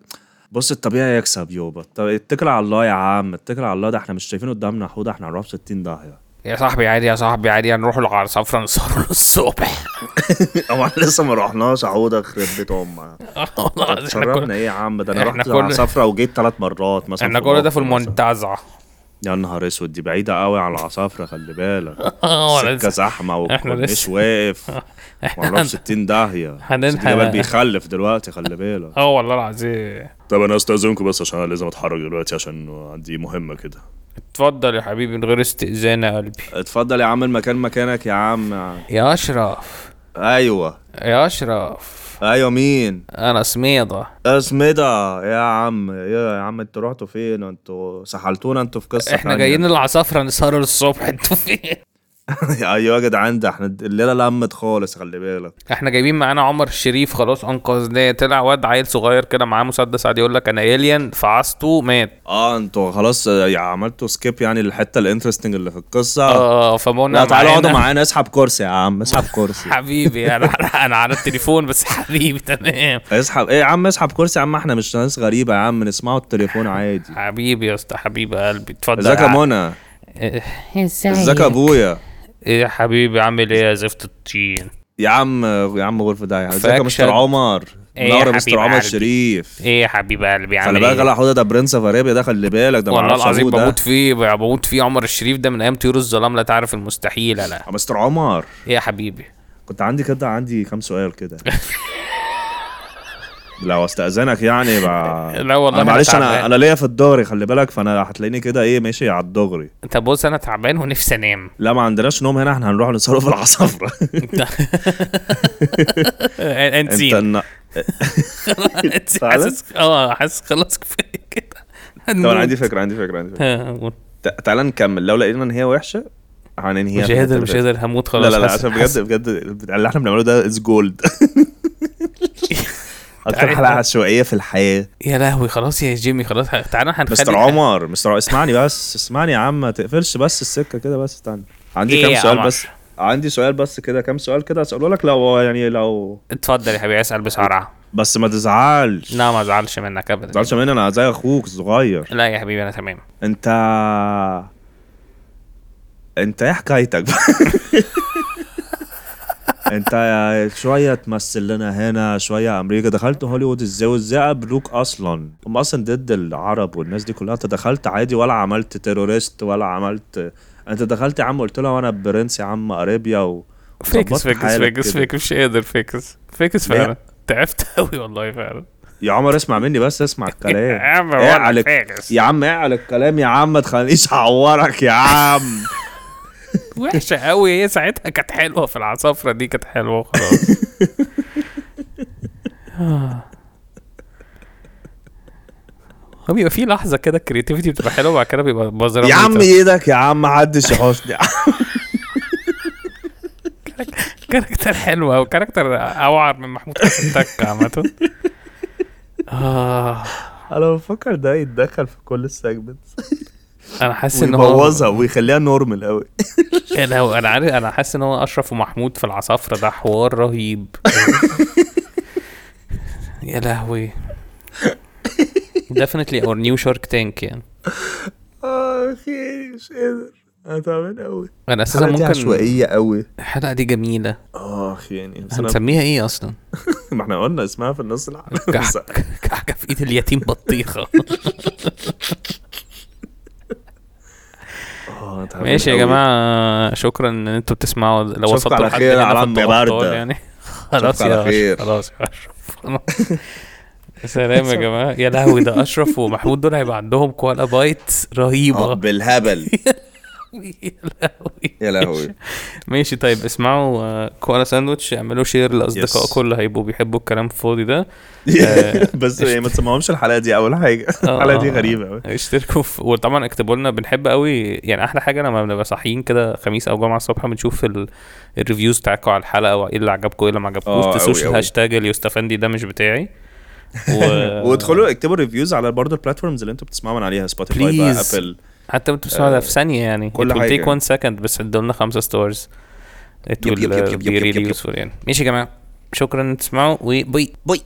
Speaker 6: بص الطبيعي يكسب يوبا طب اتكل على الله يا عم اتكل على الله ده احنا مش شايفين قدامنا حوضه احنا هنروح في 60 داهيه
Speaker 3: يا صاحبي عادي يا صاحبي عادي هنروح العرصة فرنسا الصبح
Speaker 2: هو احنا لسه ما رحناش حوضه خرب بيت امك
Speaker 3: والله العظيم احنا كل-
Speaker 2: شربنا ايه يا عم ده انا
Speaker 3: إحنا
Speaker 2: رحت
Speaker 3: كل-
Speaker 2: العصافره وجيت ثلاث مرات مثلا
Speaker 3: احنا كل ده في
Speaker 2: الأقصر مثلاً.
Speaker 3: المنتزه
Speaker 6: يا نهار اسود دي بعيده قوي عن العصافره خلي بالك
Speaker 3: آه، ولا
Speaker 6: سكه
Speaker 3: لسه.
Speaker 6: زحمه
Speaker 3: إحنا
Speaker 6: والكورنيش
Speaker 3: لسه-
Speaker 6: واقف
Speaker 3: احنا
Speaker 6: وهنروح 60 داهيه
Speaker 3: هنلحق-
Speaker 6: سيدي جبل بيخلف دلوقتي خلي بالك
Speaker 3: اه والله العظيم
Speaker 6: طب انا استاذنكم بس عشان انا لازم اتحرك دلوقتي عشان عندي مهمه كده
Speaker 3: اتفضل يا حبيبي من غير استئذان يا قلبي
Speaker 6: اتفضل يا عم المكان مكانك يا عم
Speaker 3: يا اشرف
Speaker 2: ايوه
Speaker 3: يا اشرف
Speaker 2: ايوه مين
Speaker 3: انا سميضه
Speaker 2: اسمدة يا عم يا عم انتوا رحتوا فين انتوا سحلتونا انتوا في قصه
Speaker 3: احنا
Speaker 2: تانية.
Speaker 3: جايين العصافره نسهر الصبح انتوا إيه؟ فين
Speaker 2: ايوه يا جدعان ده احنا الليله لمت خالص خلي بالك
Speaker 3: احنا جايبين معانا عمر الشريف خلاص انقذناه طلع واد عيل صغير كده معاه مسدس قاعد يقول لك انا الين فعصته مات
Speaker 2: اه انتوا خلاص يا عملتوا سكيب يعني للحته الانترستنج اللي في القصه
Speaker 3: اه فمونا
Speaker 2: لا تعالوا اقعدوا
Speaker 3: معانا.
Speaker 2: معانا اسحب كرسي يا عم اسحب كرسي
Speaker 3: حبيبي انا انا على التليفون بس حبيبي تمام
Speaker 2: اسحب ايه يا عم اسحب كرسي يا عم احنا مش ناس غريبه يا عم نسمعوا التليفون عادي
Speaker 3: حبيبي يا اسطى حبيب قلبي اتفضل
Speaker 2: ازيك يا منى
Speaker 1: ازاي
Speaker 2: ازيك يا ابويا
Speaker 3: ايه يا حبيبي عامل ايه يا زفت الطين
Speaker 2: يا عم يا عم غرفه ده ازيك يا
Speaker 3: فاكشن.
Speaker 2: مستر عمر
Speaker 3: ايه يا
Speaker 2: نور يا
Speaker 3: حبيب
Speaker 2: مستر عمر
Speaker 3: قلبي.
Speaker 2: الشريف
Speaker 3: ايه يا حبيب قلبي
Speaker 2: خلي
Speaker 3: عامل
Speaker 2: بالك
Speaker 3: ايه
Speaker 2: لا حوده ده برنس اوف ارابيا ده خلي بالك ده
Speaker 3: والله
Speaker 2: معرفش
Speaker 3: العظيم
Speaker 2: أبوه ده.
Speaker 3: بموت فيه بموت فيه عمر الشريف ده من ايام طيور الظلام لا تعرف المستحيل لا
Speaker 2: يا مستر عمر
Speaker 3: ايه يا حبيبي
Speaker 2: كنت عندي كده عندي كام سؤال كده لو استاذنك يعني بقى
Speaker 3: لا والله
Speaker 2: أنا
Speaker 3: أنا
Speaker 2: معلش انا
Speaker 3: تعبان.
Speaker 2: انا ليا في الدغري خلي بالك فانا هتلاقيني كده ايه ماشي على الدغري
Speaker 3: طب بص انا تعبان ونفسي انام
Speaker 2: لا ما عندناش نوم هنا احنا هنروح نسهر في العصافره
Speaker 3: انت
Speaker 2: انت
Speaker 3: سين
Speaker 2: النا-
Speaker 3: انت حاسس اه حاسس خلاص كفايه كده
Speaker 2: طب انا عندي فكره عندي فكره عندي فكره تع- تعالى نكمل لو لقينا ان هي وحشه هننهيها
Speaker 3: مش
Speaker 2: في
Speaker 3: قادر
Speaker 2: الحتة
Speaker 3: مش
Speaker 2: اللي
Speaker 3: قادر هموت
Speaker 2: فاتت.
Speaker 3: خلاص
Speaker 2: لا لا لا
Speaker 3: حاسس-
Speaker 2: عشان
Speaker 3: حاسس-
Speaker 2: بجد بجد اللي احنا بنعمله ده از جولد اكتر حلقه عشوائيه في الحياه
Speaker 3: يا لهوي خلاص يا جيمي خلاص تعالى هنخلي
Speaker 2: مستر عمر مستر عمر اسمعني بس اسمعني يا عم ما تقفلش بس السكه كده بس استنى عندي
Speaker 3: إيه
Speaker 2: كام
Speaker 3: يا
Speaker 2: سؤال
Speaker 3: عمر؟
Speaker 2: بس عندي سؤال بس كده كام سؤال كده اساله لك لو يعني لو
Speaker 3: اتفضل يا حبيبي اسال بسرعه
Speaker 2: بس ما تزعلش ما
Speaker 3: لا ما ازعلش منك ابدا
Speaker 2: تزعلش مني انا زي اخوك الصغير
Speaker 3: لا يا حبيبي انا تمام
Speaker 2: انت انت ايه حكايتك انت شويه تمثل لنا هنا شويه امريكا دخلت هوليوود ازاي وازاي قابلوك اصلا هم اصلا ضد العرب والناس دي كلها انت دخلت عادي ولا عملت تيرورست ولا عملت انت دخلت يا عم قلت لها وانا برنس يا عم ارابيا و...
Speaker 3: فاكس
Speaker 2: وظبطت
Speaker 3: فاكس
Speaker 2: حالك
Speaker 3: فاكس
Speaker 2: كده.
Speaker 3: فاكس مش قادر فاكس فاكس
Speaker 2: ليه؟
Speaker 3: فعلا تعبت قوي والله فعلا
Speaker 2: يا عمر اسمع مني بس اسمع الكلام
Speaker 3: يا عم
Speaker 2: إيه
Speaker 3: ولا
Speaker 2: عليك-
Speaker 3: فارس.
Speaker 2: يا عم ايه على الكلام يا عم ما تخلينيش اعورك يا عم
Speaker 3: وحشه قوي هي ساعتها كانت حلوه في العصافره دي كانت حلوه وخلاص آه. هو بيبقى في لحظه كده الكريتيفيتي بتبقى حلوه وبعد كده بيبقى بزراميطه
Speaker 2: يا عم ايدك يا عم محدش يحوشني
Speaker 3: كاركتر حلو او كاركتر اوعر من محمود حسن تكه عامه اه
Speaker 2: انا بفكر ده يتدخل في كل السيجمنت
Speaker 3: انا حاسس ان هو
Speaker 2: ويبوظها ويخليها نورمال قوي
Speaker 3: انا هو- انا عارف انا حاسس ان هو اشرف ومحمود في العصافره ده حوار رهيب يا لهوي definitely اور نيو شارك تانك يعني
Speaker 2: اه خير مش قادر انا تعبان قوي
Speaker 3: انا اساسا
Speaker 2: الحلقه دي
Speaker 3: ممكن
Speaker 2: عشوائيه قوي
Speaker 3: الحلقه دي جميله
Speaker 2: اه اخي يعني بس أنا-
Speaker 3: هنسميها ايه اصلا
Speaker 2: ما احنا قلنا اسمها في النص الحلقه بس-
Speaker 3: كعك كعكه في ايد اليتيم بطيخه
Speaker 2: آه، أنا تعبان
Speaker 3: ماشي يا
Speaker 2: قوي.
Speaker 3: جماعه شكرا ان انتوا بتسمعوا لو
Speaker 2: أشوفكوا
Speaker 3: وصلتوا
Speaker 2: على
Speaker 3: لحد
Speaker 2: خير يا
Speaker 3: هنا في
Speaker 2: عم
Speaker 3: التوتر
Speaker 2: باردة.
Speaker 3: يعني خلاص
Speaker 2: على
Speaker 3: يا
Speaker 2: خير.
Speaker 3: أشرف خلاص يا اشرف خلاص. سلام يا جماعه يا لهوي ده اشرف ومحمود دول هيبقى عندهم كوالا بايت
Speaker 2: آه،
Speaker 3: رهيبه
Speaker 2: بالهبل
Speaker 3: يا لهوي
Speaker 2: يا لهوي
Speaker 3: ماشي طيب اسمعوا آه، كوالا ساندوتش اعملوا شير
Speaker 2: Yes.
Speaker 3: لاصدقائكم اللي هيبقوا بيحبوا الكلام الفاضي ده
Speaker 2: بس يعني ما تسمعهمش الحلقه دي اول حاجه
Speaker 3: آه.
Speaker 2: الحلقه دي غريبه قوي
Speaker 3: اشتركوا في وطبعا اكتبوا لنا بنحب قوي يعني احلى حاجه لما بنبقى صاحيين كده خميس او جمعه الصبح بنشوف ال- الريفيوز بتاعتكم على الحلقه وايه اللي عجبكم وايه اللي ما
Speaker 2: آه، أوي،
Speaker 3: عجبكوش تسوش
Speaker 2: أوي.
Speaker 3: الهاشتاج اليوستفندي ده مش بتاعي و...
Speaker 2: وادخلوا اكتبوا ريفيوز على برضه البلاتفورمز اللي انتوا بتسمعوا من عليها سبوتيفاي بقى
Speaker 3: Please.
Speaker 2: ابل
Speaker 3: حتى انتوا بتسمعوا ده في ثانيه يعني
Speaker 2: كل
Speaker 3: كل
Speaker 2: حاجة
Speaker 3: حاجه
Speaker 2: يعني.
Speaker 3: 1 second بس ادولنا خمسه ستارز it
Speaker 2: يب-
Speaker 3: will
Speaker 2: يب- يب-
Speaker 3: uh,
Speaker 2: يب-
Speaker 3: be
Speaker 2: يب- يب-
Speaker 3: really
Speaker 2: يب-
Speaker 3: useful يعني ماشي يا جماعه شكرا ان تسمعوا وباي
Speaker 5: بوي